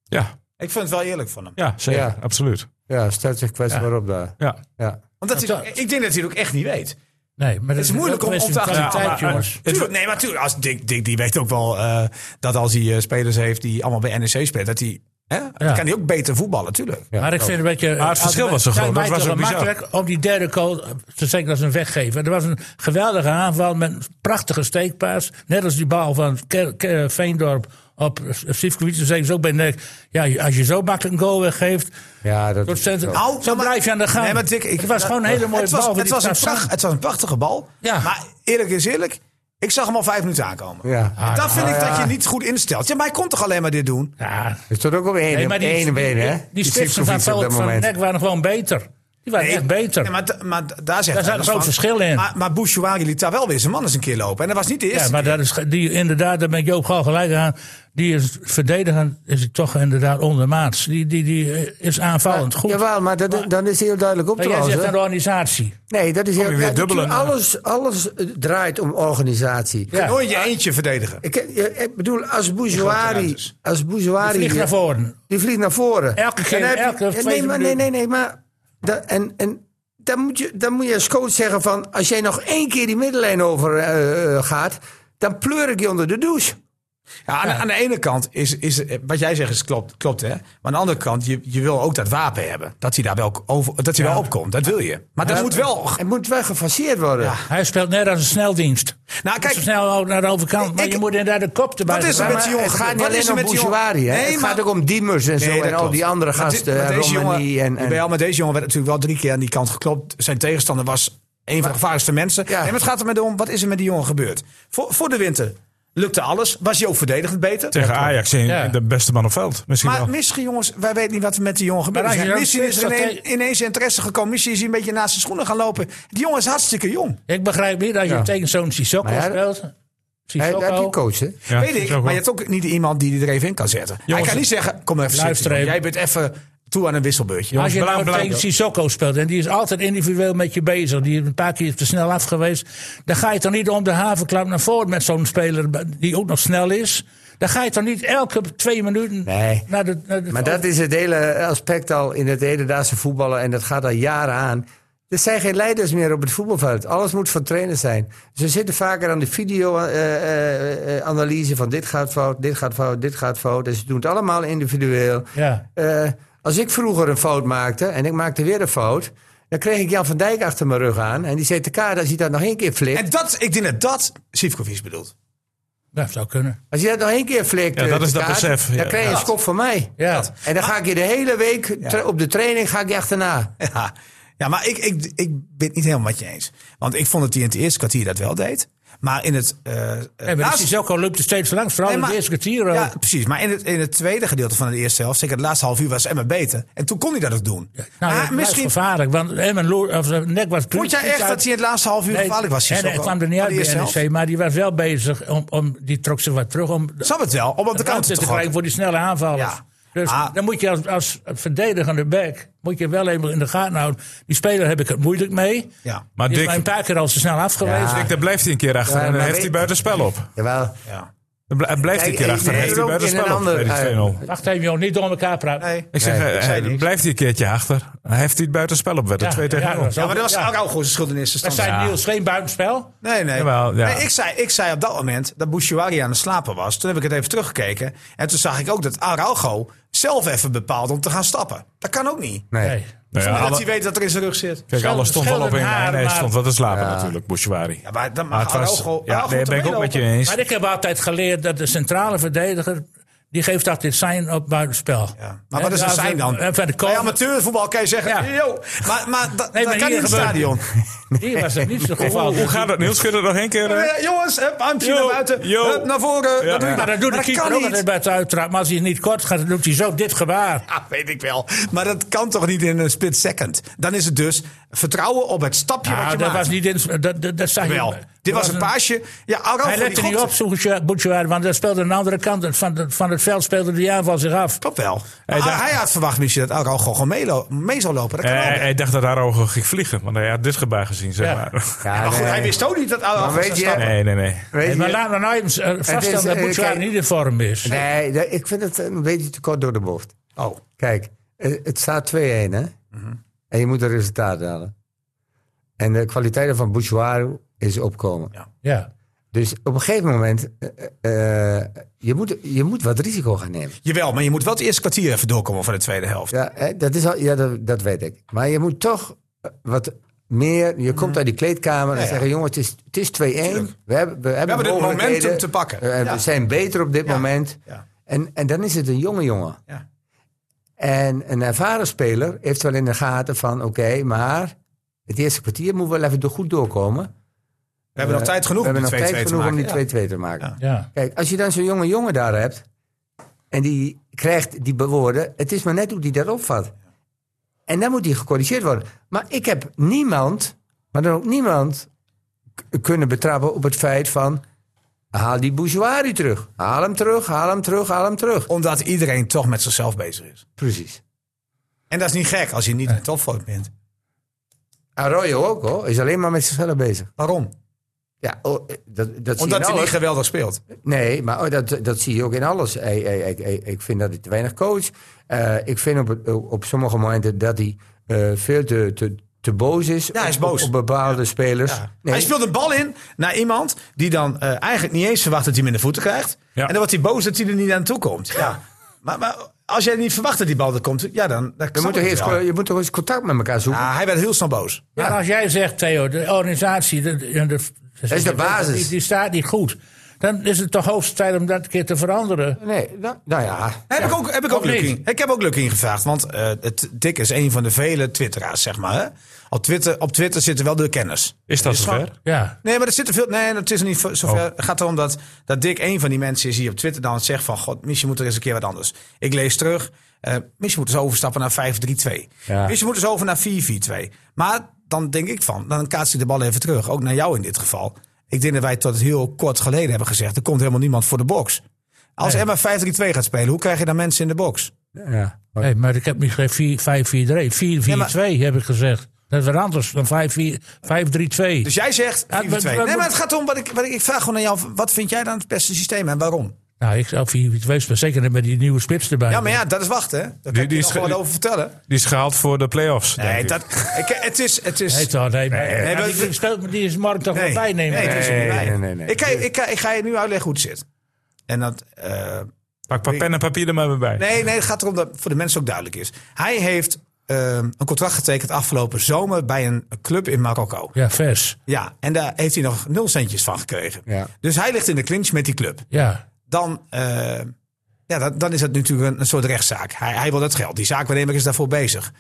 [SPEAKER 2] Ja,
[SPEAKER 6] Ik vind het wel eerlijk van hem.
[SPEAKER 2] ja zeker.
[SPEAKER 3] Ja.
[SPEAKER 2] Absoluut.
[SPEAKER 3] ja, stelt zich kwetsbaar op daar.
[SPEAKER 2] Ja.
[SPEAKER 3] Ja.
[SPEAKER 6] Omdat hij,
[SPEAKER 5] Dat-
[SPEAKER 6] ik denk dat hij het ook echt niet weet.
[SPEAKER 5] Nee, maar dat
[SPEAKER 6] Het is moeilijk
[SPEAKER 5] ook
[SPEAKER 6] om
[SPEAKER 5] een
[SPEAKER 6] op te
[SPEAKER 5] kwestie van
[SPEAKER 6] achten.
[SPEAKER 5] kwaliteit,
[SPEAKER 2] Ja, maar-
[SPEAKER 5] jongens.
[SPEAKER 6] Tuurlijk, nee, maar tuurlijk, als Dick, Dick die weet ook wel eh, dat als hij eh, spelers heeft die allemaal bij NEC spelen, dat hij, hè, dan kan hij ook beter voetballen, tuurlijk.
[SPEAKER 3] Ja,
[SPEAKER 5] maar ik vind het een beetje.
[SPEAKER 2] Maar het verschil was zo groot, dat was ook
[SPEAKER 5] het
[SPEAKER 2] bizar.
[SPEAKER 5] makkelijk om die derde goal te zeker als een weggeven. Er was een geweldige aanval met een prachtige steekpaas. Net als die bal van Ke- Ke- Veendorp op Sivkovic. Dan zeggen ze ook bij Nek. Ja, als je zo makkelijk een goal weggeeft.
[SPEAKER 3] Ja, dat
[SPEAKER 5] Tot
[SPEAKER 3] is het
[SPEAKER 5] cent,
[SPEAKER 3] wel.
[SPEAKER 6] Nou,
[SPEAKER 5] zo
[SPEAKER 6] maar-
[SPEAKER 5] blijf je aan de gang.
[SPEAKER 6] Nee, maar Dick, ik-
[SPEAKER 5] het was gewoon een hele mooie
[SPEAKER 6] het
[SPEAKER 5] bal.
[SPEAKER 6] was,
[SPEAKER 5] voor
[SPEAKER 6] het,
[SPEAKER 5] die
[SPEAKER 6] was een
[SPEAKER 5] Tarzan.
[SPEAKER 6] pracht- het was een prachtige bal.
[SPEAKER 5] Ja.
[SPEAKER 6] Maar eerlijk is eerlijk, ik zag hem al vijf minuten aankomen.
[SPEAKER 3] Ja.
[SPEAKER 6] dat vind ik dat je niet goed instelt. Ja, maar hij kon toch alleen maar dit doen?
[SPEAKER 5] Ja,
[SPEAKER 3] Het stond ook op één,
[SPEAKER 5] nee,
[SPEAKER 3] op
[SPEAKER 5] maar die,
[SPEAKER 3] één been, hè?
[SPEAKER 5] die, die spitsen van,
[SPEAKER 3] Sivkovic
[SPEAKER 5] van Nek waren gewoon beter. Die waren
[SPEAKER 6] Nee,
[SPEAKER 5] echt beter.
[SPEAKER 6] nee, maar, da- maar da- daar zegt
[SPEAKER 5] Daar zat
[SPEAKER 6] hij
[SPEAKER 5] een
[SPEAKER 6] dus
[SPEAKER 5] groot
[SPEAKER 6] van.
[SPEAKER 5] verschil in.
[SPEAKER 6] Maar, maar Bouchouari liet daar wel weer zijn man eens een keer lopen. En dat was niet de
[SPEAKER 5] ja,
[SPEAKER 6] eerste.
[SPEAKER 5] maar dat is, ge- die, inderdaad, daar ben ik Joop Gal gelijk aan. Die is verdedigend, is hij toch inderdaad ondermaats. Die, die, die eh, is aanvallend goed.
[SPEAKER 3] Jawel, maar dat, dan is heel duidelijk op
[SPEAKER 5] maar
[SPEAKER 3] te
[SPEAKER 5] jij zegt
[SPEAKER 3] lossen.
[SPEAKER 5] aan de organisatie.
[SPEAKER 3] Nee, dat is heel
[SPEAKER 2] weer dubbelen,
[SPEAKER 3] natuurlijk, Alles, alles eh, draait om organisatie.
[SPEAKER 5] Ja.
[SPEAKER 6] Nooit je eentje verdedigen.
[SPEAKER 3] Ik, eh, ik bedoel, als Bourgeoisie.
[SPEAKER 6] ruimtes.
[SPEAKER 3] Als Bourgeoisie.
[SPEAKER 5] Vlieg naar voren.
[SPEAKER 3] Die vliegt naar voren.
[SPEAKER 5] Elke keer,
[SPEAKER 3] En dan heb je-
[SPEAKER 5] elke
[SPEAKER 3] en
[SPEAKER 5] tweede
[SPEAKER 3] nee, maar, nee,
[SPEAKER 5] minuut.
[SPEAKER 3] nee, nee, maar. da- en en dan, moet je, dan moet je als coach zeggen: van als jij nog één keer die middenlijn over eh, eh, gaat, dan pleur ik je onder de douche.
[SPEAKER 6] Ja, aan, aan de ene kant is, is eh, wat jij zegt is klopt, klopt hè. Maar aan de andere kant, je, je wil ook dat wapen hebben. Dat hij daar wel, over, dat hij wel opkomt. Dat wil je. Maar dat moet wel.
[SPEAKER 3] Het moet wel gefaseerd worden.
[SPEAKER 5] Hij speelt net als een sneldienst.
[SPEAKER 6] Nou,
[SPEAKER 5] Kijk,
[SPEAKER 6] kijk,
[SPEAKER 5] zo snel naar de overkant. Maar
[SPEAKER 6] Ik-
[SPEAKER 5] je moet inderdaad de kop erbij
[SPEAKER 6] Wat is er
[SPEAKER 5] hebben.
[SPEAKER 6] met die jongen
[SPEAKER 3] het gaat
[SPEAKER 6] gebeurd?
[SPEAKER 3] niet
[SPEAKER 6] Wat is
[SPEAKER 3] alleen
[SPEAKER 6] er
[SPEAKER 3] om
[SPEAKER 6] met die jongen-
[SPEAKER 3] Bourgeoisie. hè.
[SPEAKER 6] Nee,
[SPEAKER 3] het
[SPEAKER 6] maar-
[SPEAKER 3] gaat ook om Diemers en zo.
[SPEAKER 6] Nee, dat
[SPEAKER 3] en al
[SPEAKER 6] klopt.
[SPEAKER 3] die andere
[SPEAKER 6] Maar dit-
[SPEAKER 3] gasten.
[SPEAKER 6] maar
[SPEAKER 3] eh,
[SPEAKER 6] deze
[SPEAKER 3] Romani
[SPEAKER 6] jongen-
[SPEAKER 3] en. en
[SPEAKER 6] Jawel, maar deze jongen werd natuurlijk wel drie keer aan die kant geklopt. Zijn tegenstander was een van de gevaarlijkste mensen.
[SPEAKER 3] Ja.
[SPEAKER 6] En wat gaat er met hem om? Wat is er met die jongen gebeurd? Voor, voor de winter lukte alles. Was hij ook verdedigend beter?
[SPEAKER 2] Tegen Ajax in
[SPEAKER 5] Ja.
[SPEAKER 2] de beste man op veld. Misschien
[SPEAKER 6] Maar
[SPEAKER 2] wel.
[SPEAKER 6] misschien, jongens, wij weten niet wat er met die jongen gebeurd
[SPEAKER 5] Maar nou,
[SPEAKER 6] is.
[SPEAKER 5] als je dan
[SPEAKER 6] Misschien is er
[SPEAKER 5] strate-
[SPEAKER 6] ineen- ineens interesse gekomen. Misschien is hij een beetje naast zijn schoenen gaan lopen. Die jongen is hartstikke jong.
[SPEAKER 5] Ik begrijp niet dat je tegen zo'n Sissoko
[SPEAKER 3] Maar ja,
[SPEAKER 5] speelt.
[SPEAKER 3] hij,
[SPEAKER 5] Sissoko.
[SPEAKER 3] hij heeft die coach, hè?
[SPEAKER 2] Ja,
[SPEAKER 6] Weet ik,
[SPEAKER 2] is ook
[SPEAKER 6] maar
[SPEAKER 2] wel-
[SPEAKER 6] je hebt ook niet iemand die er even in kan zetten. Hij
[SPEAKER 2] Jongens,
[SPEAKER 6] kan niet zeggen, kom even
[SPEAKER 5] luister
[SPEAKER 6] zitten. jongen.
[SPEAKER 5] even.
[SPEAKER 6] Jij bent even toe aan een wisselbeurtje.
[SPEAKER 5] Als je nou
[SPEAKER 2] blauw, blauw.
[SPEAKER 5] tegen Sissoko speelt en die is altijd individueel met je bezig, die is een paar keer te snel af geweest, dan ga je toch niet om de havenklap naar voren met zo'n speler die ook nog snel is. Dan ga je toch niet elke twee minuten
[SPEAKER 3] Nee.
[SPEAKER 5] naar de. Naar de
[SPEAKER 3] Maar dat is het hele aspect al in het hedendaagse voetballen. En dat gaat al jaren aan. Er zijn geen leiders meer op het voetbalveld. Alles moet van trainers zijn. Ze zitten vaker aan de video-analyse van dit gaat fout, dit gaat fout, dit gaat fout. En ze doen het allemaal individueel.
[SPEAKER 5] Ja.
[SPEAKER 3] Eh, als ik vroeger een fout maakte en ik maakte weer een fout... dan kreeg ik Jan van Dijk achter mijn rug aan. En die zei, "Tekaar, als je dat nog één keer flikt...
[SPEAKER 6] En dat, ik denk dat dat Sivkovic bedoelt. (laughs)
[SPEAKER 5] Dat zou kunnen.
[SPEAKER 3] als je dat nog één keer flikt,
[SPEAKER 2] Ja,
[SPEAKER 3] eh,
[SPEAKER 2] dat is dat
[SPEAKER 3] Tekaar,
[SPEAKER 2] besef, ja.
[SPEAKER 3] dan krijg je een
[SPEAKER 6] Ja.
[SPEAKER 3] schop van mij.
[SPEAKER 5] Ja.
[SPEAKER 3] En dan ga ik je de hele week tra- op de training ga ik je achterna.
[SPEAKER 6] Ja, ja maar ik, ik, ik ben het niet helemaal met je eens. Want ik vond dat hij in het eerste kwartier dat wel deed. Maar in het... eh, eh,
[SPEAKER 5] Ja, maar dus
[SPEAKER 6] laatste-
[SPEAKER 5] Sissoko loopt er steeds langs, vooral
[SPEAKER 6] Nee,
[SPEAKER 5] in het
[SPEAKER 6] maar-
[SPEAKER 5] eerste kwartier. Nou, al.
[SPEAKER 6] Ja, precies. Maar in het, in het tweede gedeelte van de eerste helft, zeker het laatste half uur, was Emma beter. En toen kon hij dat ook doen.
[SPEAKER 5] nou,
[SPEAKER 6] Maar
[SPEAKER 5] dat blijft gevaarlijk, want Emmen Loer- of, eh, nek was
[SPEAKER 6] Vond jij echt dat hij in het laatste half uur
[SPEAKER 5] Nee,
[SPEAKER 6] gevaarlijk was?
[SPEAKER 5] en
[SPEAKER 6] Sissoko?
[SPEAKER 5] hij kwam er
[SPEAKER 6] Van
[SPEAKER 5] niet uit
[SPEAKER 6] de
[SPEAKER 5] bij
[SPEAKER 6] eerste helft?
[SPEAKER 5] NEC, maar die was wel bezig om, om die trok ze wat terug om
[SPEAKER 6] Snap het wel, om op de
[SPEAKER 5] de
[SPEAKER 6] kant
[SPEAKER 5] ruimte
[SPEAKER 6] te
[SPEAKER 5] te
[SPEAKER 6] gooien.
[SPEAKER 5] krijgen voor die snelle aanvallers.
[SPEAKER 6] Ja.
[SPEAKER 5] Dus
[SPEAKER 6] Ah.
[SPEAKER 5] dan moet je als, als verdedigende back moet je wel even in de gaten houden. Die speler heb ik het moeilijk mee.
[SPEAKER 6] Ja.
[SPEAKER 2] Maar
[SPEAKER 5] die is
[SPEAKER 2] Dick,
[SPEAKER 5] mij een paar keer al te snel afgewezen.
[SPEAKER 2] Dick, daar blijft hij een keer achter.
[SPEAKER 3] Ja,
[SPEAKER 2] en dan
[SPEAKER 3] maar
[SPEAKER 2] heeft
[SPEAKER 3] weet-
[SPEAKER 2] hij buitenspel op.
[SPEAKER 3] Jawel.
[SPEAKER 6] Ja.
[SPEAKER 2] Dan bl- blijft hij een keer
[SPEAKER 3] Kijk,
[SPEAKER 2] achter. en
[SPEAKER 3] nee,
[SPEAKER 2] heeft hij
[SPEAKER 3] ook in
[SPEAKER 2] buitenspel
[SPEAKER 3] een
[SPEAKER 2] op.
[SPEAKER 3] ander-
[SPEAKER 2] bij die
[SPEAKER 3] eh,
[SPEAKER 2] 2-0.
[SPEAKER 5] Wacht even, joh, niet door elkaar praten.
[SPEAKER 6] Nee.
[SPEAKER 2] Ik zeg,
[SPEAKER 3] Nee,
[SPEAKER 2] eh,
[SPEAKER 3] ik zei
[SPEAKER 2] eh,
[SPEAKER 6] niks.
[SPEAKER 2] blijft hij een keertje achter. Hij heeft hij het buitenspel op. Werd het
[SPEAKER 5] Ja,
[SPEAKER 2] 2 tegen
[SPEAKER 5] ja,
[SPEAKER 2] 0.
[SPEAKER 5] dat is
[SPEAKER 6] ja, maar dat was
[SPEAKER 5] Ja.
[SPEAKER 6] Araujo's schuld in eerste
[SPEAKER 5] Dat
[SPEAKER 6] instantie.
[SPEAKER 5] zijn Niels geen buitenspel.
[SPEAKER 6] Nee, nee.
[SPEAKER 2] Jawel, ja.
[SPEAKER 6] nee ik, zei, ik zei op dat moment dat Bouchouari aan het slapen was. Toen heb ik het even teruggekeken. En toen zag ik ook dat Araujo zelf even bepaalt om te gaan stappen. Dat kan ook niet.
[SPEAKER 3] Nee.
[SPEAKER 5] Nee.
[SPEAKER 2] Nou ja,
[SPEAKER 6] Zonder dat
[SPEAKER 2] alle-
[SPEAKER 6] hij weet dat er in zijn rug zit.
[SPEAKER 2] Kijk, alles stond wel op één
[SPEAKER 5] verschillende
[SPEAKER 2] lijn. Hij
[SPEAKER 5] haren,
[SPEAKER 2] stond
[SPEAKER 5] maar-
[SPEAKER 2] wat te slapen natuurlijk, Bouchouari.
[SPEAKER 6] Ja, maar dan
[SPEAKER 2] Maar het
[SPEAKER 6] mag
[SPEAKER 2] was...
[SPEAKER 6] Araujo...
[SPEAKER 2] Ja,
[SPEAKER 6] Araujo
[SPEAKER 2] daar
[SPEAKER 6] moet
[SPEAKER 2] ben ik ook
[SPEAKER 6] ermee
[SPEAKER 2] met je
[SPEAKER 6] lopen.
[SPEAKER 2] eens.
[SPEAKER 5] Maar ik heb altijd geleerd dat de centrale verdediger. die geeft altijd zijn op buitenspel.
[SPEAKER 6] Ja. Maar wat is er zijn dan?
[SPEAKER 5] En eh, van de
[SPEAKER 6] Bij
[SPEAKER 5] komen.
[SPEAKER 6] amateurvoetbal kan je zeggen...
[SPEAKER 5] Ja.
[SPEAKER 6] Yo, maar, maar dat,
[SPEAKER 5] Nee, maar
[SPEAKER 6] dat kan
[SPEAKER 5] hier
[SPEAKER 6] niet in het
[SPEAKER 5] gebeurt- (laughs)
[SPEAKER 6] stadion.
[SPEAKER 5] Hier was het niet
[SPEAKER 6] (laughs) Oh.
[SPEAKER 5] zo geval.
[SPEAKER 2] Hoe gaat dat, Niels? Kun je dat nog één keer... eh?
[SPEAKER 6] Eh, jongens, hup, armpje
[SPEAKER 2] Yo,
[SPEAKER 6] naar buiten.
[SPEAKER 2] yo.
[SPEAKER 6] Hup, naar voren.
[SPEAKER 2] Ja.
[SPEAKER 6] dat doe je
[SPEAKER 2] Ja.
[SPEAKER 5] Maar dat doet de
[SPEAKER 6] Maar dat
[SPEAKER 5] keeper
[SPEAKER 6] kan
[SPEAKER 5] ook altijd
[SPEAKER 6] niet.
[SPEAKER 5] bij het uittrappen. Maar als hij niet kort gaat, dan doet hij zo dit gebaar.
[SPEAKER 6] Ja, weet ik wel. Maar dat kan toch niet in een split second? Dan is het dus vertrouwen op het stapje
[SPEAKER 5] Nou,
[SPEAKER 6] wat je
[SPEAKER 5] dat
[SPEAKER 6] maakt.
[SPEAKER 5] was niet in. Dat, dat, dat zag je-
[SPEAKER 6] Wel, dit
[SPEAKER 5] dat
[SPEAKER 6] was een paasje. Ja, Araujo
[SPEAKER 5] Hij
[SPEAKER 6] die
[SPEAKER 5] lette niet
[SPEAKER 6] gokte.
[SPEAKER 5] op, Boetjewaard, want dat speelde aan de andere kant van, de- van het veld speelde die aanval zich af.
[SPEAKER 6] Klopt wel.
[SPEAKER 2] Hij
[SPEAKER 6] Maar
[SPEAKER 2] dacht-
[SPEAKER 6] hij had verwacht misschien dat Araujo gewoon meelo- mee zou lopen. Dat
[SPEAKER 2] Eh,
[SPEAKER 6] kan
[SPEAKER 2] hij,
[SPEAKER 6] ook.
[SPEAKER 2] hij dacht dat Araujo ging vliegen, want hij had dit gebaar gezien, zeg
[SPEAKER 5] Ja.
[SPEAKER 2] maar.
[SPEAKER 3] Ja,
[SPEAKER 6] Maar goed,
[SPEAKER 5] eh,
[SPEAKER 3] nee.
[SPEAKER 6] hij wist ook niet dat
[SPEAKER 3] Maar
[SPEAKER 6] Araujo
[SPEAKER 3] weet
[SPEAKER 6] zou
[SPEAKER 3] je-
[SPEAKER 6] stappen.
[SPEAKER 2] (laughs) Nee, nee, nee.
[SPEAKER 3] Weet
[SPEAKER 5] Hey,
[SPEAKER 3] je-
[SPEAKER 5] maar laten we nou even eh,
[SPEAKER 3] is,
[SPEAKER 5] vaststellen dat
[SPEAKER 3] eh,
[SPEAKER 5] Boetjewaard
[SPEAKER 3] kijk-
[SPEAKER 5] niet in vorm is.
[SPEAKER 3] nee, dat- ik vind het een beetje te kort door de bocht.
[SPEAKER 6] Oh,
[SPEAKER 3] Kijk, eh, het staat 2-1 hè.
[SPEAKER 2] Mhm.
[SPEAKER 3] En je moet een resultaat halen. En de kwaliteiten van Bouchouaru is opkomen.
[SPEAKER 5] Ja.
[SPEAKER 3] Dus op een gegeven moment, eh, eh, je, moet, je moet wat risico gaan nemen.
[SPEAKER 6] jawel, maar je moet wel het eerste kwartier even doorkomen van de tweede helft.
[SPEAKER 3] Ja, hè, dat, is al, ja dat, dat weet ik. Maar je moet toch eh, wat meer, je komt uit die kleedkamer en
[SPEAKER 6] Mm. Ja, ja.
[SPEAKER 3] zeggen jongens, het is, het is 2-1. We hebben, we hebben,
[SPEAKER 6] dit
[SPEAKER 3] mogelijkheden.
[SPEAKER 6] momentum te pakken.
[SPEAKER 3] Eh,
[SPEAKER 6] Ja.
[SPEAKER 3] We zijn beter op dit
[SPEAKER 6] Ja.
[SPEAKER 3] moment.
[SPEAKER 6] Ja.
[SPEAKER 3] En, en dan is het een jonge jongen.
[SPEAKER 6] Ja.
[SPEAKER 3] En een ervaren speler heeft wel in de gaten van... oké, maar het eerste kwartier moet wel even do- goed doorkomen.
[SPEAKER 6] We hebben nog tijd genoeg
[SPEAKER 3] Eh, We
[SPEAKER 6] om die
[SPEAKER 3] hebben nog
[SPEAKER 6] 2-2
[SPEAKER 3] tijd
[SPEAKER 6] te
[SPEAKER 3] genoeg om die
[SPEAKER 6] maken.
[SPEAKER 3] 2-2
[SPEAKER 6] Ja.
[SPEAKER 3] te maken.
[SPEAKER 5] Ja.
[SPEAKER 3] Kijk, als je dan zo'n jonge jongen daar hebt... en die krijgt die bewoorden... het is maar net hoe die dat opvat. En dan moet die gecorrigeerd worden. Maar ik heb niemand, maar dan ook niemand, k- kunnen betrappen op het feit van. Haal die bourgeoisie terug. Haal hem terug, haal hem terug, haal hem terug.
[SPEAKER 6] Omdat iedereen toch met zichzelf bezig is.
[SPEAKER 3] Precies.
[SPEAKER 6] En dat is niet gek als je niet in de topvorm bent.
[SPEAKER 3] Arroyo ook hoor, is alleen maar met zichzelf bezig.
[SPEAKER 6] Waarom?
[SPEAKER 3] Ja, oh, eh, dat, dat zie je in
[SPEAKER 6] Omdat hij niet
[SPEAKER 3] alles.
[SPEAKER 6] geweldig speelt.
[SPEAKER 3] Nee, maar oh, dat, dat zie je ook in alles. Hij- hij- hij- hij- ik vind dat hij te weinig coach. Eh, ik vind op, het- op sommige momenten dat hij eh, veel te, te, te boos is,
[SPEAKER 6] hij is
[SPEAKER 3] op-
[SPEAKER 6] boos.
[SPEAKER 3] Op, bepaalde spelers. Nee,
[SPEAKER 6] Hij speelt een bal in naar iemand die dan eh, eigenlijk niet eens verwacht dat hij hem in de voeten krijgt. En dan wordt hij boos dat hij er niet aan toe komt. Ja. maar, maar als jij niet verwacht dat die bal er komt, ja, dan, dan
[SPEAKER 3] je,
[SPEAKER 6] snap
[SPEAKER 3] moet toch
[SPEAKER 6] ik het
[SPEAKER 3] eerst,
[SPEAKER 6] wel.
[SPEAKER 3] je moet toch eens contact met elkaar zoeken.
[SPEAKER 6] Ja, hij werd heel snel boos.
[SPEAKER 5] Ja, en als jij zegt, Theo, de organisatie, de, de, de-
[SPEAKER 3] is de basis.
[SPEAKER 5] Die, die staat niet goed. Dan is het toch hoogste tijd om dat een keer te veranderen.
[SPEAKER 3] Nee, nou, nou ja.
[SPEAKER 6] Heb ik ook, heb ik ook
[SPEAKER 5] niet?
[SPEAKER 6] Luc in- Ik heb ook Luc ingevraagd, want eh, het, Dick is een van de vele twitteraars, zeg maar. Hè? Op, Twitter, op Twitter zitten wel de kenners.
[SPEAKER 2] Is dat
[SPEAKER 6] Dus gewoon-
[SPEAKER 2] zover?
[SPEAKER 5] Ja.
[SPEAKER 6] Nee, maar er zitten veel. Nee, dat is niet vo-
[SPEAKER 2] Oh.
[SPEAKER 6] zover. Het gaat erom dat, dat Dick een van die mensen is die op Twitter dan zegt: van god, misschien moet er eens een keer wat anders. Ik lees terug. eh misschien moeten ze overstappen naar 5-3-2.
[SPEAKER 5] Ja.
[SPEAKER 6] Misschien moeten ze over naar 4-4-2. Maar dan denk ik van, dan kaats hij de bal even terug. Ook naar jou in dit geval. Ik denk dat wij tot heel kort geleden hebben gezegd: er komt helemaal niemand voor de box. Als Emma 5-3-2 gaat spelen, hoe krijg je dan mensen in de box?
[SPEAKER 3] ja.
[SPEAKER 5] Nee, maar ik heb misschien 4 5 4 3 4 4 2 heb ik gezegd. Dat is wat anders dan 5 4 5 3 2.
[SPEAKER 6] Dus jij zegt 4-4-2.
[SPEAKER 5] Ja,
[SPEAKER 6] Nee,
[SPEAKER 5] maar- maar-
[SPEAKER 6] maar het gaat om wat ik, wat ik, ik vraag gewoon aan jou: wat vind jij dan het beste systeem en waarom?
[SPEAKER 5] Nou, ik zou 4 4 2 spelen, zeker met die nieuwe spits erbij.
[SPEAKER 6] Ja, maar ja, dat is wachten. Hè? Daar kan
[SPEAKER 2] Die-
[SPEAKER 6] ik
[SPEAKER 2] die
[SPEAKER 6] je nog
[SPEAKER 2] is ge-
[SPEAKER 6] wel wat over vertellen.
[SPEAKER 2] Die is gehaald voor de play-offs. denk
[SPEAKER 6] Nee,
[SPEAKER 2] ik.
[SPEAKER 6] dat, ik, het is... Het is
[SPEAKER 5] Nee, toch, nee, maar-
[SPEAKER 6] nee,
[SPEAKER 5] maar
[SPEAKER 6] we-
[SPEAKER 5] die, die speelt, die is Mark toch wel bijnemen.
[SPEAKER 6] Nee, het is er niet bij.
[SPEAKER 3] nee, nee, nee.
[SPEAKER 6] Ik, ga, ik, ga, ik ga je nu uitleggen hoe het zit. En dat... eh,
[SPEAKER 2] Pak pa- pen en papier er maar weer bij.
[SPEAKER 6] nee, nee, het gaat erom dat voor de mensen ook duidelijk is. Hij heeft eh, een contract getekend afgelopen zomer bij een club in Marokko.
[SPEAKER 5] Ja, vers.
[SPEAKER 6] Ja, en daar heeft hij nog nul centjes van gekregen.
[SPEAKER 3] Ja.
[SPEAKER 6] Dus hij ligt in de clinch met die club.
[SPEAKER 5] Ja.
[SPEAKER 6] Dan... eh, ja, dan, dan is dat natuurlijk een, een soort rechtszaak. Hij, hij wil dat geld. Die zaakwaarnemer is daarvoor bezig.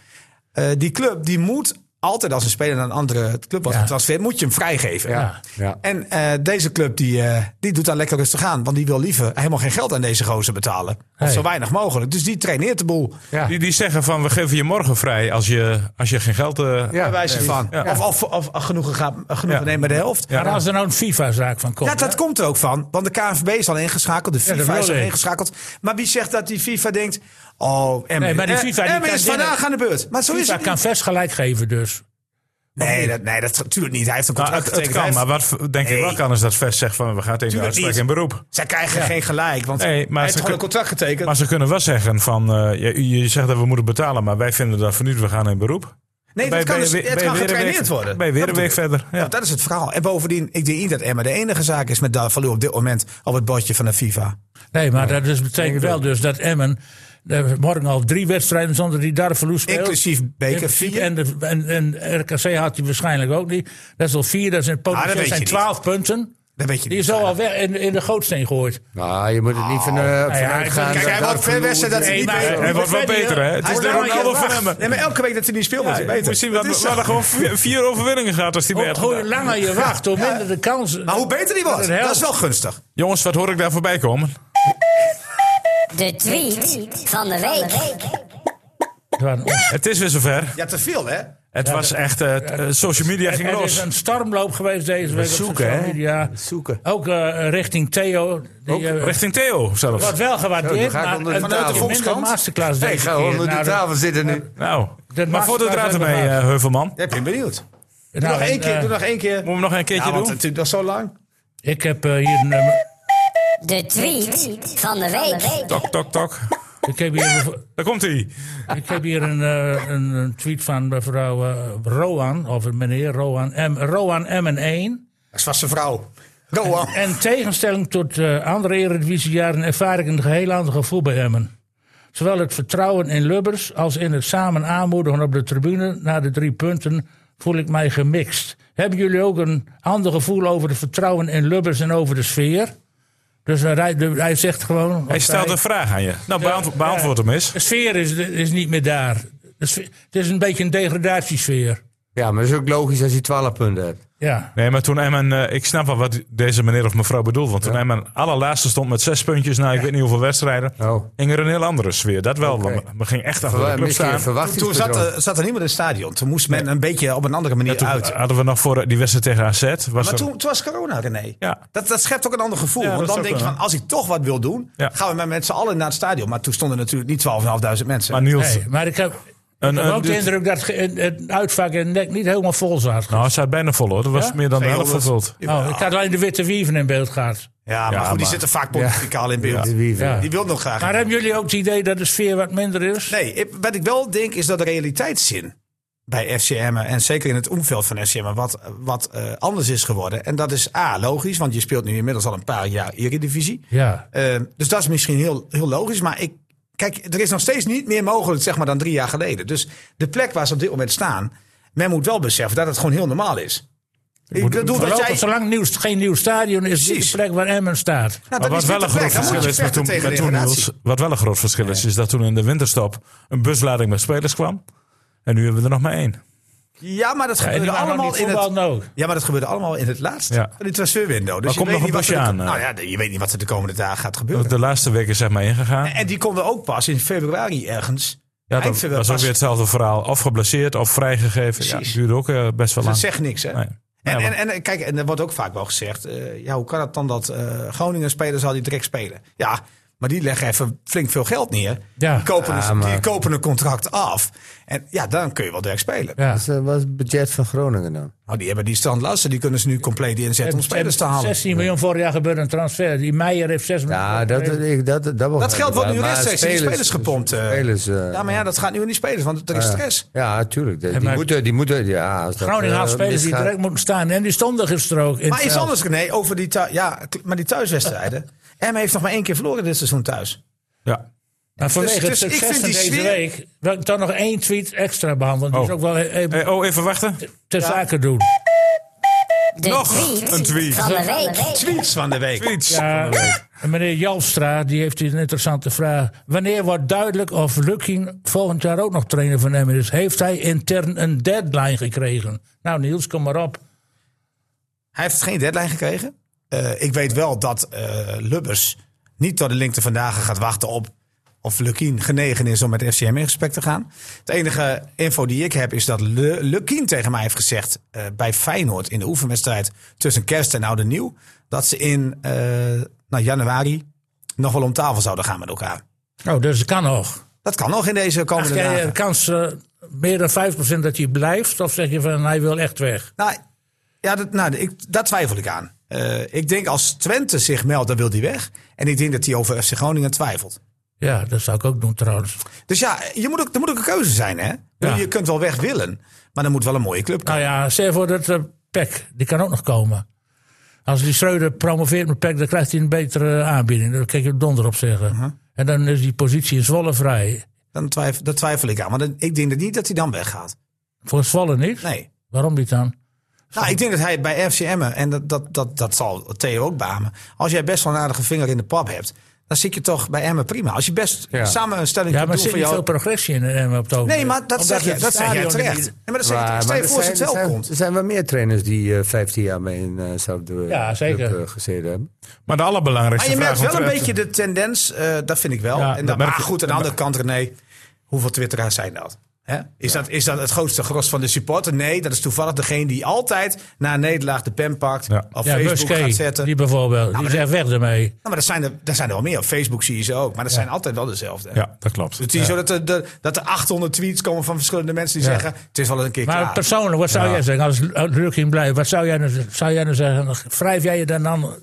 [SPEAKER 6] Eh, die club die moet altijd als een speler naar een andere club wordt
[SPEAKER 5] Ja.
[SPEAKER 6] getransfereerd, moet je hem vrijgeven.
[SPEAKER 5] Ja.
[SPEAKER 3] Ja.
[SPEAKER 6] En eh, deze club die, eh, die doet daar lekker rustig aan. Want die wil liever helemaal geen geld aan deze gozer betalen. Of
[SPEAKER 5] Nee.
[SPEAKER 6] zo weinig mogelijk. Dus die traineert de boel.
[SPEAKER 3] Ja.
[SPEAKER 2] Die, die zeggen van we geven je morgen vrij als je, als je geen geld... eh,
[SPEAKER 6] Bij wijze van.
[SPEAKER 2] Ja.
[SPEAKER 6] Of, of, of, genoegen, gaat, genoegen
[SPEAKER 2] Ja.
[SPEAKER 6] nemen met de helft. Ja.
[SPEAKER 5] Maar als er nou een FIFA-zaak van komt.
[SPEAKER 6] dat
[SPEAKER 5] hè?
[SPEAKER 6] komt er ook van. Want de KNVB is al ingeschakeld. De
[SPEAKER 5] dat
[SPEAKER 6] FIFA is al
[SPEAKER 5] wilde ik.
[SPEAKER 6] ingeschakeld. Maar wie zegt dat die FIFA denkt... Oh, Emmen
[SPEAKER 5] Nee, maar die
[SPEAKER 6] eh,
[SPEAKER 5] FIFA die
[SPEAKER 6] Emmen
[SPEAKER 5] kan
[SPEAKER 6] is
[SPEAKER 5] dingen-
[SPEAKER 6] vandaag aan de beurt. Maar zo is
[SPEAKER 5] FIFA
[SPEAKER 6] het niet.
[SPEAKER 5] kan vers gelijk geven dus.
[SPEAKER 6] Nee, dat, nee, dat natuurlijk niet. Hij heeft een
[SPEAKER 2] Nou,
[SPEAKER 6] contract
[SPEAKER 2] het, het
[SPEAKER 6] getekend.
[SPEAKER 2] kan,
[SPEAKER 6] Hij
[SPEAKER 2] maar
[SPEAKER 6] heeft-
[SPEAKER 2] wat denk ik wel
[SPEAKER 6] Nee.
[SPEAKER 2] kan is dat Vest zegt van we gaan tegen de
[SPEAKER 6] Tuurlijk
[SPEAKER 2] uitspraak
[SPEAKER 6] niet.
[SPEAKER 2] in beroep.
[SPEAKER 6] Zij krijgen geen gelijk. Want
[SPEAKER 2] Nee, maar
[SPEAKER 6] hij heeft
[SPEAKER 2] ze
[SPEAKER 6] gewoon
[SPEAKER 2] kun-
[SPEAKER 6] een contract getekend.
[SPEAKER 2] Maar ze kunnen wel zeggen van eh, je, je zegt dat we moeten betalen, maar wij vinden dat voor nu we gaan in beroep.
[SPEAKER 6] nee,
[SPEAKER 2] Bij-
[SPEAKER 6] dat kan,
[SPEAKER 2] bij-
[SPEAKER 6] dus,
[SPEAKER 2] bij-
[SPEAKER 6] het
[SPEAKER 2] bij
[SPEAKER 6] kan
[SPEAKER 2] weer een
[SPEAKER 6] getraineerd
[SPEAKER 2] week-
[SPEAKER 6] worden.
[SPEAKER 2] Bij weer een week verder.
[SPEAKER 6] Ja.
[SPEAKER 2] Ja.
[SPEAKER 6] dat is het verhaal. En bovendien, ik denk niet dat Emma de enige zaak is met Davalu op dit moment op het bordje van de FIFA.
[SPEAKER 5] Nee, maar dat dus betekent wel dus dat Emmen eh, morgen al drie wedstrijden zonder die Darvalu speelt.
[SPEAKER 6] Inclusief beker
[SPEAKER 5] Inclusief
[SPEAKER 6] 4.
[SPEAKER 5] En, de, en, en RKC had hij waarschijnlijk ook niet. Dat is al vier, dat zijn
[SPEAKER 6] Ah, dat
[SPEAKER 5] potentieel
[SPEAKER 6] weet je
[SPEAKER 5] zijn
[SPEAKER 6] niet.
[SPEAKER 5] twaalf punten.
[SPEAKER 6] Dat weet je
[SPEAKER 5] Die
[SPEAKER 6] niet.
[SPEAKER 5] is al al weg in, in de gootsteen gegooid.
[SPEAKER 3] Nou, je moet het niet van, eh vanuit
[SPEAKER 5] ik-
[SPEAKER 3] gaan. dat
[SPEAKER 5] kijk,
[SPEAKER 6] Oh. hij wordt
[SPEAKER 3] daar
[SPEAKER 6] per wedstrijd dat hij
[SPEAKER 3] verloren
[SPEAKER 6] niet
[SPEAKER 5] maar-
[SPEAKER 6] beter
[SPEAKER 2] Hij wordt wel
[SPEAKER 5] Verder,
[SPEAKER 2] beter, hè? Het
[SPEAKER 6] Hij
[SPEAKER 2] is
[SPEAKER 6] is
[SPEAKER 2] de
[SPEAKER 6] wel
[SPEAKER 2] Ronaldo
[SPEAKER 6] een keer
[SPEAKER 2] van
[SPEAKER 6] laag.
[SPEAKER 2] Emmen.
[SPEAKER 6] Nee, maar elke week dat hij niet speelt, wordt hij
[SPEAKER 2] We
[SPEAKER 6] beter.
[SPEAKER 2] zien
[SPEAKER 6] Dat
[SPEAKER 2] wat,
[SPEAKER 6] is
[SPEAKER 2] wat
[SPEAKER 6] zo.
[SPEAKER 2] er gewoon vier, vier overwinningen gaat als die
[SPEAKER 5] Hoe,
[SPEAKER 2] werd.
[SPEAKER 5] hoe Oh, langer je wacht, hoe minder de kans.
[SPEAKER 6] Maar hoe beter die wordt,
[SPEAKER 5] helpt.
[SPEAKER 6] dat is wel gunstig.
[SPEAKER 2] Jongens, wat hoor ik daar voorbij komen?
[SPEAKER 12] De tweet van de week.
[SPEAKER 5] Het waren ons-
[SPEAKER 2] Het is weer zover.
[SPEAKER 6] Ja, te veel, hè?
[SPEAKER 2] Het was echt... eh, t- eh, social media ging
[SPEAKER 5] Het is
[SPEAKER 2] los.
[SPEAKER 5] een stormloop geweest deze week op
[SPEAKER 3] zoeken,
[SPEAKER 5] social
[SPEAKER 3] hè?
[SPEAKER 5] media.
[SPEAKER 3] Zoeken.
[SPEAKER 5] Ook eh, richting Theo. Die, eh,
[SPEAKER 2] Richting Theo zelfs.
[SPEAKER 5] wordt wel
[SPEAKER 3] Zo, dan
[SPEAKER 5] gewaardeerd,
[SPEAKER 3] ga ik
[SPEAKER 5] maar
[SPEAKER 3] onder de
[SPEAKER 5] een
[SPEAKER 3] tafel.
[SPEAKER 5] minder
[SPEAKER 3] Volkskrant.
[SPEAKER 5] masterclass
[SPEAKER 3] Nee,
[SPEAKER 5] deze
[SPEAKER 3] ik ga
[SPEAKER 5] keer.
[SPEAKER 3] onder
[SPEAKER 5] Nou,
[SPEAKER 3] de
[SPEAKER 5] dat-
[SPEAKER 3] tafel zitten nu.
[SPEAKER 2] Nou, maar voor de
[SPEAKER 5] masterclass
[SPEAKER 2] draad
[SPEAKER 5] hebben
[SPEAKER 2] erbij,
[SPEAKER 5] we
[SPEAKER 2] eh, Heuvelman.
[SPEAKER 6] Ik ben benieuwd. Doe
[SPEAKER 5] Nou,
[SPEAKER 6] nog
[SPEAKER 5] en,
[SPEAKER 6] één keer,
[SPEAKER 5] eh,
[SPEAKER 6] doe nog één keer.
[SPEAKER 2] Moet hem nog een keertje
[SPEAKER 6] Ja, want
[SPEAKER 2] doen?
[SPEAKER 6] het duurt nog zo lang.
[SPEAKER 5] Ik heb eh, hier een nummer.
[SPEAKER 12] De tweet van de week.
[SPEAKER 2] Tok, tok, tok.
[SPEAKER 5] Ik heb hier,
[SPEAKER 2] Daar komt hij.
[SPEAKER 5] ik heb hier een, eh, een, een tweet van mevrouw eh, Roan, of meneer Roan M. Roan M1.
[SPEAKER 6] Dat is vast zijn vrouw.
[SPEAKER 2] (laughs)
[SPEAKER 6] Roan.
[SPEAKER 5] En tegenstelling tot eh, andere eredivisiejaren ervaar ik een geheel ander gevoel bij Emmen. Zowel het vertrouwen in Lubbers als in het samen aanmoedigen op de tribune na de drie punten voel ik mij gemixt. Hebben jullie ook een ander gevoel over het vertrouwen in Lubbers en over de sfeer? Dus hij, rijdt- hij zegt gewoon...
[SPEAKER 2] Hij stelt een vraag aan je. Nou, beantwo- beantwoord hem eens.
[SPEAKER 5] De sfeer is, is niet meer daar. De sfeer- het is een beetje een degradatiesfeer.
[SPEAKER 3] Ja, maar dat is ook logisch als je 12 punten hebt.
[SPEAKER 5] Ja.
[SPEAKER 2] Nee, maar toen Emmen, eh, ik snap wel wat deze meneer of mevrouw bedoelt. Want toen Emmen allerlaatste stond met zes puntjes na ik weet niet hoeveel wedstrijden.
[SPEAKER 6] Oh.
[SPEAKER 2] Ging er een heel andere sfeer. Dat wel. want We, we gingen echt achter de club staan.
[SPEAKER 6] Toen, toen zat, eh, er- zat er niemand in het stadion. Toen moest men een beetje op een andere manier
[SPEAKER 2] Toen eh,
[SPEAKER 6] uit.
[SPEAKER 2] hadden we nog voor die wedstrijd tegen AZ. Was
[SPEAKER 6] maar
[SPEAKER 2] er-
[SPEAKER 6] toen, toen was corona, René.
[SPEAKER 2] Ja.
[SPEAKER 6] Dat, dat schept ook een ander gevoel.
[SPEAKER 2] Ja,
[SPEAKER 6] want
[SPEAKER 2] dat
[SPEAKER 6] dan
[SPEAKER 2] is ook
[SPEAKER 6] denk je
[SPEAKER 2] wel.
[SPEAKER 6] van, als ik toch wat wil doen...
[SPEAKER 2] Ja.
[SPEAKER 6] gaan we maar met z'n allen naar het stadion. Maar toen stonden natuurlijk niet 12.500 mensen.
[SPEAKER 2] Maar Niels,
[SPEAKER 5] Nee, maar ik heb, ik
[SPEAKER 2] Een-
[SPEAKER 5] heb
[SPEAKER 2] een-
[SPEAKER 5] ook de
[SPEAKER 2] dit-
[SPEAKER 5] indruk dat ge- het- het uitvak in nek niet helemaal vol zat.
[SPEAKER 2] nou, het staat bijna vol hoor. Dat was
[SPEAKER 5] Ja?
[SPEAKER 2] meer dan de helft
[SPEAKER 6] 200.
[SPEAKER 2] vervuld.
[SPEAKER 5] Oh, ik had alleen de witte wieven in beeld gehad.
[SPEAKER 6] Ja, maar
[SPEAKER 2] Ja,
[SPEAKER 6] goed, die
[SPEAKER 2] maar-
[SPEAKER 6] zitten vaak pontificaal in beeld.
[SPEAKER 5] Ja.
[SPEAKER 6] Die wil nog graag.
[SPEAKER 5] Maar hebben jullie ook het idee dat de sfeer wat minder is?
[SPEAKER 6] Nee, ik- wat ik wel denk is dat de realiteitszin bij FCM en zeker in het omveld van FCM wat, wat eh, anders is geworden. En dat is A, logisch, want je speelt nu inmiddels al een paar jaar Eredivisie.
[SPEAKER 5] Ja.
[SPEAKER 6] Eh, dus dat is misschien heel, heel logisch, maar ik, kijk, er is nog steeds niet meer mogelijk zeg maar, dan drie jaar geleden. Dus de plek waar ze op dit moment staan, men moet wel beseffen dat het gewoon heel normaal is. Ik bedoel dat
[SPEAKER 5] Voorlopig,
[SPEAKER 6] jij...
[SPEAKER 5] Zolang het nieuw, geen nieuw stadion is, dit
[SPEAKER 6] Precies.
[SPEAKER 5] de plek waar Emmen staat.
[SPEAKER 6] Nou,
[SPEAKER 2] Maar
[SPEAKER 6] dat
[SPEAKER 2] wat
[SPEAKER 6] is niet
[SPEAKER 2] wel een
[SPEAKER 6] de plek,
[SPEAKER 2] groot
[SPEAKER 6] dan moet je
[SPEAKER 2] verschil is met
[SPEAKER 6] vechten
[SPEAKER 2] toen,
[SPEAKER 6] tegen
[SPEAKER 2] met toen
[SPEAKER 6] degradatie.
[SPEAKER 2] Niels, wat wel een groot verschil is, is dat toen in de winterstop een buslading met spelers kwam. En nu hebben we er nog maar één.
[SPEAKER 6] Ja, maar dat
[SPEAKER 5] En
[SPEAKER 6] gebeurde
[SPEAKER 5] die waren
[SPEAKER 6] allemaal
[SPEAKER 5] niet
[SPEAKER 6] in het...
[SPEAKER 5] voetbal ook.
[SPEAKER 6] Ja, maar dat gebeurde allemaal in het laatst.
[SPEAKER 2] Ja.
[SPEAKER 6] Van die transferwindow. Dus
[SPEAKER 2] Maar
[SPEAKER 6] je
[SPEAKER 2] komt
[SPEAKER 6] weet
[SPEAKER 2] nog een
[SPEAKER 6] niet wat
[SPEAKER 2] busje
[SPEAKER 6] er de-
[SPEAKER 2] aan, eh.
[SPEAKER 6] Nou ja, je weet niet wat er de komende dagen gaat gebeuren.
[SPEAKER 2] De laatste week is zeg maar ingegaan.
[SPEAKER 6] En die konden ook pas in februari ergens.
[SPEAKER 2] Ja,
[SPEAKER 6] eind
[SPEAKER 2] dat
[SPEAKER 6] februari
[SPEAKER 2] was ook
[SPEAKER 6] pas.
[SPEAKER 2] weer hetzelfde verhaal. Of geblesseerd of vrijgegeven. Ja,
[SPEAKER 6] Precies.
[SPEAKER 2] het duurde ook eh, best wel
[SPEAKER 6] Dat
[SPEAKER 2] lang.
[SPEAKER 6] zegt niks, hè?
[SPEAKER 2] Nee.
[SPEAKER 6] En,
[SPEAKER 2] Ja,
[SPEAKER 6] en,
[SPEAKER 2] maar-
[SPEAKER 6] en eh, kijk, en er wordt ook vaak wel gezegd: eh, ja, hoe kan het dan dat eh, Groningen spelers al die direct spelen? Ja, maar die leggen even flink veel geld neer.
[SPEAKER 5] Ja.
[SPEAKER 6] Die, kopen
[SPEAKER 3] Ja,
[SPEAKER 6] een, die
[SPEAKER 3] maar-
[SPEAKER 6] kopen een contract af. En ja, dan kun je wel direct spelen.
[SPEAKER 5] Ja.
[SPEAKER 3] Wat was het budget van Groningen dan?
[SPEAKER 6] Nou, die hebben die strandlasten, die kunnen ze nu compleet inzetten om spelers te halen.
[SPEAKER 5] 16 miljoen vorig jaar gebeurde een transfer. Die Meijer heeft 6 miljoen.
[SPEAKER 3] Ja, dat,
[SPEAKER 5] gekregen.
[SPEAKER 3] ik, dat, dat, begrijp
[SPEAKER 6] Dat geld
[SPEAKER 3] ik
[SPEAKER 6] wordt
[SPEAKER 3] wel,
[SPEAKER 6] nu
[SPEAKER 3] maar
[SPEAKER 6] rechtstreeks in die spelers gepompt. eh.
[SPEAKER 3] Spelers, eh,
[SPEAKER 6] Ja, maar ja, dat gaat nu in die spelers, want er is
[SPEAKER 3] ja.
[SPEAKER 6] stress.
[SPEAKER 3] Ja, tuurlijk. Die,
[SPEAKER 5] En
[SPEAKER 3] die
[SPEAKER 5] maar-
[SPEAKER 3] moeten, die moeten, ja. als dat,
[SPEAKER 5] Groningen had
[SPEAKER 3] eh,
[SPEAKER 5] spelers die
[SPEAKER 3] misgaat-
[SPEAKER 5] direct moeten staan. En die stonden gisteren ook. In
[SPEAKER 6] Maar
[SPEAKER 5] het
[SPEAKER 6] iets
[SPEAKER 5] veld.
[SPEAKER 6] anders, René, over die, thu- ja, kl- maar die thuiswedstrijden. Emma heeft nog maar één keer verloren dit seizoen thuis.
[SPEAKER 2] ja.
[SPEAKER 5] Maar vanwege
[SPEAKER 6] Dus- dus
[SPEAKER 5] het
[SPEAKER 6] ik
[SPEAKER 5] succes
[SPEAKER 6] vind
[SPEAKER 5] van
[SPEAKER 6] die
[SPEAKER 5] deze
[SPEAKER 6] sfeer-
[SPEAKER 5] week wil ik toch nog één tweet extra behandelen. Die
[SPEAKER 2] Oh.
[SPEAKER 5] is ook wel eh, eh,
[SPEAKER 2] Eh, oh, even wachten.
[SPEAKER 5] ter zake doen.
[SPEAKER 12] De
[SPEAKER 2] Nog
[SPEAKER 12] tweet,
[SPEAKER 2] een tweet.
[SPEAKER 12] van de week.
[SPEAKER 6] Tweets van de week.
[SPEAKER 2] Iets.
[SPEAKER 5] Ja, Eh, en meneer Jalstra die heeft hier een interessante vraag. Wanneer wordt duidelijk of Lukking volgend jaar ook nog trainer van Emmen is? Heeft hij intern een deadline gekregen? Nou Niels, kom maar op.
[SPEAKER 6] Hij heeft geen deadline gekregen. Eh, ik weet wel dat eh, Lubbers niet tot de linkte vandaag gaat wachten op of Lukien genegen is om met FCM in gesprek te gaan. Het enige info die ik heb is dat Le- Lukien tegen mij heeft gezegd eh, bij Feyenoord in de oefenwedstrijd tussen kerst en oud en nieuw dat ze in eh, nou, januari nog wel om tafel zouden gaan met elkaar.
[SPEAKER 5] Oh, dus het kan nog.
[SPEAKER 6] Dat kan nog in deze
[SPEAKER 5] Acht
[SPEAKER 6] komende
[SPEAKER 5] jij
[SPEAKER 6] dagen.
[SPEAKER 5] een kans eh, meer dan 5% dat hij blijft? Of zeg je van hij wil echt weg?
[SPEAKER 6] Nou, ja, dat, nou, ik, daar twijfel ik aan. Eh, ik denk als Twente zich meldt, dan wil hij weg. En ik denk dat hij over FC Groningen twijfelt.
[SPEAKER 5] Ja, dat zou ik ook doen trouwens.
[SPEAKER 6] Dus ja, je moet ook, er moet ook een keuze zijn, hè? Ik bedoel, Je kunt wel weg willen, maar dan moet wel een mooie club komen.
[SPEAKER 5] Nou ja, stel voor dat eh, Peck, die kan ook nog komen. Als die Schreuder promoveert met Peck, dan krijgt hij een betere aanbieding. Dan kan je er donder op zeggen. En dan is die positie in Zwolle vrij.
[SPEAKER 6] Dan twijfel, daar twijfel ik aan. Want dan- ik denk dat niet dat hij dan weggaat.
[SPEAKER 5] Voor Zwolle niet?
[SPEAKER 6] Nee.
[SPEAKER 5] Waarom niet dan?
[SPEAKER 6] Nou, ik denk dat hij bij FCM, en dat, dat, dat, dat zal Theo ook beamen. Als jij best wel een aardige vinger in de pap hebt, dan zit je toch bij Emmen prima. Als je best samen een stelling
[SPEAKER 5] Ja,
[SPEAKER 6] kunt
[SPEAKER 5] maar er
[SPEAKER 6] doen
[SPEAKER 5] zit
[SPEAKER 6] voor
[SPEAKER 5] niet
[SPEAKER 6] jou.
[SPEAKER 5] veel progressie in eh, op het ogenblik.
[SPEAKER 6] Nee, maar dat
[SPEAKER 5] Omdat
[SPEAKER 6] zeg, je,
[SPEAKER 5] het
[SPEAKER 6] dat zeg jij
[SPEAKER 5] stadion
[SPEAKER 6] terecht.
[SPEAKER 5] niet-
[SPEAKER 6] Nee, maar dat zeg je,
[SPEAKER 3] Maar-
[SPEAKER 6] stel
[SPEAKER 3] maar
[SPEAKER 6] je
[SPEAKER 3] er
[SPEAKER 6] voor als
[SPEAKER 3] zijn-
[SPEAKER 6] het wel
[SPEAKER 3] er zijn-
[SPEAKER 6] komt.
[SPEAKER 3] Er zijn wel meer trainers die eh, 15 jaar bij een uh,
[SPEAKER 5] Ja, zeker.
[SPEAKER 3] eh, gezeten hebben.
[SPEAKER 2] Maar de allerbelangrijkste
[SPEAKER 6] Maar Ah, je merkt
[SPEAKER 2] vraag...
[SPEAKER 6] wel
[SPEAKER 2] om
[SPEAKER 6] een
[SPEAKER 2] Twente-
[SPEAKER 6] beetje de tendens, eh, dat vind ik wel.
[SPEAKER 2] Ja,
[SPEAKER 6] en
[SPEAKER 2] dat
[SPEAKER 6] dat,
[SPEAKER 2] merk
[SPEAKER 6] maar
[SPEAKER 2] je.
[SPEAKER 6] goed, aan de andere kant, René, hoeveel twitteraars zijn dat? Hè? Is, dat is dat het grootste gros van de supporter? Nee, dat is toevallig degene die altijd na een nederlaag de pen pakt.
[SPEAKER 2] Ja.
[SPEAKER 6] Of
[SPEAKER 5] Ja,
[SPEAKER 6] Facebook
[SPEAKER 5] Buske,
[SPEAKER 6] gaat zetten.
[SPEAKER 5] die bijvoorbeeld. die zegt weg ermee.
[SPEAKER 6] Nou, maar dat zijn er, dat zijn er wel meer. Op Facebook zie je ze ook. Maar dat zijn altijd wel dezelfde. hè?
[SPEAKER 2] Ja, dat klopt.
[SPEAKER 6] Dus het is zo dat er, de, dat er 800 tweets komen van verschillende mensen die
[SPEAKER 5] Ja.
[SPEAKER 6] zeggen... het is wel eens een keer
[SPEAKER 5] Maar
[SPEAKER 6] klaar.
[SPEAKER 5] persoonlijk, wat zou jij zeggen? Als Lurking blijft, wat zou jij, nou- zou jij nou zeggen? Wrijf jij je dan dan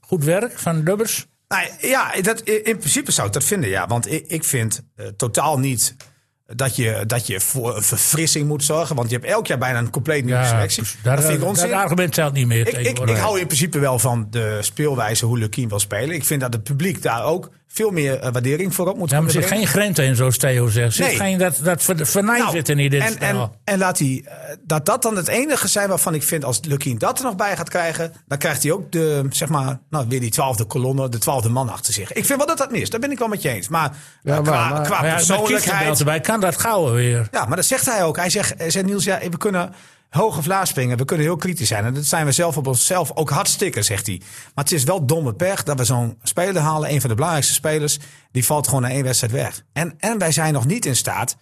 [SPEAKER 5] goed werk van Lubbers?
[SPEAKER 6] Nou, ja, dat, in principe zou ik dat vinden, ja. Want ik, ik vind eh, totaal niet dat je, dat je voor een verfrissing moet zorgen. Want je hebt elk jaar bijna een compleet nieuwe selectie.
[SPEAKER 5] daar,
[SPEAKER 6] dat vind ik
[SPEAKER 5] dat
[SPEAKER 6] onzin.
[SPEAKER 5] argument telt niet meer.
[SPEAKER 6] ik, ik, ik
[SPEAKER 5] tegenwoordig.
[SPEAKER 6] hou in principe wel van de speelwijze hoe Lukien wil spelen. Ik vind dat het publiek daar ook veel meer eh, waardering voor op moet
[SPEAKER 5] Ja, maar er zit
[SPEAKER 6] kunnen
[SPEAKER 5] geen grens in, zoals Theo zegt. Er zit
[SPEAKER 6] Nee.
[SPEAKER 5] geen, dat, dat ver- venijn
[SPEAKER 6] Nou,
[SPEAKER 5] zit er niet in dit
[SPEAKER 6] en,
[SPEAKER 5] spel.
[SPEAKER 6] en, en laat hij eh, dat dat dan het enige zijn waarvan ik vind als Lukien dat er nog bij gaat krijgen, dan krijgt hij ook de, zeg maar, nou, weer die twaalfde kolonne, de twaalfde man achter zich. Ik vind wel dat dat mis, daar ben ik wel met je eens. Maar, eh,
[SPEAKER 3] maar-
[SPEAKER 6] qua,
[SPEAKER 3] maar-
[SPEAKER 6] qua
[SPEAKER 5] Maar ja, met Kietenbelt
[SPEAKER 6] persoonlijkheid.
[SPEAKER 5] erbij kan dat gauw weer.
[SPEAKER 6] Ja, maar dat zegt hij ook. Hij zegt, eh, zegt Niels, ja, we kunnen hoge Vlaaspingen, we kunnen heel kritisch zijn. En dat zijn we zelf op onszelf ook hartstikke, zegt hij. Maar het is wel domme pech dat we zo'n speler halen, een van de belangrijkste spelers, die valt gewoon na één wedstrijd weg. En, en wij zijn nog niet in staat,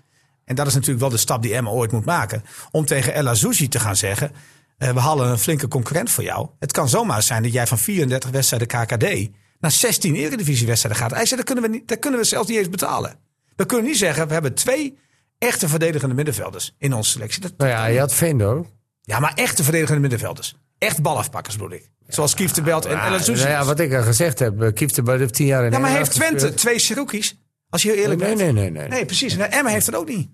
[SPEAKER 6] en dat is natuurlijk wel de stap die Emma ooit moet maken, om tegen El Azouzi te gaan zeggen, eh, we halen een flinke concurrent voor jou. Het kan zomaar zijn dat jij van 34 wedstrijden KKD naar 16 eredivisiewedstrijden gaat. Hij zei, dat kunnen we, niet, dat kunnen we zelfs niet eens betalen. We kunnen niet zeggen, we hebben twee echte verdedigende middenvelders in onze selectie. Dat,
[SPEAKER 3] Nou ja, je had Veendorp.
[SPEAKER 6] ja, maar echte verdedigende middenvelders. Echt balafpakkers bedoel ik. Zoals Kief de Belt en
[SPEAKER 3] Ah,
[SPEAKER 6] El
[SPEAKER 3] nou
[SPEAKER 6] Azouzi.
[SPEAKER 3] ja, wat ik al gezegd heb, eh, Kieft erbij heeft tien jaar in
[SPEAKER 6] Ja, maar
[SPEAKER 3] Nederland
[SPEAKER 6] heeft Twente
[SPEAKER 3] gespeeld.
[SPEAKER 6] twee Cherokees? Als je heel eerlijk
[SPEAKER 3] Nee,
[SPEAKER 6] bent.
[SPEAKER 3] nee, nee, nee, nee.
[SPEAKER 6] Nee, precies. En Emma heeft het ook niet.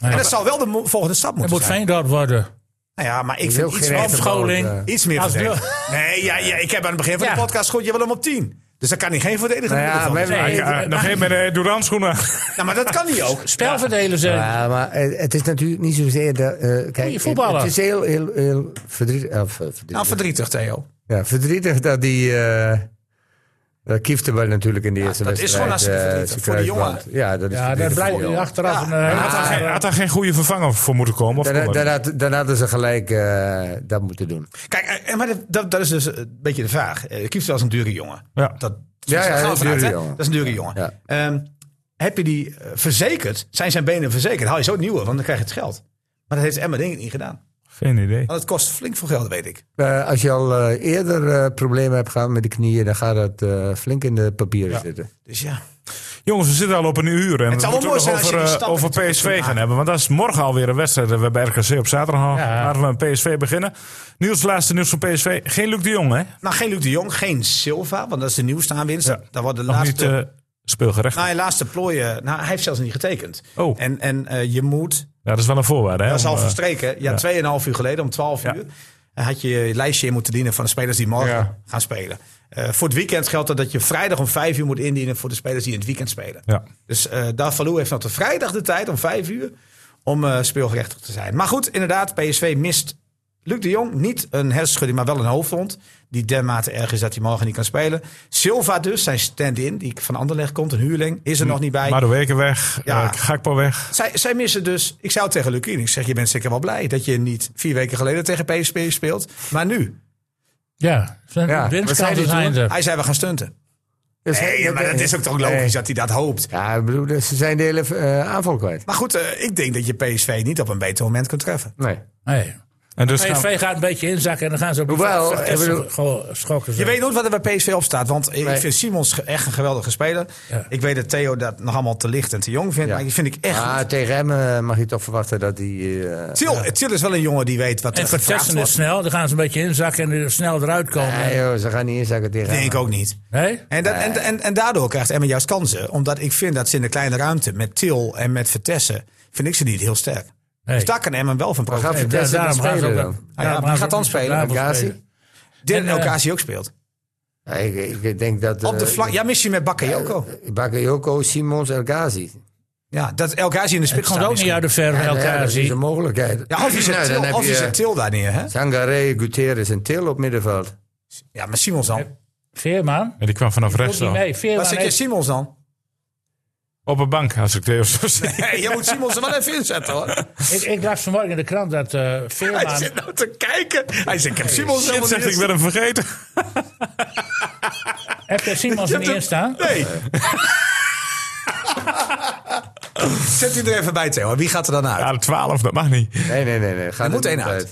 [SPEAKER 6] En dat zou wel de mo- volgende stap
[SPEAKER 5] Het
[SPEAKER 6] moeten
[SPEAKER 5] moet
[SPEAKER 6] zijn.
[SPEAKER 5] Veendorp worden.
[SPEAKER 6] Nou ja, maar ik
[SPEAKER 3] Ik wil
[SPEAKER 6] vind
[SPEAKER 3] geen
[SPEAKER 6] iets meer,
[SPEAKER 3] echte
[SPEAKER 5] Afscholing.
[SPEAKER 3] boot, eh.
[SPEAKER 6] iets meer
[SPEAKER 5] Als
[SPEAKER 6] verdedigen.
[SPEAKER 3] (laughs)
[SPEAKER 5] wil-
[SPEAKER 6] Nee, ja, ja, ik heb aan het begin van
[SPEAKER 5] Ja.
[SPEAKER 6] de podcast goed, je wil hem op 10. Dus dan kan hij geen verdediger
[SPEAKER 3] Nou ja,
[SPEAKER 6] middenvelder
[SPEAKER 3] maar-
[SPEAKER 6] zijn.
[SPEAKER 5] Nee,
[SPEAKER 2] Ja, nog
[SPEAKER 5] eh,
[SPEAKER 6] Ah.
[SPEAKER 5] maar-
[SPEAKER 2] geen met de
[SPEAKER 6] (laughs)
[SPEAKER 2] Duran-schoenen.
[SPEAKER 6] Nou, maar dat kan hij
[SPEAKER 3] (laughs)
[SPEAKER 6] ook.
[SPEAKER 5] Spelverdelers zijn.
[SPEAKER 3] Ja, maar eh, het is natuurlijk niet zozeer... dat, eh,
[SPEAKER 5] Goeie
[SPEAKER 3] kijk, het,
[SPEAKER 5] voetballer.
[SPEAKER 3] het is heel, heel, heel verdriet, eh, verdrietig,
[SPEAKER 6] Nou, verdrietig, Theo.
[SPEAKER 3] ja, verdrietig dat die... eh dat Kieft erbij natuurlijk in de eerste
[SPEAKER 6] dat is
[SPEAKER 3] wedstrijd.
[SPEAKER 6] gewoon hartstikke
[SPEAKER 3] eh,
[SPEAKER 6] verdrietig
[SPEAKER 3] zijn
[SPEAKER 6] voor de
[SPEAKER 3] kruisband. Ja, dat is
[SPEAKER 5] Ja, daar
[SPEAKER 3] verdrietig
[SPEAKER 5] blijft
[SPEAKER 3] voor de
[SPEAKER 5] nu
[SPEAKER 3] jongen.
[SPEAKER 5] achteraf
[SPEAKER 6] Ja.
[SPEAKER 5] een eh,
[SPEAKER 2] Had daar geen- had daar geen goede vervanger voor moeten komen? Of
[SPEAKER 3] Dan,
[SPEAKER 2] kon
[SPEAKER 3] dan,
[SPEAKER 2] dat?
[SPEAKER 3] had- dan hadden ze gelijk eh, dat moeten doen.
[SPEAKER 6] Kijk, eh, maar dat, dat, dat is dus een beetje de vraag. Eh, Kieft was een dure jongen.
[SPEAKER 2] Ja.
[SPEAKER 6] Dat,
[SPEAKER 3] Ja, ja,
[SPEAKER 6] daar gaan we
[SPEAKER 3] dat is
[SPEAKER 6] vanuit,
[SPEAKER 3] dure
[SPEAKER 6] hè?
[SPEAKER 3] jongen.
[SPEAKER 6] Dat is een dure jongen.
[SPEAKER 3] Ja.
[SPEAKER 6] Ehm, heb je die eh, verzekerd? Zijn zijn benen verzekerd? Haal je zo het nieuwe, want dan krijg je het geld. Maar dat heeft Emma denk ik niet gedaan.
[SPEAKER 2] Geen idee.
[SPEAKER 6] Want het kost flink veel geld, weet ik.
[SPEAKER 3] Eh, als je al eh, eerder eh, problemen hebt gehad met de knieën, dan gaat dat eh, flink in de papieren zitten.
[SPEAKER 6] Dus ja.
[SPEAKER 2] Jongens, we zitten al op een uur. En
[SPEAKER 6] Het zou wel
[SPEAKER 2] we moeten
[SPEAKER 6] mooi
[SPEAKER 2] nog
[SPEAKER 6] zijn als je
[SPEAKER 2] over,
[SPEAKER 6] die
[SPEAKER 2] eh,
[SPEAKER 6] stappen
[SPEAKER 2] over
[SPEAKER 6] natuurlijk kunt
[SPEAKER 2] PSV gaan
[SPEAKER 6] maken.
[SPEAKER 2] hebben. Want dat is morgen alweer een wedstrijd. We hebben RKC op zaterdag.
[SPEAKER 5] Ja.
[SPEAKER 2] Laten we een PSV beginnen. Niels, laatste nieuws van PSV. Geen Luc de Jong, hè?
[SPEAKER 6] Nou, geen Luc de Jong, geen Silva, want dat is de nieuwste aanwinst.
[SPEAKER 2] Ja.
[SPEAKER 6] Daar wordt de
[SPEAKER 2] Nog
[SPEAKER 6] laatste...
[SPEAKER 2] niet eh, speelgerecht.
[SPEAKER 6] Nou, helaas de plooien. Nou, hij heeft zelfs niet getekend.
[SPEAKER 2] Oh.
[SPEAKER 6] En, en eh, je moet,
[SPEAKER 2] Ja, dat is wel een voorwaarde, hè?
[SPEAKER 6] dat is
[SPEAKER 2] om,
[SPEAKER 6] al
[SPEAKER 2] eh,
[SPEAKER 6] verstreken. Ja,
[SPEAKER 2] ja.
[SPEAKER 6] tweeënhalf uur geleden, om 12
[SPEAKER 2] Ja.
[SPEAKER 6] uur, eh, had je je lijstje in moeten dienen van de spelers die morgen
[SPEAKER 2] Ja.
[SPEAKER 6] gaan spelen. Eh, voor het weekend geldt dat, dat je vrijdag om 5 uur moet indienen voor de spelers die in het weekend spelen.
[SPEAKER 2] ja.
[SPEAKER 6] Dus eh Davaloe heeft nog de vrijdag de tijd om 5 uur om eh, speelgerechtig te zijn. Maar goed, inderdaad, PSV mist Luc de Jong. Niet een hersenschudding, maar wel een hoofdwond. Die dermate erg is dat hij morgen niet kan spelen. Silva dus, zijn stand-in, die van Anderlecht komt, een huurling, is
[SPEAKER 2] Hm.
[SPEAKER 6] er nog niet bij.
[SPEAKER 2] Madueke weg.
[SPEAKER 6] Ja.
[SPEAKER 2] Ja. Gakpo weg.
[SPEAKER 6] Zij, zij missen dus, ik zou tegen Lukien, ik zeg, je bent zeker wel blij dat je niet vier weken geleden tegen PSV speelt. Maar nu,
[SPEAKER 5] Ja, zijn
[SPEAKER 3] Ja, wat zei
[SPEAKER 5] winstkansen
[SPEAKER 3] die
[SPEAKER 5] zijn er.
[SPEAKER 6] hij zei, we gaan stunten.
[SPEAKER 3] Dus-
[SPEAKER 6] Nee, maar dat is ook toch logisch
[SPEAKER 3] Nee.
[SPEAKER 6] dat hij dat hoopt.
[SPEAKER 3] Ja, ik bedoel, dus ze zijn de hele eh, aanval kwijt.
[SPEAKER 6] Maar goed, eh, ik denk dat je PSV niet op een beter moment kunt treffen.
[SPEAKER 3] Nee.
[SPEAKER 5] Nee.
[SPEAKER 2] En dus gaan we-
[SPEAKER 5] PSV gaat een beetje inzakken en dan gaan ze op die
[SPEAKER 3] Hoewel,
[SPEAKER 5] vijf-
[SPEAKER 3] ik bedoel-
[SPEAKER 5] gewoon schokken.
[SPEAKER 6] Je
[SPEAKER 5] zo.
[SPEAKER 6] weet nooit wat er bij PSV op staat. Want ik
[SPEAKER 3] Nee.
[SPEAKER 6] vind Simons ge- echt een geweldige speler.
[SPEAKER 5] Ja.
[SPEAKER 6] Ik weet dat Theo dat nog allemaal te licht en te jong vindt.
[SPEAKER 3] Ja.
[SPEAKER 6] Maar die vind ik echt
[SPEAKER 3] Ah,
[SPEAKER 6] goed.
[SPEAKER 3] tegen hem eh, mag je toch verwachten dat hij... eh,
[SPEAKER 6] Til, Til is wel een jongen die weet wat
[SPEAKER 5] En
[SPEAKER 6] er gevraagd
[SPEAKER 5] vertessen het
[SPEAKER 6] wordt.
[SPEAKER 5] snel, dan gaan ze een beetje inzakken en er snel eruit komen.
[SPEAKER 3] nee, joh, ze gaan niet inzakken tegen
[SPEAKER 6] eh, Nee,
[SPEAKER 3] hem.
[SPEAKER 6] ik ook niet.
[SPEAKER 5] Nee?
[SPEAKER 6] En, dat, en, en, en daardoor krijgt Emma juist kansen. Omdat ik vind dat ze in de kleine ruimte met Til en met Vertessen... vind ik ze niet heel sterk.
[SPEAKER 5] Nee.
[SPEAKER 6] Dus daar kan Emma wel van
[SPEAKER 3] gaan
[SPEAKER 6] profiteren.
[SPEAKER 5] Nee,
[SPEAKER 3] Vitesse
[SPEAKER 5] daarom
[SPEAKER 3] dan
[SPEAKER 5] gaan ze
[SPEAKER 3] spelen
[SPEAKER 5] ook-
[SPEAKER 3] dan?
[SPEAKER 5] daarom
[SPEAKER 6] ja,
[SPEAKER 5] gaan
[SPEAKER 6] wie
[SPEAKER 5] ze
[SPEAKER 6] gaat dan
[SPEAKER 5] ook
[SPEAKER 6] spelen?
[SPEAKER 5] daarvoor
[SPEAKER 3] Gazi?
[SPEAKER 5] spelen.
[SPEAKER 6] Dit en
[SPEAKER 5] en, eh,
[SPEAKER 6] Okasi ook speelt.
[SPEAKER 3] Ja, ik, ik denk dat... eh,
[SPEAKER 6] Op de vlak, ja, misschien met Bakayoko.
[SPEAKER 3] Bakayoko, Simons, El Ghazi.
[SPEAKER 6] Ja, dat Elkazi in de
[SPEAKER 5] Het
[SPEAKER 6] spits
[SPEAKER 5] komt
[SPEAKER 6] staat
[SPEAKER 5] ook niet
[SPEAKER 6] misschien.
[SPEAKER 5] uit de verf,
[SPEAKER 3] Ja, nee,
[SPEAKER 5] elkaar
[SPEAKER 3] dat is
[SPEAKER 5] zien.
[SPEAKER 3] een mogelijkheid.
[SPEAKER 6] Ja, of je zet
[SPEAKER 3] Nou, dan
[SPEAKER 6] Til-
[SPEAKER 3] heb
[SPEAKER 6] of je
[SPEAKER 3] je,
[SPEAKER 6] zet Til daar neer, hè?
[SPEAKER 3] Sangaré, Gutierrez en Til op middenveld.
[SPEAKER 6] Ja, maar Simons dan?
[SPEAKER 5] Veerman?
[SPEAKER 2] Ja, die kwam vanaf
[SPEAKER 5] Komt
[SPEAKER 2] rechts
[SPEAKER 5] niet
[SPEAKER 2] al.
[SPEAKER 5] mee.
[SPEAKER 6] Wat
[SPEAKER 5] Veerman
[SPEAKER 6] zet je
[SPEAKER 5] heeft-
[SPEAKER 6] Simons dan?
[SPEAKER 2] Op een bank, als ik (laughs) Theo zo zie.
[SPEAKER 6] Hey, je moet Simons er wel even inzetten, hoor.
[SPEAKER 5] ik, ik las vanmorgen in de krant dat eh
[SPEAKER 6] Hij
[SPEAKER 5] Veerman...
[SPEAKER 6] zit nou te kijken. Hij zegt, ik heb Simons
[SPEAKER 2] Shit,
[SPEAKER 6] helemaal
[SPEAKER 2] zegt
[SPEAKER 6] niet
[SPEAKER 2] ik ben hem vergeten.
[SPEAKER 5] Heb je Simons er niet in staan?
[SPEAKER 6] Nee. Zet u er even bij, Theo. Wie gaat er dan uit?
[SPEAKER 2] Ja, de 12, dat mag niet.
[SPEAKER 3] Nee, nee, nee. nee. Gaat
[SPEAKER 6] er moet
[SPEAKER 3] het
[SPEAKER 6] één
[SPEAKER 3] niet
[SPEAKER 6] uit. Eh,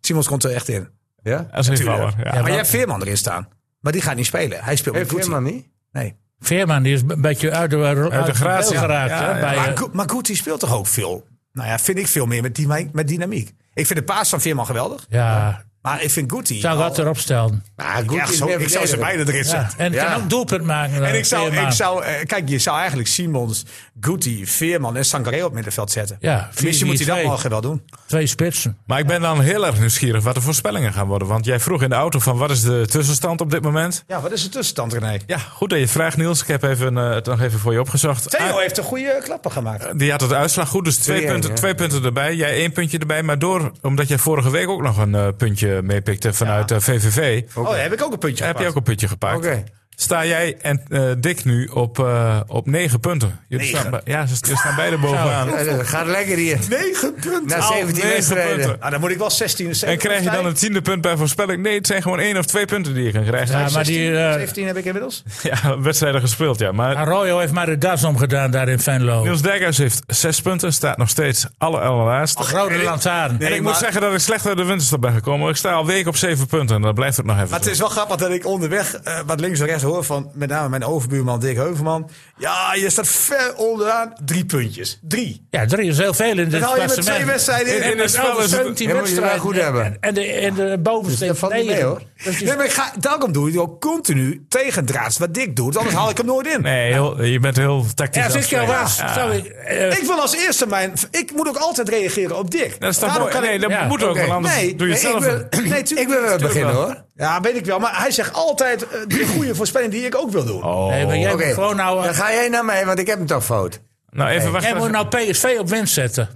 [SPEAKER 6] Simons komt er echt in.
[SPEAKER 3] Ja?
[SPEAKER 2] Dat is een invaller. Ja.
[SPEAKER 6] maar jij hebt Veerman erin staan. Maar die gaat niet spelen. Hij speelt
[SPEAKER 3] Heeft
[SPEAKER 6] met Guti.
[SPEAKER 3] helemaal niet?
[SPEAKER 6] Nee.
[SPEAKER 5] Veerman die is een beetje uit de, uit
[SPEAKER 2] de gratie.
[SPEAKER 5] beeld geraakt.
[SPEAKER 2] Ja,
[SPEAKER 5] hè,
[SPEAKER 2] ja.
[SPEAKER 5] bij, eh,
[SPEAKER 6] Maar, Gu- maar Guti speelt toch ook veel? Nou ja, vind ik veel meer met, die, met dynamiek. Ik vind de paas van Veerman geweldig.
[SPEAKER 5] ja,
[SPEAKER 6] Maar ik vind Guti...
[SPEAKER 5] zou
[SPEAKER 6] wel-
[SPEAKER 5] wat erop stellen.
[SPEAKER 3] Maar goed,
[SPEAKER 6] Ja,
[SPEAKER 3] Ah, is
[SPEAKER 6] zo-
[SPEAKER 3] meer
[SPEAKER 6] ik zou ze
[SPEAKER 3] verdediger.
[SPEAKER 6] beide erin
[SPEAKER 5] Ja.
[SPEAKER 6] zetten.
[SPEAKER 5] En
[SPEAKER 3] Ja.
[SPEAKER 5] kan ook doelpunt maken.
[SPEAKER 6] En ik zou,
[SPEAKER 5] Veerman.
[SPEAKER 6] ik zou, eh, kijk, je zou eigenlijk Simons, Guti, Veerman en Sangaré op middenveld zetten.
[SPEAKER 5] Ja,
[SPEAKER 6] Misschien moet hij dat
[SPEAKER 5] 4-4-2.
[SPEAKER 6] morgen wel doen.
[SPEAKER 5] Twee spitsen.
[SPEAKER 2] Maar ik ben dan heel erg nieuwsgierig wat de voorspellingen gaan worden. Want jij vroeg in de auto van wat is de tussenstand op dit moment?
[SPEAKER 6] Ja, wat is de tussenstand, René?
[SPEAKER 2] Ja, goed dat je vraagt Niels. Ik heb even, eh, het nog even voor je opgezocht.
[SPEAKER 6] Theo
[SPEAKER 2] Ah,
[SPEAKER 6] heeft een goede klappen gemaakt.
[SPEAKER 2] die had het uitslag goed, dus twee,
[SPEAKER 3] 2-1,
[SPEAKER 2] punten,
[SPEAKER 3] ja.
[SPEAKER 2] twee punten erbij. Jij één puntje erbij. Maar door, omdat jij vorige week ook nog een eh, puntje meepikte vanuit eh, VVV,
[SPEAKER 6] Oh, daar heb ik ook een puntje
[SPEAKER 2] heb je
[SPEAKER 6] gepakt.
[SPEAKER 2] ook een puntje gepakt.
[SPEAKER 3] Oké.
[SPEAKER 2] Sta jij en eh Dick nu op, eh op negen punten? Jullie
[SPEAKER 3] Negen.
[SPEAKER 2] staan, bij- ja, ze ze staan beide bovenaan.
[SPEAKER 3] Zo. Ja, dat gaat lekker hier.
[SPEAKER 6] 9 punten.
[SPEAKER 3] Na 17
[SPEAKER 2] negen
[SPEAKER 3] wedstrijden.
[SPEAKER 2] punten.
[SPEAKER 6] Ah, dan moet ik wel 16
[SPEAKER 2] En krijg je dan een tiende punt bij voorspelling? Nee, het zijn gewoon één of twee punten die je gaat krijgen.
[SPEAKER 5] Ja, maar die, eh,
[SPEAKER 6] 17 heb ik inmiddels.
[SPEAKER 2] (laughs) Ja, wedstrijden gespeeld, ja. Maar
[SPEAKER 5] Arroyo heeft maar de das omgedaan daar in Venlo.
[SPEAKER 2] Niels Dijkhuis heeft zes punten, staat nog steeds alle allerlaatst.
[SPEAKER 5] Rode lantaarn.
[SPEAKER 2] en ik moet zeggen dat ik slecht uit de winterstop ben gekomen. Ik sta al week op zeven punten en dat blijft het nog even.
[SPEAKER 6] Maar het is wel grappig dat ik onderweg eh, wat links en rechts hoor van met name mijn overbuurman Dick Heuvelman. Ja, je staat ver onderaan. Drie puntjes. Drie.
[SPEAKER 5] Ja, drie is heel veel in dit
[SPEAKER 6] Dan haal je met
[SPEAKER 5] klassement.
[SPEAKER 6] twee wedstrijden in.
[SPEAKER 5] En- en
[SPEAKER 6] In het
[SPEAKER 5] het
[SPEAKER 6] spel
[SPEAKER 5] spel
[SPEAKER 6] is het-
[SPEAKER 3] Ja, moet je wel goed hebben.
[SPEAKER 5] En, en de, en de bovenste
[SPEAKER 3] Dus dat valt niet mee,
[SPEAKER 5] negen.
[SPEAKER 3] hoor.
[SPEAKER 5] Dus die-
[SPEAKER 6] Nee, maar ik ga, daarom doe je het ook continu tegendraads wat Dick doet. Anders haal ik hem nooit in.
[SPEAKER 2] Nee, heel, je bent heel tactisch.
[SPEAKER 5] Ja,
[SPEAKER 2] aan het
[SPEAKER 5] zit je al
[SPEAKER 2] spelen.
[SPEAKER 5] was.
[SPEAKER 2] Ja.
[SPEAKER 5] Zou ik, eh,
[SPEAKER 6] Ik wil als eerste mijn. Ik moet ook altijd reageren op Dick.
[SPEAKER 2] Dat is toch
[SPEAKER 6] Daarom
[SPEAKER 2] mooi? Nee, dat moet ook, want anders doe je het
[SPEAKER 6] nee,
[SPEAKER 2] zelf.
[SPEAKER 6] Ik wil, nee, tuurlijk-
[SPEAKER 3] Ik wil wel
[SPEAKER 6] tuurlijk
[SPEAKER 3] beginnen
[SPEAKER 6] wel.
[SPEAKER 3] hoor.
[SPEAKER 6] Ja, weet ik wel. Maar hij zegt altijd eh, de goede voorspelling die ik ook wil doen.
[SPEAKER 2] Oh.
[SPEAKER 5] nee, maar jij
[SPEAKER 3] Oké,
[SPEAKER 5] moet gewoon nou, eh,
[SPEAKER 3] dan ga jij naar mij, want ik heb hem toch fout.
[SPEAKER 2] Nou, even wachten.
[SPEAKER 5] jij moet nou PSV op winst zetten.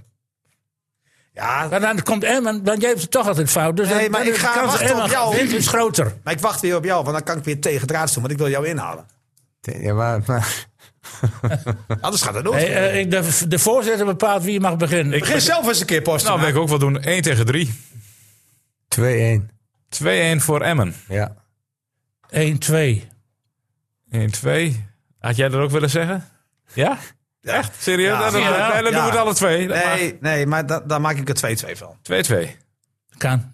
[SPEAKER 6] Ja,
[SPEAKER 5] Maar dan komt Emmen, want jij hebt het toch altijd fout. Dus
[SPEAKER 6] Nee,
[SPEAKER 5] dan-
[SPEAKER 6] maar
[SPEAKER 5] dan
[SPEAKER 6] ik
[SPEAKER 5] is de
[SPEAKER 6] ga
[SPEAKER 5] kans dat
[SPEAKER 6] wachten op
[SPEAKER 5] Emmen
[SPEAKER 6] jou.
[SPEAKER 5] wint is groter.
[SPEAKER 6] maar ik wacht weer op jou, want dan kan ik weer tegendraads doen, want ik wil jou inhalen.
[SPEAKER 3] Ja, maar, maar (laughs)
[SPEAKER 6] Anders gaat het nooit.
[SPEAKER 5] Nee, eh, ik- de, de voorzitter bepaalt wie mag beginnen.
[SPEAKER 6] Begin zelf eens een keer, Post.
[SPEAKER 2] nou, wil ik ook wel doen. 1 tegen 3.
[SPEAKER 3] 2-1.
[SPEAKER 2] 2-1 voor Emmen.
[SPEAKER 3] Ja.
[SPEAKER 5] 1, 2.
[SPEAKER 2] 1-2. Had jij dat ook willen zeggen? Ja? Echt? Serieus?
[SPEAKER 6] Ja.
[SPEAKER 2] Nou, dan
[SPEAKER 6] Ja.
[SPEAKER 2] nee, dan doen we het alle twee. Dat
[SPEAKER 6] nee, nee, maar da- daar maak ik er 2-2 van.
[SPEAKER 2] mag. 2-2.
[SPEAKER 5] Kan.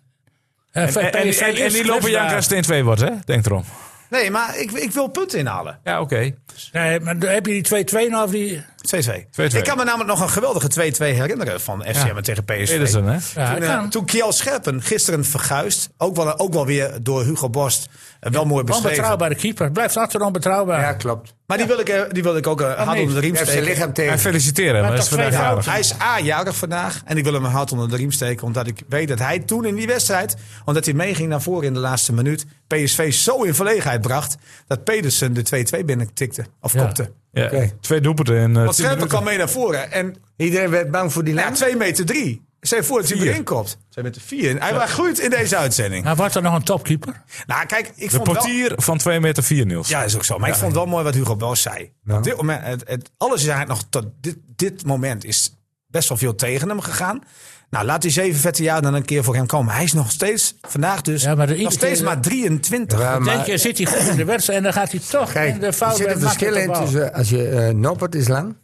[SPEAKER 5] Eh,
[SPEAKER 2] En, en, en,
[SPEAKER 5] PSV
[SPEAKER 2] en
[SPEAKER 5] is
[SPEAKER 2] die lopen
[SPEAKER 5] kwetsbaar.
[SPEAKER 2] Janka als het 1-2 wordt, hè? Denk erom.
[SPEAKER 6] Nee, maar ik, ik wil punten inhalen.
[SPEAKER 2] Ja, oké.
[SPEAKER 5] Nee, maar heb je die 2-2 nou of die...
[SPEAKER 6] 2-2.
[SPEAKER 2] 2-2.
[SPEAKER 6] Ik kan me namelijk nog een geweldige 2-2 herinneren van FCM tegen PSV.
[SPEAKER 2] Pedersen, hè?
[SPEAKER 5] Ja,
[SPEAKER 6] Toen, eh,
[SPEAKER 5] kan.
[SPEAKER 6] toen Kjell Scherpen gisteren verguist, ook wel, ook wel weer door Hugo Borst, eh, wel mooi beschreven.
[SPEAKER 5] Onbetrouwbare keeper. Blijft altijd onbetrouwbaar.
[SPEAKER 3] ja, klopt.
[SPEAKER 6] Maar die wil ik, eh, die wil ik ook
[SPEAKER 2] Oh,
[SPEAKER 6] eh, hard
[SPEAKER 5] nee.
[SPEAKER 6] onder de riem
[SPEAKER 3] Je hebt zijn
[SPEAKER 6] steken.
[SPEAKER 3] lichaam tegen.
[SPEAKER 2] En feliciteren, maar dat is
[SPEAKER 5] toch twee
[SPEAKER 2] vandaag aardig.
[SPEAKER 6] Hij is A-jarig vandaag en ik wil hem hard onder de riem steken. Omdat ik weet dat hij toen in die wedstrijd, omdat hij meeging naar voren in de laatste minuut, PSV zo in verlegenheid bracht dat Pedersen de 2-2 binnentikte of
[SPEAKER 5] Ja.
[SPEAKER 6] kopte.
[SPEAKER 2] Ja,
[SPEAKER 3] Oké.
[SPEAKER 2] Twee doelpunten in eh,
[SPEAKER 6] Want
[SPEAKER 2] 10
[SPEAKER 6] Scherpen
[SPEAKER 2] minuten.
[SPEAKER 6] kwam mee naar voren en nou
[SPEAKER 3] Iedereen werd bang voor die
[SPEAKER 6] ja,
[SPEAKER 3] lijn.
[SPEAKER 6] 2 meter 3. Zij voor dat hij
[SPEAKER 2] Vier.
[SPEAKER 6] erin komt. Zij met de 4. Hij was goed in deze uitzending.
[SPEAKER 5] Maar wordt er nog een topkeeper?
[SPEAKER 6] Nou, kijk, ik
[SPEAKER 2] De
[SPEAKER 6] vond wel...
[SPEAKER 2] portier van 2 meter 4, Niels.
[SPEAKER 6] Ja, is ook zo. Maar ik vond wel mooi wat Hugo Boss zei. Op dit moment, het, het, alles is eigenlijk nog tot dit, dit moment is best wel veel tegen hem gegaan. Nou, laat die zeven vette jaar dan een keer voor hem komen. Hij is nog steeds, vandaag dus,
[SPEAKER 5] Ja, maar de
[SPEAKER 6] nog
[SPEAKER 5] iedere
[SPEAKER 6] steeds
[SPEAKER 5] keer-
[SPEAKER 6] maar 23.
[SPEAKER 3] Ja, maar-
[SPEAKER 5] Denk je, zit hij goed in de wedstrijd en dan gaat hij toch in
[SPEAKER 3] Kijk,
[SPEAKER 5] de
[SPEAKER 3] er
[SPEAKER 5] fout
[SPEAKER 3] zit
[SPEAKER 5] bij
[SPEAKER 3] een verschil in tussen als je eh Noppert is lang,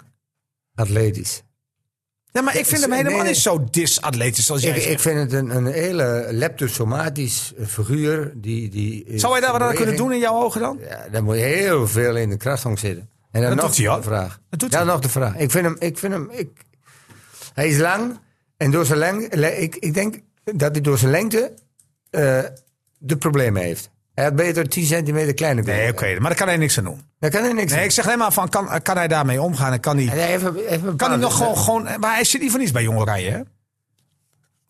[SPEAKER 3] atletisch.
[SPEAKER 6] Ja, maar ik vind hem
[SPEAKER 3] Nee,
[SPEAKER 6] helemaal
[SPEAKER 3] nee.
[SPEAKER 6] niet zo disatletisch als jij
[SPEAKER 3] Ik, ik
[SPEAKER 6] zegt.
[SPEAKER 3] vind het een, een hele leptosomatisch eh, figuur. Die, die, eh,
[SPEAKER 6] Zou hij daar wat aan kunnen
[SPEAKER 3] beweging-
[SPEAKER 6] doen in jouw ogen dan?
[SPEAKER 3] Ja, dan moet je heel veel in de krachthong zitten. En dan
[SPEAKER 6] Dat
[SPEAKER 3] nog
[SPEAKER 6] doet hij, hoor.
[SPEAKER 3] de vraag.
[SPEAKER 6] Dat doet
[SPEAKER 3] ja,
[SPEAKER 6] hij.
[SPEAKER 3] nog de vraag. Ik vind hem, ik vind hem, ik, hij is lang. En door zijn lengte, le- ik, ik denk dat hij door zijn lengte eh, de problemen heeft. Hij had beter 10 centimeter kleiner kunnen
[SPEAKER 6] Nee, oké,
[SPEAKER 3] worden.
[SPEAKER 6] maar daar kan hij niks aan doen.
[SPEAKER 3] Daar kan hij niks
[SPEAKER 6] Nee,
[SPEAKER 3] aan.
[SPEAKER 6] ik zeg alleen maar van, kan, kan hij daarmee omgaan en kan hij...
[SPEAKER 3] En hij heeft een- heeft een
[SPEAKER 6] Kan hij
[SPEAKER 3] bepaalde-
[SPEAKER 6] nog gewoon, gewoon... Maar hij zit niet voor niets bij Jong Oranje, hè?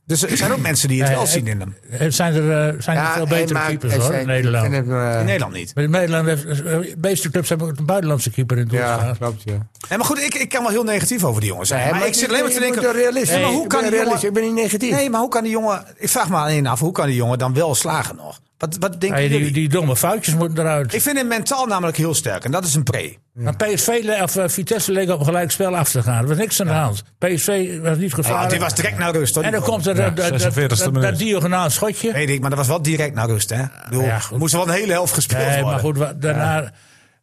[SPEAKER 6] Dus er zijn ook mensen die het
[SPEAKER 5] Nee,
[SPEAKER 6] wel
[SPEAKER 5] ik-
[SPEAKER 6] zien in hem.
[SPEAKER 5] Eh, Zijn er, eh, zijn er
[SPEAKER 3] Ja,
[SPEAKER 5] veel
[SPEAKER 3] hij
[SPEAKER 5] betere
[SPEAKER 3] maakt-
[SPEAKER 5] keepers
[SPEAKER 3] hij
[SPEAKER 5] hoor,
[SPEAKER 3] zijn-
[SPEAKER 5] in
[SPEAKER 3] ik
[SPEAKER 5] Nederland.
[SPEAKER 3] vind hem, eh,
[SPEAKER 6] In Nederland niet.
[SPEAKER 5] Maar in Nederland heeft, eh, de meeste clubs hebben ook een buitenlandse keeper in het doel
[SPEAKER 3] Ja,
[SPEAKER 5] staan.
[SPEAKER 3] klopt, ja.
[SPEAKER 6] Nee, maar goed, ik, ik kan wel heel negatief over die jongen zijn. maar, ik zit alleen maar te denken...
[SPEAKER 3] Realist.
[SPEAKER 6] Nee, maar hoe
[SPEAKER 3] ik
[SPEAKER 6] kan
[SPEAKER 3] ben
[SPEAKER 6] die
[SPEAKER 3] realist,
[SPEAKER 6] jongen-
[SPEAKER 3] Ik ben niet negatief.
[SPEAKER 6] Nee, maar hoe kan die jongen... Ik vraag me alleen af, hoe kan die jongen dan wel slagen nog? Wat, wat denken
[SPEAKER 5] Hey,
[SPEAKER 6] jullie?
[SPEAKER 5] Ah, die, die domme foutjes moeten eruit.
[SPEAKER 6] Ik vind hem mentaal namelijk heel sterk. En dat is een pre.
[SPEAKER 5] Maar PSV le- of eh, Vitesse leek op een gelijk spel af te gaan. Er was niks aan de hand. PSV was niet
[SPEAKER 6] Want
[SPEAKER 5] gevaarlijk.
[SPEAKER 6] die was direct naar rust, hoor.
[SPEAKER 5] en dan komt er
[SPEAKER 2] Ja,
[SPEAKER 5] dat- dat- dat-
[SPEAKER 2] 46e
[SPEAKER 5] dat, dat
[SPEAKER 2] minuut.
[SPEAKER 5] diagonaal schotje. (laughs)
[SPEAKER 6] Weet ik, maar dat was wel direct naar rust, hè? Ik bedoel,
[SPEAKER 5] ja, goed.
[SPEAKER 6] moest er wel een hele helft gespeeld
[SPEAKER 5] Nee,
[SPEAKER 6] worden.
[SPEAKER 5] maar goed, wa- daarna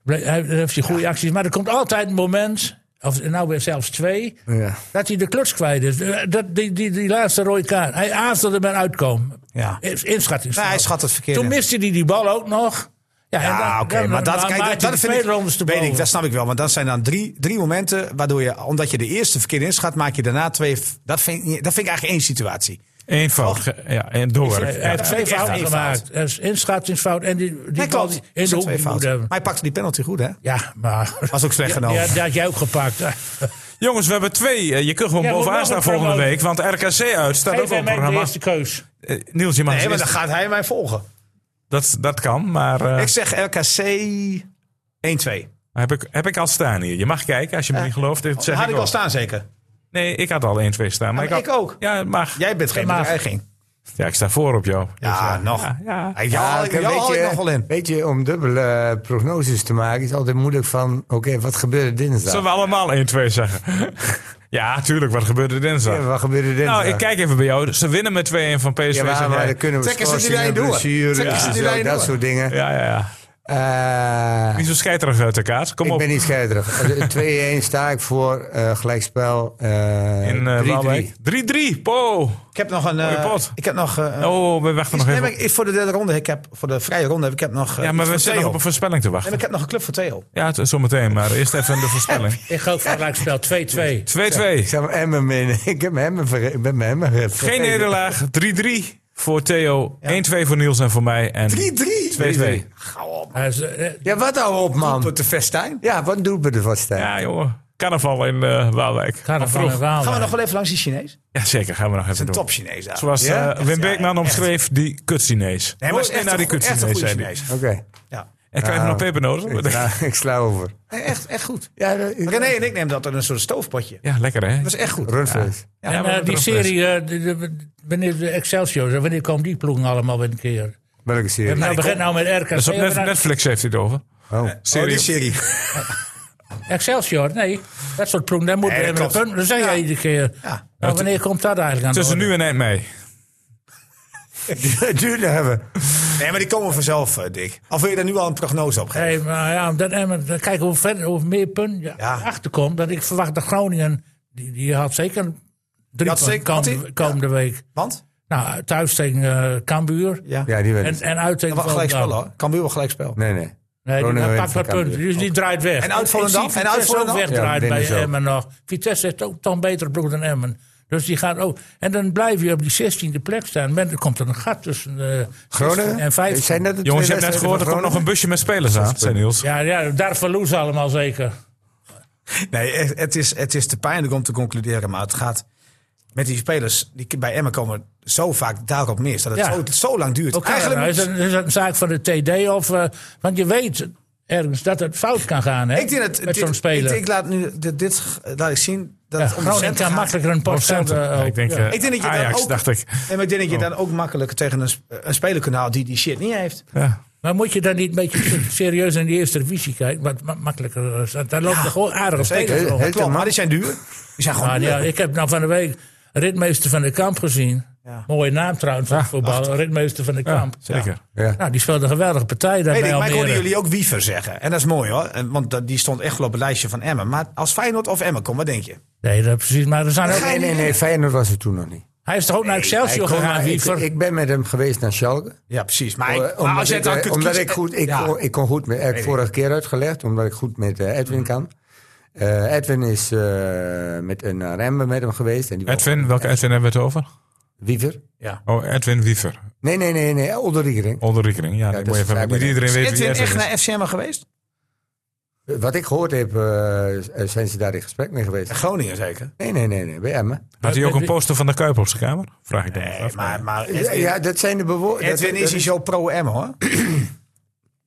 [SPEAKER 5] ble- hij- hij heeft hij goede acties. Maar er komt altijd een moment, of nou weer zelfs twee,
[SPEAKER 3] Ja.
[SPEAKER 5] dat hij de kluts kwijt is. Eh, Dat, die, die, die laatste rode kaart. Hij aarzelde met uitkomen.
[SPEAKER 6] Ja.
[SPEAKER 5] Is- Inschattingsfout.
[SPEAKER 6] Nee, hij schat het verkeerd
[SPEAKER 5] Toen
[SPEAKER 6] in.
[SPEAKER 5] miste hij die bal ook nog. Ja, en
[SPEAKER 6] Ja,
[SPEAKER 5] dan-
[SPEAKER 6] oké,
[SPEAKER 5] dan-
[SPEAKER 6] maar dat,
[SPEAKER 5] dan
[SPEAKER 6] kijk,
[SPEAKER 5] maakt hij
[SPEAKER 6] dat, dat
[SPEAKER 5] de
[SPEAKER 6] vind ik,
[SPEAKER 5] tweede onderste
[SPEAKER 6] weet ik,
[SPEAKER 5] boven.
[SPEAKER 6] dat snap ik wel. Want dat zijn dan drie, drie momenten waardoor je, omdat je de eerste verkeerd inschat, maak je daarna twee. Dat vind, ik niet- dat vind ik eigenlijk één situatie.
[SPEAKER 2] Eén fout. Ge- Ja, en door.
[SPEAKER 5] Hij heeft twee
[SPEAKER 6] echt
[SPEAKER 5] fouten
[SPEAKER 6] één
[SPEAKER 5] gemaakt. Er is inschattingsfout en die, die
[SPEAKER 6] Nee,
[SPEAKER 5] bal
[SPEAKER 6] klopt.
[SPEAKER 5] die
[SPEAKER 6] Er
[SPEAKER 5] in de
[SPEAKER 6] zijn
[SPEAKER 5] hoek
[SPEAKER 6] twee
[SPEAKER 5] niet moet
[SPEAKER 6] fouten. Maar
[SPEAKER 5] hebben.
[SPEAKER 6] hij pakte die penalty goed, hè?
[SPEAKER 5] Ja, maar...
[SPEAKER 6] Was ook slecht genomen.
[SPEAKER 5] Ja, dat had jij ook gepakt.
[SPEAKER 2] Jongens, we hebben twee. eh, Je kunt gewoon
[SPEAKER 5] Ja, we
[SPEAKER 2] bovenaan
[SPEAKER 5] mogen
[SPEAKER 2] staan
[SPEAKER 5] het
[SPEAKER 2] volgende
[SPEAKER 5] promoten.
[SPEAKER 2] week. Want RKC uit staat ook
[SPEAKER 5] Geef
[SPEAKER 2] op
[SPEAKER 5] hem
[SPEAKER 2] het
[SPEAKER 5] de
[SPEAKER 2] programma.
[SPEAKER 5] eerste keus.
[SPEAKER 2] Eh, Niels, je mag
[SPEAKER 6] Nee, maar
[SPEAKER 2] als
[SPEAKER 6] dan
[SPEAKER 2] eerste-
[SPEAKER 6] gaat hij mij volgen.
[SPEAKER 2] dat, dat kan, maar eh,
[SPEAKER 6] Ik zeg RKC 1-2.
[SPEAKER 2] heb, ik, heb ik al staan hier. Je mag kijken als je me niet gelooft. Dit zeg
[SPEAKER 6] Had
[SPEAKER 2] ik
[SPEAKER 6] ik
[SPEAKER 2] wel.
[SPEAKER 6] al staan, zeker.
[SPEAKER 2] Nee, ik had al 1-2 staan. Maar
[SPEAKER 6] maar
[SPEAKER 2] ik, had-
[SPEAKER 6] ik ook.
[SPEAKER 2] Ja, het mag.
[SPEAKER 6] Jij bent geen
[SPEAKER 5] maar-
[SPEAKER 6] bedreiging.
[SPEAKER 2] Ja, ik sta voor op jou.
[SPEAKER 6] Ja, nog.
[SPEAKER 2] Ja, ja.
[SPEAKER 6] Hey, jou haal ik- jou haal ik nog wel
[SPEAKER 2] eh,
[SPEAKER 6] in.
[SPEAKER 3] Weet je, om dubbele eh, prognoses te maken is altijd moeilijk van... Oké, wat gebeurt er dinsdag?
[SPEAKER 2] Zullen we allemaal 1-2 zeggen? (laughs) ja, tuurlijk. Wat gebeurde dinsdag?
[SPEAKER 3] Ja, wat gebeurde dinsdag?
[SPEAKER 2] Nou, ik kijk even bij jou. Ze winnen met 2-1 van PSV.
[SPEAKER 3] Ja, maar-
[SPEAKER 2] zeg jij.
[SPEAKER 3] maar dan kunnen we Checken ze die schorsingen, lijn door. blessures Checken ze en die zo, lijn dat door. soort dingen. Eh,
[SPEAKER 2] Ja, ja, ja. niet zo scheiterig uit de kaart. Kom
[SPEAKER 3] ik
[SPEAKER 2] op.
[SPEAKER 3] ben niet scheiterig. Eh, 2-1 sta ik voor, eh, gelijkspel. eh,
[SPEAKER 2] In eh
[SPEAKER 3] 3-3.
[SPEAKER 2] Waalwijk. 3-3. Po.
[SPEAKER 6] Ik heb nog een.
[SPEAKER 2] Mooie
[SPEAKER 6] eh,
[SPEAKER 2] pot.
[SPEAKER 6] ik heb nog. eh,
[SPEAKER 2] Oh, we
[SPEAKER 6] is-
[SPEAKER 2] wachten nog
[SPEAKER 6] nee,
[SPEAKER 2] even.
[SPEAKER 6] maar ik- voor de derde ronde. Ik heb voor de vrije ronde heb ik heb nog. eh,
[SPEAKER 2] ja, maar
[SPEAKER 6] iets
[SPEAKER 2] we
[SPEAKER 6] voor
[SPEAKER 2] zitten nog
[SPEAKER 6] Theo.
[SPEAKER 2] op een voorspelling te
[SPEAKER 6] Nee, maar
[SPEAKER 2] wachten.
[SPEAKER 6] ik heb nog een club voor Theo.
[SPEAKER 2] Ja, t- zometeen. Maar eerst even de voorspelling. 2-2.
[SPEAKER 5] Ik ga ook voor gelijkspel 2-2.
[SPEAKER 3] Ik zou mijn emmer meenemen. (laughs) Ik heb mijn emmer verge- ik ben mijn emmer vergeten.
[SPEAKER 2] Geen nederlaag. 3-3 voor Theo. 1-2 voor Niels en voor mij. En 2-2.
[SPEAKER 5] eh,
[SPEAKER 3] Ja, wat nou op, man?
[SPEAKER 6] Doelpunt de festijn.
[SPEAKER 3] Ja, wat doen we er wat staan?
[SPEAKER 2] Ja, joh. Carnaval in eh Waalwijk.
[SPEAKER 5] Carnaval
[SPEAKER 2] Vroeg.
[SPEAKER 5] in Waalwijk.
[SPEAKER 6] Gaan we nog wel even langs die Chinees?
[SPEAKER 2] Ja, zeker. Gaan we nog
[SPEAKER 6] Het is
[SPEAKER 2] even
[SPEAKER 6] een
[SPEAKER 2] doen.
[SPEAKER 6] top Chinees daar.
[SPEAKER 2] Zoals
[SPEAKER 6] Ja?
[SPEAKER 2] eh, Wim Beekman omschreef, die kut-Chinees.
[SPEAKER 6] Nee, maar het is echt
[SPEAKER 2] naar
[SPEAKER 6] een
[SPEAKER 2] die
[SPEAKER 6] goe- echt een
[SPEAKER 2] kut-Chinees,
[SPEAKER 6] goede
[SPEAKER 2] zei hij.
[SPEAKER 6] Chinees.
[SPEAKER 3] Oké.
[SPEAKER 6] Ja.
[SPEAKER 2] En krijgen we nog peper
[SPEAKER 3] Ik,
[SPEAKER 2] nodig?
[SPEAKER 3] sla- ik sla over.
[SPEAKER 6] Nee, echt, echt goed.
[SPEAKER 3] Ja, eh,
[SPEAKER 6] René en ik nemen dat in een soort stoofpotje.
[SPEAKER 2] Ja, lekker hè?
[SPEAKER 6] Dat is echt goed.
[SPEAKER 3] Rundvlees.
[SPEAKER 2] Ja,
[SPEAKER 5] en
[SPEAKER 2] maar
[SPEAKER 5] eh,
[SPEAKER 2] wat
[SPEAKER 5] die
[SPEAKER 2] erop is.
[SPEAKER 5] serie, eh, de, de- wanneer de Excelsior, eh, wanneer komen die ploegen allemaal weer een keer?
[SPEAKER 3] Welke
[SPEAKER 5] En
[SPEAKER 3] serie?
[SPEAKER 5] nou begint nou met RKC.
[SPEAKER 2] Dat is op
[SPEAKER 5] maar
[SPEAKER 2] net-
[SPEAKER 5] dan-
[SPEAKER 2] Netflix heeft hij het over.
[SPEAKER 3] Oh.
[SPEAKER 6] Oh, die
[SPEAKER 2] Serie.
[SPEAKER 6] serie.
[SPEAKER 5] Excelsior, nee. Dat soort ploegen, daar moeten
[SPEAKER 6] Nee,
[SPEAKER 5] we
[SPEAKER 6] dat
[SPEAKER 5] hebben een
[SPEAKER 6] klopt.
[SPEAKER 5] punt. Dan zeg jij iedere keer. Nou, wanneer komt dat eigenlijk aan de
[SPEAKER 2] Tussen
[SPEAKER 5] orde?
[SPEAKER 2] nu en eind mei.
[SPEAKER 3] Het duurde hebben.
[SPEAKER 6] Nee, maar die komen vanzelf, eh, Dick. Of wil je daar nu al een prognose op geven?
[SPEAKER 5] Hey, maar ja, omdat Emmen, dan kijken hoe verder, hoe meer punten je
[SPEAKER 6] Ja.
[SPEAKER 5] achterkomt. Want ik verwacht dat Groningen, die, die had zeker drie
[SPEAKER 6] had
[SPEAKER 5] punten
[SPEAKER 6] zeker- had
[SPEAKER 5] komende,
[SPEAKER 6] die-
[SPEAKER 5] komende week.
[SPEAKER 6] Want?
[SPEAKER 5] Nou, thuis tegen eh Cambuur
[SPEAKER 6] Ja.
[SPEAKER 3] Ja, die
[SPEAKER 5] en,
[SPEAKER 3] werd
[SPEAKER 5] en uit tegen
[SPEAKER 6] Wat gelijk spel,
[SPEAKER 5] Volendam.
[SPEAKER 6] hoor. Kan wel gelijk spel.
[SPEAKER 3] Nee, nee.
[SPEAKER 5] Nee, die
[SPEAKER 3] Groningen
[SPEAKER 5] die
[SPEAKER 3] wint
[SPEAKER 5] pakt
[SPEAKER 3] van
[SPEAKER 5] wat punten.
[SPEAKER 3] Cambuur.
[SPEAKER 5] Dus die draait weg.
[SPEAKER 6] En uit
[SPEAKER 5] Ik zie
[SPEAKER 6] Volendam? En
[SPEAKER 5] Vitesse
[SPEAKER 6] uit Volendam?
[SPEAKER 5] ook wegdraait
[SPEAKER 3] Ja, ik denk
[SPEAKER 5] bij
[SPEAKER 3] het ook.
[SPEAKER 5] Emmen nog. Vitesse heeft ook toch een betere ploeg dan Emmen. Dus die gaat ook. En dan blijf je op die 16e plek staan. Men, er komt er een gat tussen eh,
[SPEAKER 3] Groningen?
[SPEAKER 5] 16 en 15.
[SPEAKER 3] Zijn dat de
[SPEAKER 2] Jongens, je
[SPEAKER 3] twee
[SPEAKER 2] hebt net gehoord,
[SPEAKER 3] wedstrijden
[SPEAKER 2] er komt nog
[SPEAKER 3] van
[SPEAKER 2] een busje met spelers aan, zei Niels.
[SPEAKER 5] Ja, ja, daar verloren ze allemaal zeker.
[SPEAKER 6] Nee, echt, het is, het is te pijnlijk om te concluderen. Maar het gaat met die spelers die bij Emmen komen zo vaak daarop mis. Dat het
[SPEAKER 5] Ja.
[SPEAKER 6] zo, zo lang duurt.
[SPEAKER 5] Oké,
[SPEAKER 6] Eigenlijk,
[SPEAKER 5] nou, is, dat, is dat een zaak van de TD? Of, eh, want je weet ergens dat het fout kan gaan hè,
[SPEAKER 6] ik denk dat,
[SPEAKER 5] met
[SPEAKER 6] dit-
[SPEAKER 5] zo'n speler.
[SPEAKER 6] Ik, ik laat nu dit, dit laat ik zien. Dat
[SPEAKER 5] Ja,
[SPEAKER 6] het om de
[SPEAKER 5] Groningen
[SPEAKER 6] centen
[SPEAKER 5] kan
[SPEAKER 6] gaat.
[SPEAKER 5] makkelijker een post
[SPEAKER 2] Procenten. Ja, ik denk, eh,
[SPEAKER 6] oh, Ik denk dat je dan
[SPEAKER 2] Ajax,
[SPEAKER 6] ook-
[SPEAKER 2] dacht ik.
[SPEAKER 6] Nee, maar ik denk dat je dan ook makkelijker tegen een, sp- een speler kunt halen die die shit niet heeft.
[SPEAKER 2] Ja.
[SPEAKER 5] Maar moet je dan niet een beetje serieus in die eerste divisie kijken? Wat ma- makkelijker is. Daar loopt er gewoon aardige spelers
[SPEAKER 3] Heel-
[SPEAKER 5] rond.
[SPEAKER 3] heel-
[SPEAKER 6] Klopt, maar die zijn duur. Die zijn gewoon
[SPEAKER 5] Maar
[SPEAKER 6] duur.
[SPEAKER 5] ja, ik heb nou van de week ritmeester van de Kamp gezien.
[SPEAKER 6] Ja.
[SPEAKER 5] Mooie naam trouwens voor voetbal. Ritmeester van de Kamp.
[SPEAKER 2] Zeker.
[SPEAKER 3] Ja.
[SPEAKER 5] Nou, die speelde een geweldige partij daar
[SPEAKER 6] Weet
[SPEAKER 5] bij
[SPEAKER 6] ik, maar ik hoorde
[SPEAKER 5] Almere.
[SPEAKER 6] jullie ook Wiever zeggen. En dat is mooi hoor. En- Want dat- die stond echt wel op het lijstje van Emmen. Maar als Feyenoord of Emmen komt, wat denk je?
[SPEAKER 5] Nee, dat precies. Maar er zijn ook,
[SPEAKER 3] Nee, nee, nee. Feyenoord was er toen nog niet.
[SPEAKER 5] hij is toch ook naar Excelsior
[SPEAKER 3] Hij kon-
[SPEAKER 5] gegaan,
[SPEAKER 3] ik,
[SPEAKER 5] Wiever?
[SPEAKER 3] ik ben met hem geweest naar Schalke.
[SPEAKER 6] Ja, precies. Maar,
[SPEAKER 3] Eh,
[SPEAKER 6] ik- maar
[SPEAKER 3] omdat
[SPEAKER 6] als je
[SPEAKER 3] ik,
[SPEAKER 6] het dan
[SPEAKER 3] eh,
[SPEAKER 6] kunt
[SPEAKER 3] omdat
[SPEAKER 6] kiezen-
[SPEAKER 3] ik goed, ik,
[SPEAKER 6] Ja.
[SPEAKER 3] kon, ik kon goed met, heb ik vorige keer uitgelegd, omdat ik goed met eh, Edwin kan. Eh, Edwin is eh, met een naar Emmen met hem geweest. En die
[SPEAKER 2] Edwin, welke Edwin hebben we het over?
[SPEAKER 3] Wiever?
[SPEAKER 2] Oh, Edwin Wiever.
[SPEAKER 3] Nee, nee, nee, nee, Olderikering.
[SPEAKER 2] Onderrekening. Ja,
[SPEAKER 3] dat
[SPEAKER 2] dat moet
[SPEAKER 3] is
[SPEAKER 2] je even,
[SPEAKER 3] blijkbaar
[SPEAKER 2] niet
[SPEAKER 3] niet.
[SPEAKER 2] iedereen
[SPEAKER 6] Is
[SPEAKER 2] weet wie
[SPEAKER 6] Edwin
[SPEAKER 2] Edwin
[SPEAKER 6] echt
[SPEAKER 2] is.
[SPEAKER 6] naar FC Emmen geweest?
[SPEAKER 3] Wat ik gehoord heb, eh, zijn ze daar in gesprek mee geweest.
[SPEAKER 6] Groningen zeker.
[SPEAKER 3] Nee, nee, nee, nee bij Emmen.
[SPEAKER 2] Had hij ook een poster van de Kuip op zijn kamer? Vraag ik dan even
[SPEAKER 6] Nee,
[SPEAKER 2] af.
[SPEAKER 6] maar, maar
[SPEAKER 3] Ja,
[SPEAKER 6] Edwin,
[SPEAKER 3] ja, dat zijn de bewoordingen.
[SPEAKER 6] Edwin is hier zo pro-Emmen hoor.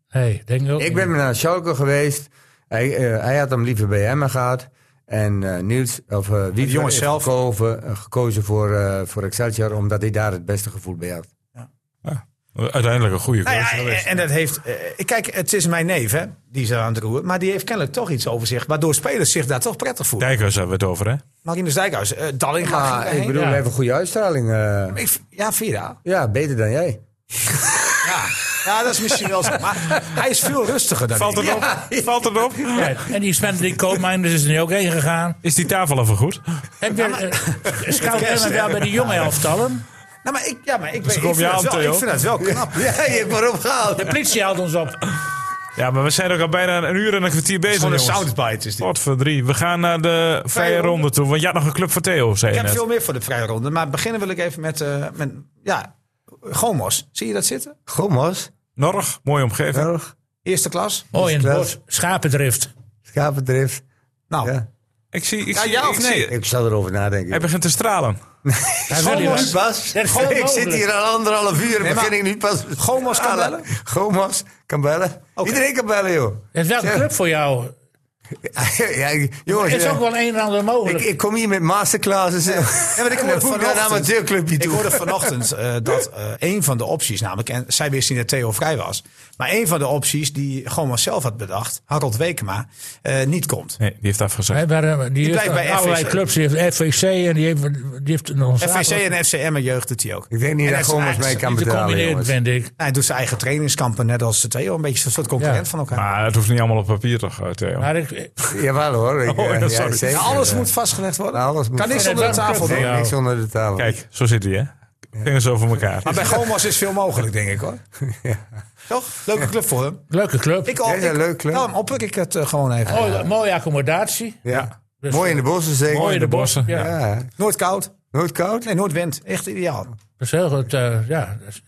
[SPEAKER 5] Hey, denk ook
[SPEAKER 3] Ik
[SPEAKER 5] niet.
[SPEAKER 3] ben naar Schalke geweest. Hij, eh, hij had hem liever bij Emmen gehad. En eh Niels, of eh wie
[SPEAKER 6] jongens zelf.
[SPEAKER 3] gekozen, gekozen voor, eh, voor Excelsior, omdat hij daar het beste gevoel bij had.
[SPEAKER 2] Uiteindelijk een goede
[SPEAKER 6] Nou
[SPEAKER 2] keuze
[SPEAKER 6] ja, en-
[SPEAKER 2] geweest.
[SPEAKER 6] en dat heeft. eh, Kijk, het is mijn neef, hè, die is aan het roeren. Maar die heeft kennelijk toch iets over zich. Waardoor spelers zich daar toch prettig voelen.
[SPEAKER 2] Dijkhuis hebben we het over, hè?
[SPEAKER 6] Marinus Dijkhuis, eh Dalling gaat.
[SPEAKER 3] Maar Ah, ik bedoel, hij heeft een goede uitstraling. eh.
[SPEAKER 6] Ik, ja, Vera.
[SPEAKER 3] ja, beter dan jij.
[SPEAKER 6] Ja. ja, dat is misschien wel (laughs) zo. Maar hij is veel rustiger dan
[SPEAKER 2] Valt
[SPEAKER 6] ik.
[SPEAKER 2] het op? Valt het op?
[SPEAKER 5] Ja, en die Sven die Koopmijnders is er nu ook heen gegaan.
[SPEAKER 2] Is die tafel even goed?
[SPEAKER 5] Heb je eh, scout Emmen wel bij de jonge elftallen?
[SPEAKER 6] Nou, maar ik, ja, maar ik, weet-
[SPEAKER 2] kom
[SPEAKER 6] ik,
[SPEAKER 2] je
[SPEAKER 6] vind
[SPEAKER 2] aan,
[SPEAKER 6] het wel,
[SPEAKER 2] Theo.
[SPEAKER 6] ik vind het wel knap.
[SPEAKER 3] Ja, je hebt maar opgehaald.
[SPEAKER 5] De politie haalt ons op.
[SPEAKER 2] Ja, maar we zijn ook al bijna een uur en een kwartier bezig.
[SPEAKER 6] Gewoon een
[SPEAKER 2] jongens.
[SPEAKER 6] soundbite is dit.
[SPEAKER 2] Wat voor drie. We gaan naar de vrije
[SPEAKER 6] ronde.
[SPEAKER 2] ronde toe. Want je had nog een club voor Theo, zei
[SPEAKER 6] Ik
[SPEAKER 2] je
[SPEAKER 6] heb
[SPEAKER 2] net.
[SPEAKER 6] veel meer voor de vrije ronde. Maar beginnen wil ik even met, eh, met ja, Gomos. Zie je dat zitten?
[SPEAKER 3] Gommos,
[SPEAKER 2] Norg, mooie omgeving.
[SPEAKER 3] Norg,
[SPEAKER 6] Eerste klas.
[SPEAKER 5] Mooi in het
[SPEAKER 3] Klaar.
[SPEAKER 5] bos. Schapendrift.
[SPEAKER 3] Schapendrift.
[SPEAKER 6] Nou,
[SPEAKER 3] Ja.
[SPEAKER 2] Ik zie, ik
[SPEAKER 6] Ja,
[SPEAKER 2] zie,
[SPEAKER 6] ja of
[SPEAKER 2] ik
[SPEAKER 6] nee?
[SPEAKER 2] zie-
[SPEAKER 3] Ik zal erover nadenken.
[SPEAKER 2] Hij begint te stralen.
[SPEAKER 5] Hij wil hier wel.
[SPEAKER 3] Bas,
[SPEAKER 5] Dat is gewoon
[SPEAKER 3] ik zit
[SPEAKER 5] mogelijk.
[SPEAKER 3] hier al anderhalf uur en
[SPEAKER 6] Nee, maar-
[SPEAKER 3] begin ik nu pas.
[SPEAKER 6] Gomas kan bellen?
[SPEAKER 3] Gomas kan bellen. Iedereen kan bellen, joh.
[SPEAKER 5] Dat is wel een club voor jou.
[SPEAKER 3] ja, jongens,
[SPEAKER 5] Er is
[SPEAKER 3] eh,
[SPEAKER 5] ook wel een en ander
[SPEAKER 3] ik,
[SPEAKER 5] mogelijk.
[SPEAKER 3] ik kom hier met masterclasses. Ja, nou
[SPEAKER 6] Ja, maar
[SPEAKER 3] (laughs)
[SPEAKER 6] ik hoorde vanochtend,
[SPEAKER 3] amateurclubje
[SPEAKER 6] ik
[SPEAKER 3] toe.
[SPEAKER 6] hoorde vanochtend eh, dat eh, een van de opties, namelijk, en zij wist niet dat Theo vrij was, maar een van de opties die Goma zelf had bedacht, Harold Wekema, eh, niet komt.
[SPEAKER 2] Nee, die heeft afgezegd.
[SPEAKER 5] Hè, waar, eh, die heeft
[SPEAKER 6] blijft bij
[SPEAKER 5] allerlei
[SPEAKER 6] FVC.
[SPEAKER 5] clubs. Die heeft FVC en die heeft, die heeft nog een
[SPEAKER 6] FVC en FCM en jeugd doet hij ook.
[SPEAKER 3] Ik denk niet dat Gomes mee kan
[SPEAKER 5] te
[SPEAKER 3] betalen,
[SPEAKER 5] combineren,
[SPEAKER 3] jongens.
[SPEAKER 5] vind ik.
[SPEAKER 6] Hij doet zijn eigen trainingskampen, net als Theo, een beetje een soort concurrent
[SPEAKER 5] Ja.
[SPEAKER 6] van elkaar.
[SPEAKER 2] Maar het hoeft niet allemaal op papier toch, eh, Theo?
[SPEAKER 5] Maar ik,
[SPEAKER 3] Jawel hoor. Ik,
[SPEAKER 2] Oh,
[SPEAKER 3] eh,
[SPEAKER 2] ja,
[SPEAKER 3] ja,
[SPEAKER 2] sorry.
[SPEAKER 3] zeker.
[SPEAKER 6] Alles
[SPEAKER 3] Ja.
[SPEAKER 6] moet vastgelegd worden.
[SPEAKER 3] Alles moet
[SPEAKER 6] Kan niks
[SPEAKER 3] vast-
[SPEAKER 6] onder de tafel
[SPEAKER 3] Nee,
[SPEAKER 6] doen.
[SPEAKER 5] Ja.
[SPEAKER 3] niks onder de tafel.
[SPEAKER 2] Kijk, zo zit hij, hè? Vingers over elkaar.
[SPEAKER 6] Maar bij Gomas is veel mogelijk, denk ik
[SPEAKER 3] (laughs)
[SPEAKER 6] hoor. Toch? Leuke club voor hem.
[SPEAKER 5] leuke club.
[SPEAKER 6] Ik,
[SPEAKER 3] Ja, is een
[SPEAKER 6] ik-
[SPEAKER 3] leuke club.
[SPEAKER 6] Daarom opper ik het eh, gewoon even.
[SPEAKER 5] Mooie, mooie accommodatie.
[SPEAKER 3] Ja.
[SPEAKER 5] Dus,
[SPEAKER 3] Mooi in de bossen zeker.
[SPEAKER 5] Mooi in de bossen. Ja.
[SPEAKER 3] Ja. hè.
[SPEAKER 6] Nooit koud.
[SPEAKER 3] Nooit koud?
[SPEAKER 6] Nee, nooit wind. Echt ideaal.
[SPEAKER 5] Dat is heel goed. eh, ja. Dat is-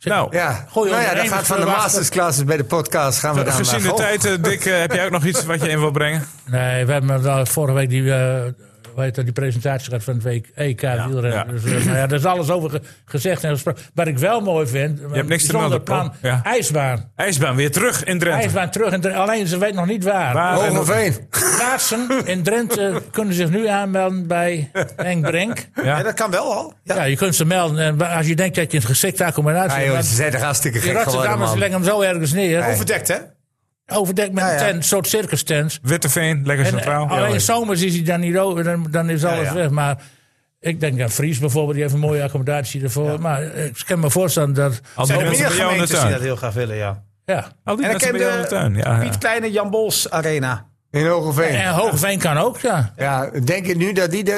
[SPEAKER 2] Nou,
[SPEAKER 3] Ja.
[SPEAKER 5] Goeie
[SPEAKER 3] nou ja, dan
[SPEAKER 5] ondernemers
[SPEAKER 3] gaat van de
[SPEAKER 5] verwachten.
[SPEAKER 3] masterclasses bij de podcast gaan we dan
[SPEAKER 2] gezien
[SPEAKER 3] maar
[SPEAKER 2] de
[SPEAKER 3] gewoon-
[SPEAKER 2] tijd, eh, Dick, eh, heb jij ook nog iets wat je in wil brengen?
[SPEAKER 5] Nee, we hebben wel vorige week die, eh, hoe heet dat, die presentatie gehad van het E week EK wielrennen.
[SPEAKER 2] ja.
[SPEAKER 5] Dus, eh, nou ja, daar is alles over ge- gezegd en gesproken. Wat ik wel mooi vind, je
[SPEAKER 2] hebt niks te melden,
[SPEAKER 5] plan,
[SPEAKER 2] Paul. Ja.
[SPEAKER 5] ijsbaan.
[SPEAKER 2] IJsbaan weer terug in Drenthe.
[SPEAKER 5] IJsbaan terug, en alleen ze weet nog niet waar.
[SPEAKER 2] Waar
[SPEAKER 6] Oh,
[SPEAKER 2] en op-
[SPEAKER 3] Hogeveen.
[SPEAKER 5] Plaatsen in Drenthe kunnen zich nu aanmelden bij Henk Brink.
[SPEAKER 6] Ja, dat kan wel al. Ja.
[SPEAKER 5] Ja, je kunt ze melden. En wa- als je denkt dat je een geschikte accommodatie
[SPEAKER 3] Ah,
[SPEAKER 5] hebt...
[SPEAKER 3] joh,
[SPEAKER 5] want
[SPEAKER 3] ze zijn toch hartstikke
[SPEAKER 5] die
[SPEAKER 3] gek geworden,
[SPEAKER 5] Rotterdammers
[SPEAKER 3] man.
[SPEAKER 5] leggen hem zo ergens neer.
[SPEAKER 6] Overdekt, hè?
[SPEAKER 5] Overdekt met een
[SPEAKER 6] ja.
[SPEAKER 5] tent, een soort circus tent.
[SPEAKER 2] Witteveen, lekker
[SPEAKER 5] En,
[SPEAKER 2] centraal.
[SPEAKER 5] eh, alleen zomers is hij dan niet over, dan, dan is alles
[SPEAKER 6] ja.
[SPEAKER 5] weg. Maar ik denk aan Fries bijvoorbeeld, die heeft een mooie accommodatie ervoor. Maar eh, ik kan me voorstellen dat.
[SPEAKER 2] Al die
[SPEAKER 6] Zijn er
[SPEAKER 2] mensen
[SPEAKER 6] meer
[SPEAKER 2] bij jou in de
[SPEAKER 6] gemeentes die dat
[SPEAKER 2] tuin.
[SPEAKER 6] heel graag willen, ja.
[SPEAKER 5] Ja.
[SPEAKER 2] Al die
[SPEAKER 6] En ik
[SPEAKER 2] mensen
[SPEAKER 6] ken
[SPEAKER 2] bij jou in de tuin.
[SPEAKER 6] de
[SPEAKER 2] Ja, ja.
[SPEAKER 6] Piet Kleine Jan Bols Arena.
[SPEAKER 3] In Hogeveen.
[SPEAKER 5] En Hoogveen kan ook, ja.
[SPEAKER 3] Ja, denk je nu dat die de,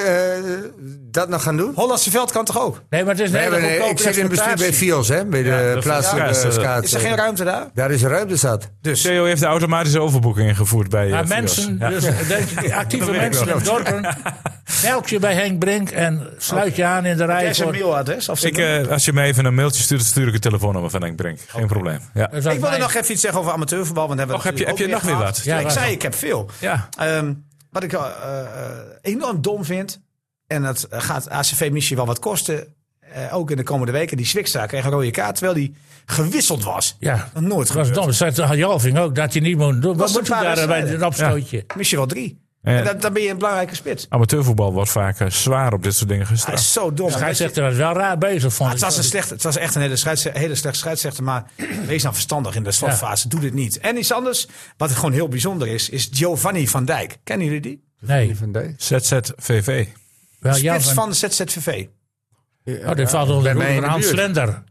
[SPEAKER 3] eh, dat nog gaan doen?
[SPEAKER 6] Hollandse Veld kan toch ook?
[SPEAKER 5] Nee, maar het is
[SPEAKER 3] We
[SPEAKER 5] net
[SPEAKER 3] hebben, eh, ik zit in het bestuur bij Fios, hè, bij de
[SPEAKER 2] Ja, dat
[SPEAKER 3] plaatselijke
[SPEAKER 2] is- ja, is, eh,
[SPEAKER 3] schaats-
[SPEAKER 6] Is er geen ruimte daar?
[SPEAKER 3] Daar is ruimte zat.
[SPEAKER 2] Dus Theo heeft de automatische overboeking ingevoerd bij eh,
[SPEAKER 5] Maar
[SPEAKER 2] Fios.
[SPEAKER 5] mensen,
[SPEAKER 2] Ja.
[SPEAKER 5] dus,
[SPEAKER 3] (laughs)
[SPEAKER 5] denk- actieve mensen in dorpen, meld je bij Henk Brink en sluit je aan in
[SPEAKER 6] Jij
[SPEAKER 5] de rij.
[SPEAKER 6] is een
[SPEAKER 5] Voor,
[SPEAKER 6] mailadres? Of
[SPEAKER 2] Ik, eh, als je me even een mailtje stuurt, stuur ik het telefoonnummer van Henk Brink. Geen probleem. Ja.
[SPEAKER 5] Dat is
[SPEAKER 6] ik wilde
[SPEAKER 5] mijn-
[SPEAKER 6] nog even iets zeggen over amateurvoetbal. Want hebben we
[SPEAKER 2] Och, heb je-
[SPEAKER 6] natuurlijk
[SPEAKER 2] heb
[SPEAKER 6] ook
[SPEAKER 2] je nog weer
[SPEAKER 6] gehad.
[SPEAKER 2] wat?
[SPEAKER 5] Ja,
[SPEAKER 6] ik
[SPEAKER 5] waar
[SPEAKER 6] zei,
[SPEAKER 5] dan?
[SPEAKER 6] ik heb veel.
[SPEAKER 2] ja.
[SPEAKER 6] Ehm, wat ik eh, eh, enorm dom vind, en dat gaat ACV misschien wel wat kosten, eh, ook in de komende weken, die Zwikstra kreeg een rode kaart, terwijl die gewisseld was.
[SPEAKER 5] Ja,
[SPEAKER 6] Nog nooit
[SPEAKER 5] het was
[SPEAKER 6] gebeurd.
[SPEAKER 5] dom. Dat zei de Jalving ook, dat je niet moet doen. Wat
[SPEAKER 6] Was
[SPEAKER 5] moet je
[SPEAKER 6] een paar
[SPEAKER 5] daar bij
[SPEAKER 6] wedstrijden.
[SPEAKER 5] een opstootje?
[SPEAKER 6] Misschien wel drie.
[SPEAKER 2] Ja.
[SPEAKER 6] En dan, dan ben je een belangrijke spits.
[SPEAKER 2] Amateurvoetbal wordt vaak eh, zwaar op dit soort dingen
[SPEAKER 6] Hij
[SPEAKER 2] gestraft.
[SPEAKER 6] is zo dom.
[SPEAKER 5] De scheidsrechter was wel raar bezig,
[SPEAKER 6] Ah,
[SPEAKER 5] vond
[SPEAKER 6] het,
[SPEAKER 5] ik.
[SPEAKER 6] was een slechte, het was echt een hele, scheids, hele slechte scheidsrechter. Maar (clears throat) wees nou verstandig in de slotfase. Doe dit niet. En iets anders, wat gewoon heel bijzonder is, is Giovanni van Dijk. Kennen jullie die?
[SPEAKER 5] Nee,
[SPEAKER 2] ZZVV.
[SPEAKER 5] wel
[SPEAKER 6] Spits
[SPEAKER 5] Jalving.
[SPEAKER 6] van de ZZVV.
[SPEAKER 5] Oh, dit valt onder de
[SPEAKER 3] mij in
[SPEAKER 5] roep van
[SPEAKER 3] de
[SPEAKER 5] Hans
[SPEAKER 3] buurt.
[SPEAKER 5] Slender.
[SPEAKER 6] Ja,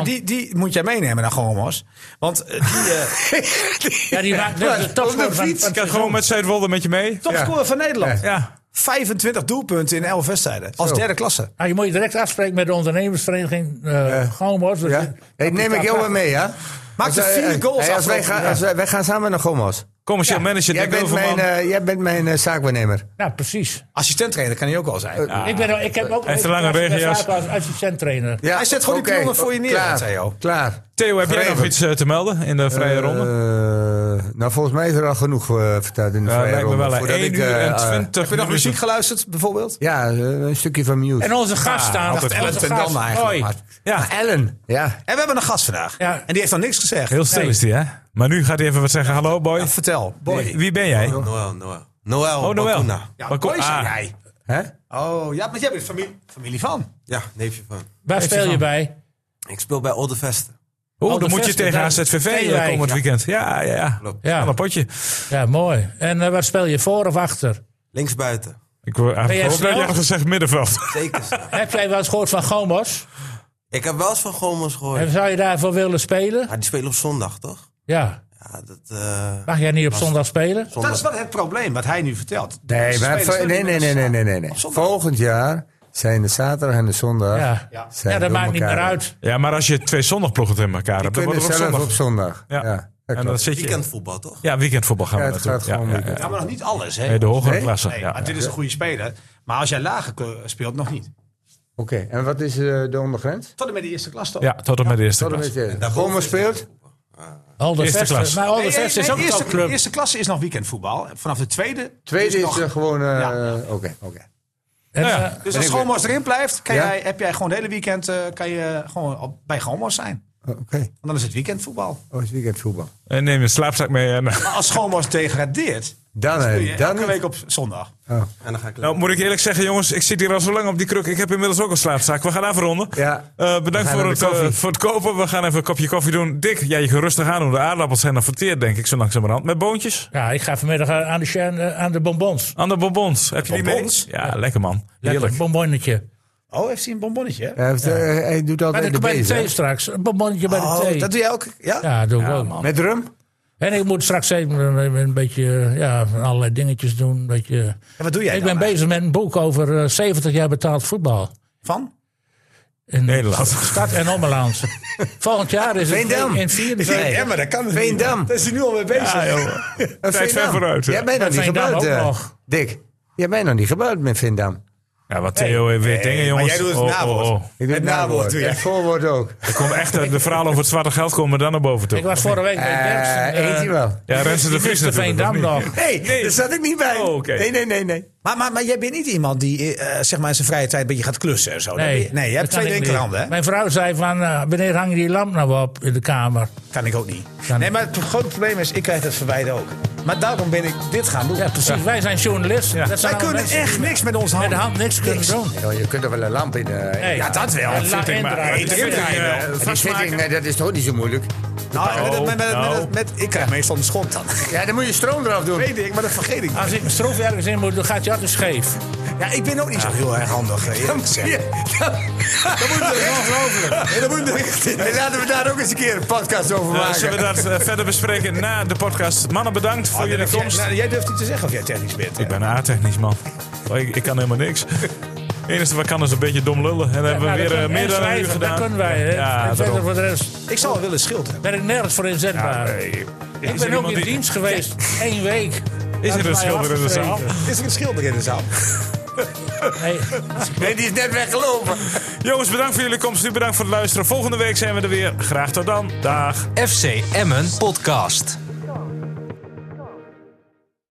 [SPEAKER 6] Nou, die, die moet jij meenemen naar Gomos. Want eh, die eh
[SPEAKER 5] Ja,
[SPEAKER 6] (laughs)
[SPEAKER 5] die maakt net de topscorer van, van
[SPEAKER 2] Ik ga gewoon met Zuidwolde met je mee.
[SPEAKER 6] topscorer van Nederland.
[SPEAKER 2] Ja.
[SPEAKER 6] 25 doelpunten in 11 wedstrijden. Als derde klasse.
[SPEAKER 5] Ah, je moet je direct afspreken met de ondernemersvereniging eh Goomos.
[SPEAKER 6] (laughs)
[SPEAKER 5] Dus
[SPEAKER 3] Ja? Hey, neem ik jou wel mee, ja?
[SPEAKER 6] Maakte
[SPEAKER 3] Als wij-
[SPEAKER 6] vier goals
[SPEAKER 3] hey, als wij,
[SPEAKER 6] afgelopen
[SPEAKER 3] gaan,
[SPEAKER 6] jaar.
[SPEAKER 3] als wij, wij gaan samen naar Gomos.
[SPEAKER 2] Commercieel manager
[SPEAKER 3] Jij
[SPEAKER 2] Dick
[SPEAKER 3] bent,
[SPEAKER 2] Overman.
[SPEAKER 3] mijn, eh, jij bent mijn eh, zaakwaarnemer.
[SPEAKER 5] Nou, precies.
[SPEAKER 6] Assistenttrainer kan hij ook al zijn.
[SPEAKER 3] Ah.
[SPEAKER 5] Ik, ben, ik heb ook
[SPEAKER 2] Hij heeft een lange regenjas.
[SPEAKER 5] vaak als assistent trainer.
[SPEAKER 3] Ja,
[SPEAKER 6] Hij zet gewoon die
[SPEAKER 3] oké.
[SPEAKER 6] knollen voor je neer,
[SPEAKER 3] Klaar,
[SPEAKER 6] Theo.
[SPEAKER 3] klaar.
[SPEAKER 2] Theo, heb jij nog
[SPEAKER 3] Geregeld.
[SPEAKER 2] iets eh, te melden in de vrije ronde?
[SPEAKER 3] Eh, nou, volgens mij is er al genoeg eh, verteld in de
[SPEAKER 2] Ja,
[SPEAKER 3] vrije
[SPEAKER 2] lijkt me
[SPEAKER 3] ronde.
[SPEAKER 2] wel.
[SPEAKER 3] voordat
[SPEAKER 2] 1
[SPEAKER 3] ik,
[SPEAKER 2] uur
[SPEAKER 3] eh,
[SPEAKER 2] en
[SPEAKER 3] eh,
[SPEAKER 2] 20
[SPEAKER 6] Heb je nog muziek geluisterd, bijvoorbeeld?
[SPEAKER 3] ja, eh, een stukje van Muse.
[SPEAKER 5] En onze gast staan.
[SPEAKER 2] altijd
[SPEAKER 5] onze
[SPEAKER 6] Ellen ten
[SPEAKER 5] gast,
[SPEAKER 6] Damme eigenlijk,
[SPEAKER 5] hoi.
[SPEAKER 6] maar-
[SPEAKER 2] Ja,
[SPEAKER 3] Ellen. Ja.
[SPEAKER 6] En we hebben een gast vandaag.
[SPEAKER 5] Ja.
[SPEAKER 6] En die heeft nog niks gezegd.
[SPEAKER 2] heel stil
[SPEAKER 5] Nee.
[SPEAKER 2] is die, hè? Maar nu gaat hij even wat zeggen. Hallo, boy.
[SPEAKER 6] Ja, vertel, boy.
[SPEAKER 2] Wie- Wie ben jij?
[SPEAKER 9] Noël, Noël. Noël
[SPEAKER 2] Oh, Noël.
[SPEAKER 9] Bakuna.
[SPEAKER 6] Ja,
[SPEAKER 2] Wat kom-
[SPEAKER 6] boy zijn
[SPEAKER 2] ah.
[SPEAKER 6] jij.
[SPEAKER 3] Hè?
[SPEAKER 6] Oh, ja, maar jij bent familie, familie van.
[SPEAKER 9] Ja, neefje van.
[SPEAKER 5] Waar speel je bij?
[SPEAKER 9] Ik speel bij Oldevest.
[SPEAKER 2] Oh,
[SPEAKER 5] Oude
[SPEAKER 2] dan moet je
[SPEAKER 5] Vesten,
[SPEAKER 2] tegen
[SPEAKER 5] daar-
[SPEAKER 2] AZVV
[SPEAKER 5] Steenwijk.
[SPEAKER 2] komend weekend. Ja, ja, ja. Aan een
[SPEAKER 5] Ja,
[SPEAKER 2] potje.
[SPEAKER 5] ja mooi. En eh, waar speel je, voor of achter?
[SPEAKER 9] Links buiten.
[SPEAKER 2] Ik wou- had
[SPEAKER 5] Ben jij
[SPEAKER 2] gehoopt dat je
[SPEAKER 5] snel?
[SPEAKER 2] had gezegd middenveld.
[SPEAKER 9] Zeker.
[SPEAKER 5] (laughs)
[SPEAKER 9] staan.
[SPEAKER 5] heb jij wel eens gehoord van Gomos?
[SPEAKER 9] ik heb wel eens van Gomos gehoord.
[SPEAKER 5] En zou je daarvoor willen spelen?
[SPEAKER 9] Ja, die spelen op zondag, toch?
[SPEAKER 5] Ja.
[SPEAKER 9] Ja, dat... eh
[SPEAKER 5] Mag jij niet op zondag spelen?
[SPEAKER 9] zondag.
[SPEAKER 6] Dat is wel het probleem, wat hij nu vertelt.
[SPEAKER 3] Nee, maar
[SPEAKER 6] Spelers
[SPEAKER 3] vo-
[SPEAKER 6] doen
[SPEAKER 3] nee,
[SPEAKER 6] niet
[SPEAKER 3] nee, nee,
[SPEAKER 6] meer
[SPEAKER 3] nee,
[SPEAKER 6] samen.
[SPEAKER 3] nee, nee, nee.
[SPEAKER 6] Op zondag.
[SPEAKER 3] Volgend jaar zijn de zaterdag en de zondag.
[SPEAKER 5] Ja,
[SPEAKER 3] zijn
[SPEAKER 5] ja dat
[SPEAKER 3] door
[SPEAKER 5] maakt niet
[SPEAKER 3] elkaar.
[SPEAKER 5] meer uit.
[SPEAKER 2] Ja, maar als je twee zondagploegen tegen elkaar hebt, dan
[SPEAKER 3] Kunnen
[SPEAKER 2] wordt het op
[SPEAKER 3] zelf
[SPEAKER 2] zondag.
[SPEAKER 3] op zondag.
[SPEAKER 2] Ja.
[SPEAKER 3] Ja, dat
[SPEAKER 2] en dan
[SPEAKER 3] klopt.
[SPEAKER 2] zit je...
[SPEAKER 9] Weekendvoetbal, toch?
[SPEAKER 2] Ja, weekendvoetbal gaan
[SPEAKER 3] Ja,
[SPEAKER 2] we
[SPEAKER 3] het
[SPEAKER 2] naartoe.
[SPEAKER 3] gaat gewoon
[SPEAKER 2] ja, ja,
[SPEAKER 3] weekend.
[SPEAKER 2] ja.
[SPEAKER 6] Ja, maar nog niet alles, hè?
[SPEAKER 2] Nee, de hogere klasse.
[SPEAKER 6] Nee,
[SPEAKER 2] ja,
[SPEAKER 6] maar dit is een goede speler. Maar als jij lager ke- speelt, nog niet.
[SPEAKER 3] Oké, en wat is eh, de ondergrens?
[SPEAKER 6] Tot en met de eerste klas toch?
[SPEAKER 2] ja, tot en met de eerste
[SPEAKER 3] Tot en
[SPEAKER 2] klas.
[SPEAKER 3] met je. Gommer speelt?
[SPEAKER 5] Alder
[SPEAKER 2] Eerste
[SPEAKER 5] Vesten.
[SPEAKER 2] klas.
[SPEAKER 5] Maar Alder
[SPEAKER 6] Nee, nee,
[SPEAKER 5] Vesten is
[SPEAKER 6] nee,
[SPEAKER 5] ook een
[SPEAKER 6] eerste,
[SPEAKER 5] topclub.
[SPEAKER 6] eerste klasse is nog weekendvoetbal. Vanaf de tweede.
[SPEAKER 3] Tweede is
[SPEAKER 6] nog-
[SPEAKER 3] eh, gewoon... eh,
[SPEAKER 6] Ja.
[SPEAKER 3] Oké, oké.
[SPEAKER 5] En,
[SPEAKER 2] Nou ja.
[SPEAKER 5] eh,
[SPEAKER 6] Dus als
[SPEAKER 3] ik weer-
[SPEAKER 6] Gomos erin blijft, kan
[SPEAKER 3] Ja?
[SPEAKER 6] jij, heb jij gewoon het hele weekend eh, kan je gewoon op, bij Gomos zijn.
[SPEAKER 3] Oké.
[SPEAKER 6] Want dan is het weekendvoetbal.
[SPEAKER 3] Oh, is weekendvoetbal.
[SPEAKER 2] En neem een slaapzak mee. En... eh,
[SPEAKER 6] Maar als Schoonwas degradeert,
[SPEAKER 3] dan,
[SPEAKER 6] speel
[SPEAKER 3] eh,
[SPEAKER 6] je
[SPEAKER 3] dan
[SPEAKER 6] elke week op zondag.
[SPEAKER 13] En dan ga ik
[SPEAKER 2] Nou, moet ik eerlijk zeggen, jongens, ik zit hier al zo lang op die kruk. Ik heb inmiddels ook een slaapzak. We gaan afronden.
[SPEAKER 3] Ja.
[SPEAKER 2] Eh, bedankt
[SPEAKER 3] We gaan
[SPEAKER 2] voor
[SPEAKER 3] naar
[SPEAKER 2] het,
[SPEAKER 3] de koffie.
[SPEAKER 2] eh, voor het kopen. We gaan even een kopje koffie doen. Dick, ja, je kan rustig aan doen. De aardappels zijn al verteerd, denk ik, zo langzamerhand. Met boontjes?
[SPEAKER 5] Ja, ik ga vanmiddag aan aan de, Sjan, eh, aan de bonbons.
[SPEAKER 2] Aan de bonbons. Heb je die mee?
[SPEAKER 5] Bonbons?
[SPEAKER 2] Ja, lekker man.
[SPEAKER 5] Lekker
[SPEAKER 2] Heerlijk.
[SPEAKER 5] een bonbonnetje.
[SPEAKER 6] Oh, heeft hij een bonbonnetje? hè?
[SPEAKER 3] Hij, heeft, eh, hij doet
[SPEAKER 5] Bij
[SPEAKER 3] altijd
[SPEAKER 5] de, bij de
[SPEAKER 3] beest, hè?
[SPEAKER 5] thee straks. Een bonbonnetje bij de
[SPEAKER 6] Oh,
[SPEAKER 5] thee.
[SPEAKER 6] dat doe jij ook? Ja?
[SPEAKER 5] Ja, doe ik ook.
[SPEAKER 3] Met rum?
[SPEAKER 5] En ik moet straks even een, een beetje eh, ja, allerlei dingetjes doen. Een beetje.
[SPEAKER 6] En wat doe jij
[SPEAKER 5] ik
[SPEAKER 6] dan
[SPEAKER 5] ben bezig met een boek over eh, 70 jaar betaald voetbal.
[SPEAKER 6] Van?
[SPEAKER 5] In
[SPEAKER 2] Nederland.
[SPEAKER 5] Stad en Ommeland. Volgend jaar is het
[SPEAKER 3] Veendam.
[SPEAKER 5] in vierde
[SPEAKER 6] Nee, ja, maar dat kan het niet.
[SPEAKER 3] Veendam.
[SPEAKER 6] Daar is hij nu al mee bezig.
[SPEAKER 2] Ja, joh.
[SPEAKER 3] Een
[SPEAKER 2] Tijd ver
[SPEAKER 3] Veendam.
[SPEAKER 2] vooruit.
[SPEAKER 3] Jij bent nog niet
[SPEAKER 5] Veendam
[SPEAKER 3] gebruikt,
[SPEAKER 5] ook
[SPEAKER 3] eh,
[SPEAKER 5] nog.
[SPEAKER 3] Dick. Jij bent nog niet gebruikt met Vindam.
[SPEAKER 2] Ja, wat Theo eh, weer dingen, jongens. oh,
[SPEAKER 6] Maar jij doet
[SPEAKER 5] Oh,
[SPEAKER 6] het nawoord.
[SPEAKER 3] Ik doe het nawoord.
[SPEAKER 6] doe je.
[SPEAKER 3] Het voorwoord ook.
[SPEAKER 2] Ik kom echt uit de verhaal over het zwarte geld komen dan naar boven toe.
[SPEAKER 5] Ik was vorige week bij Derksen.
[SPEAKER 3] Eh,
[SPEAKER 5] eh,
[SPEAKER 3] eet hij wel?
[SPEAKER 2] Ja, Rensen de
[SPEAKER 5] die
[SPEAKER 2] Vries
[SPEAKER 5] miste
[SPEAKER 2] natuurlijk.
[SPEAKER 5] Veendam
[SPEAKER 2] of niet?
[SPEAKER 5] nog.
[SPEAKER 3] Nee, daar zat ik niet bij.
[SPEAKER 2] Oh, oké.
[SPEAKER 3] Nee, nee, nee, nee.
[SPEAKER 6] Maar, maar, maar jij bent niet iemand die eh, zeg maar in zijn vrije tijd een beetje gaat klussen en zo.
[SPEAKER 5] Nee,
[SPEAKER 6] Nee, nee je hebt
[SPEAKER 5] dat
[SPEAKER 6] twee
[SPEAKER 5] kan ik
[SPEAKER 6] linkerhanden,
[SPEAKER 5] niet.
[SPEAKER 6] hè?
[SPEAKER 5] Mijn vrouw zei van, eh, wanneer hang je die lamp nou op in de kamer?
[SPEAKER 6] Kan ik ook niet.
[SPEAKER 5] Kan
[SPEAKER 6] nee,
[SPEAKER 5] ik.
[SPEAKER 6] maar het grote probleem is, ik krijg dat verwijden ook. Maar daarom ben ik dit gaan doen.
[SPEAKER 5] Ja, precies. Wij zijn journalisten. Dat zijn
[SPEAKER 6] Wij
[SPEAKER 5] allemaal
[SPEAKER 6] kunnen
[SPEAKER 5] mensen
[SPEAKER 6] echt
[SPEAKER 5] die
[SPEAKER 6] niks met onze
[SPEAKER 5] met
[SPEAKER 6] handen.
[SPEAKER 5] de hand niks kunnen doen.
[SPEAKER 3] Joh, Oh, je kunt er wel een lamp in. eh,
[SPEAKER 5] Nee.
[SPEAKER 6] Ja, dat wel.
[SPEAKER 5] En
[SPEAKER 6] Dat
[SPEAKER 5] lang
[SPEAKER 6] vind ik maar.
[SPEAKER 5] indraaien.
[SPEAKER 6] Nee,
[SPEAKER 5] Dat
[SPEAKER 6] dat
[SPEAKER 5] vind
[SPEAKER 6] vind
[SPEAKER 5] ik,
[SPEAKER 6] ik wel.
[SPEAKER 3] eh, die zitting, nee, dat is toch niet zo moeilijk.
[SPEAKER 6] Nou, met,
[SPEAKER 2] Nou,
[SPEAKER 6] met, met, met,
[SPEAKER 2] nou.
[SPEAKER 6] met, met- ik krijg meestal een schot dan. (laughs)
[SPEAKER 3] Ja, dan moet je stroom eraf doen.
[SPEAKER 6] Weet ik, maar dat vergeet ik.
[SPEAKER 5] Als ik mijn stroef ergens in moet, dan gaat je altijd scheef.
[SPEAKER 6] Ja, ik ben ook niet zo heel erg handig, eh, eerlijk gezegd.
[SPEAKER 3] Ja, dat-
[SPEAKER 6] (laughs) Nee, dat moet echt in.
[SPEAKER 3] Hey, Laten we daar ook eens een keer een podcast over
[SPEAKER 2] Eh,
[SPEAKER 3] maken.
[SPEAKER 2] zullen we dat eh, verder bespreken na de podcast? Mannen, bedankt voor jullie
[SPEAKER 6] Jij-
[SPEAKER 2] komst.
[SPEAKER 6] nou, jij durft niet te zeggen of jij technisch bent.
[SPEAKER 2] Ik ben een A-technisch man. Oh, Ik, ik kan helemaal niks.
[SPEAKER 5] (laughs)
[SPEAKER 2] Het enige wat ik kan is een beetje dom lullen. En dan hebben we
[SPEAKER 5] Nou, dat
[SPEAKER 2] weer eh,
[SPEAKER 5] kunnen- en
[SPEAKER 2] meer dan een uur
[SPEAKER 5] schrijven,
[SPEAKER 2] gedaan.
[SPEAKER 5] Dat kunnen wij. hè.
[SPEAKER 2] Ja,
[SPEAKER 5] En verder
[SPEAKER 2] daarom.
[SPEAKER 5] voor de rest
[SPEAKER 6] Ik zou wel willen schilderen.
[SPEAKER 5] ben ik nergens voor inzetbaar. ik
[SPEAKER 2] Is er
[SPEAKER 5] ben ook
[SPEAKER 2] iemand
[SPEAKER 5] in
[SPEAKER 2] die-
[SPEAKER 5] dienst geweest. Eén week.
[SPEAKER 2] Is er een schilder in de zaal? (laughs)
[SPEAKER 6] Is er een schilder in de zaal?
[SPEAKER 5] Nee,
[SPEAKER 3] Nee, die is net weggelopen.
[SPEAKER 2] Jongens, bedankt voor jullie komst. U bedankt voor het luisteren. Volgende week zijn we er weer. Graag tot dan. Dag.
[SPEAKER 4] FC Emmen Podcast.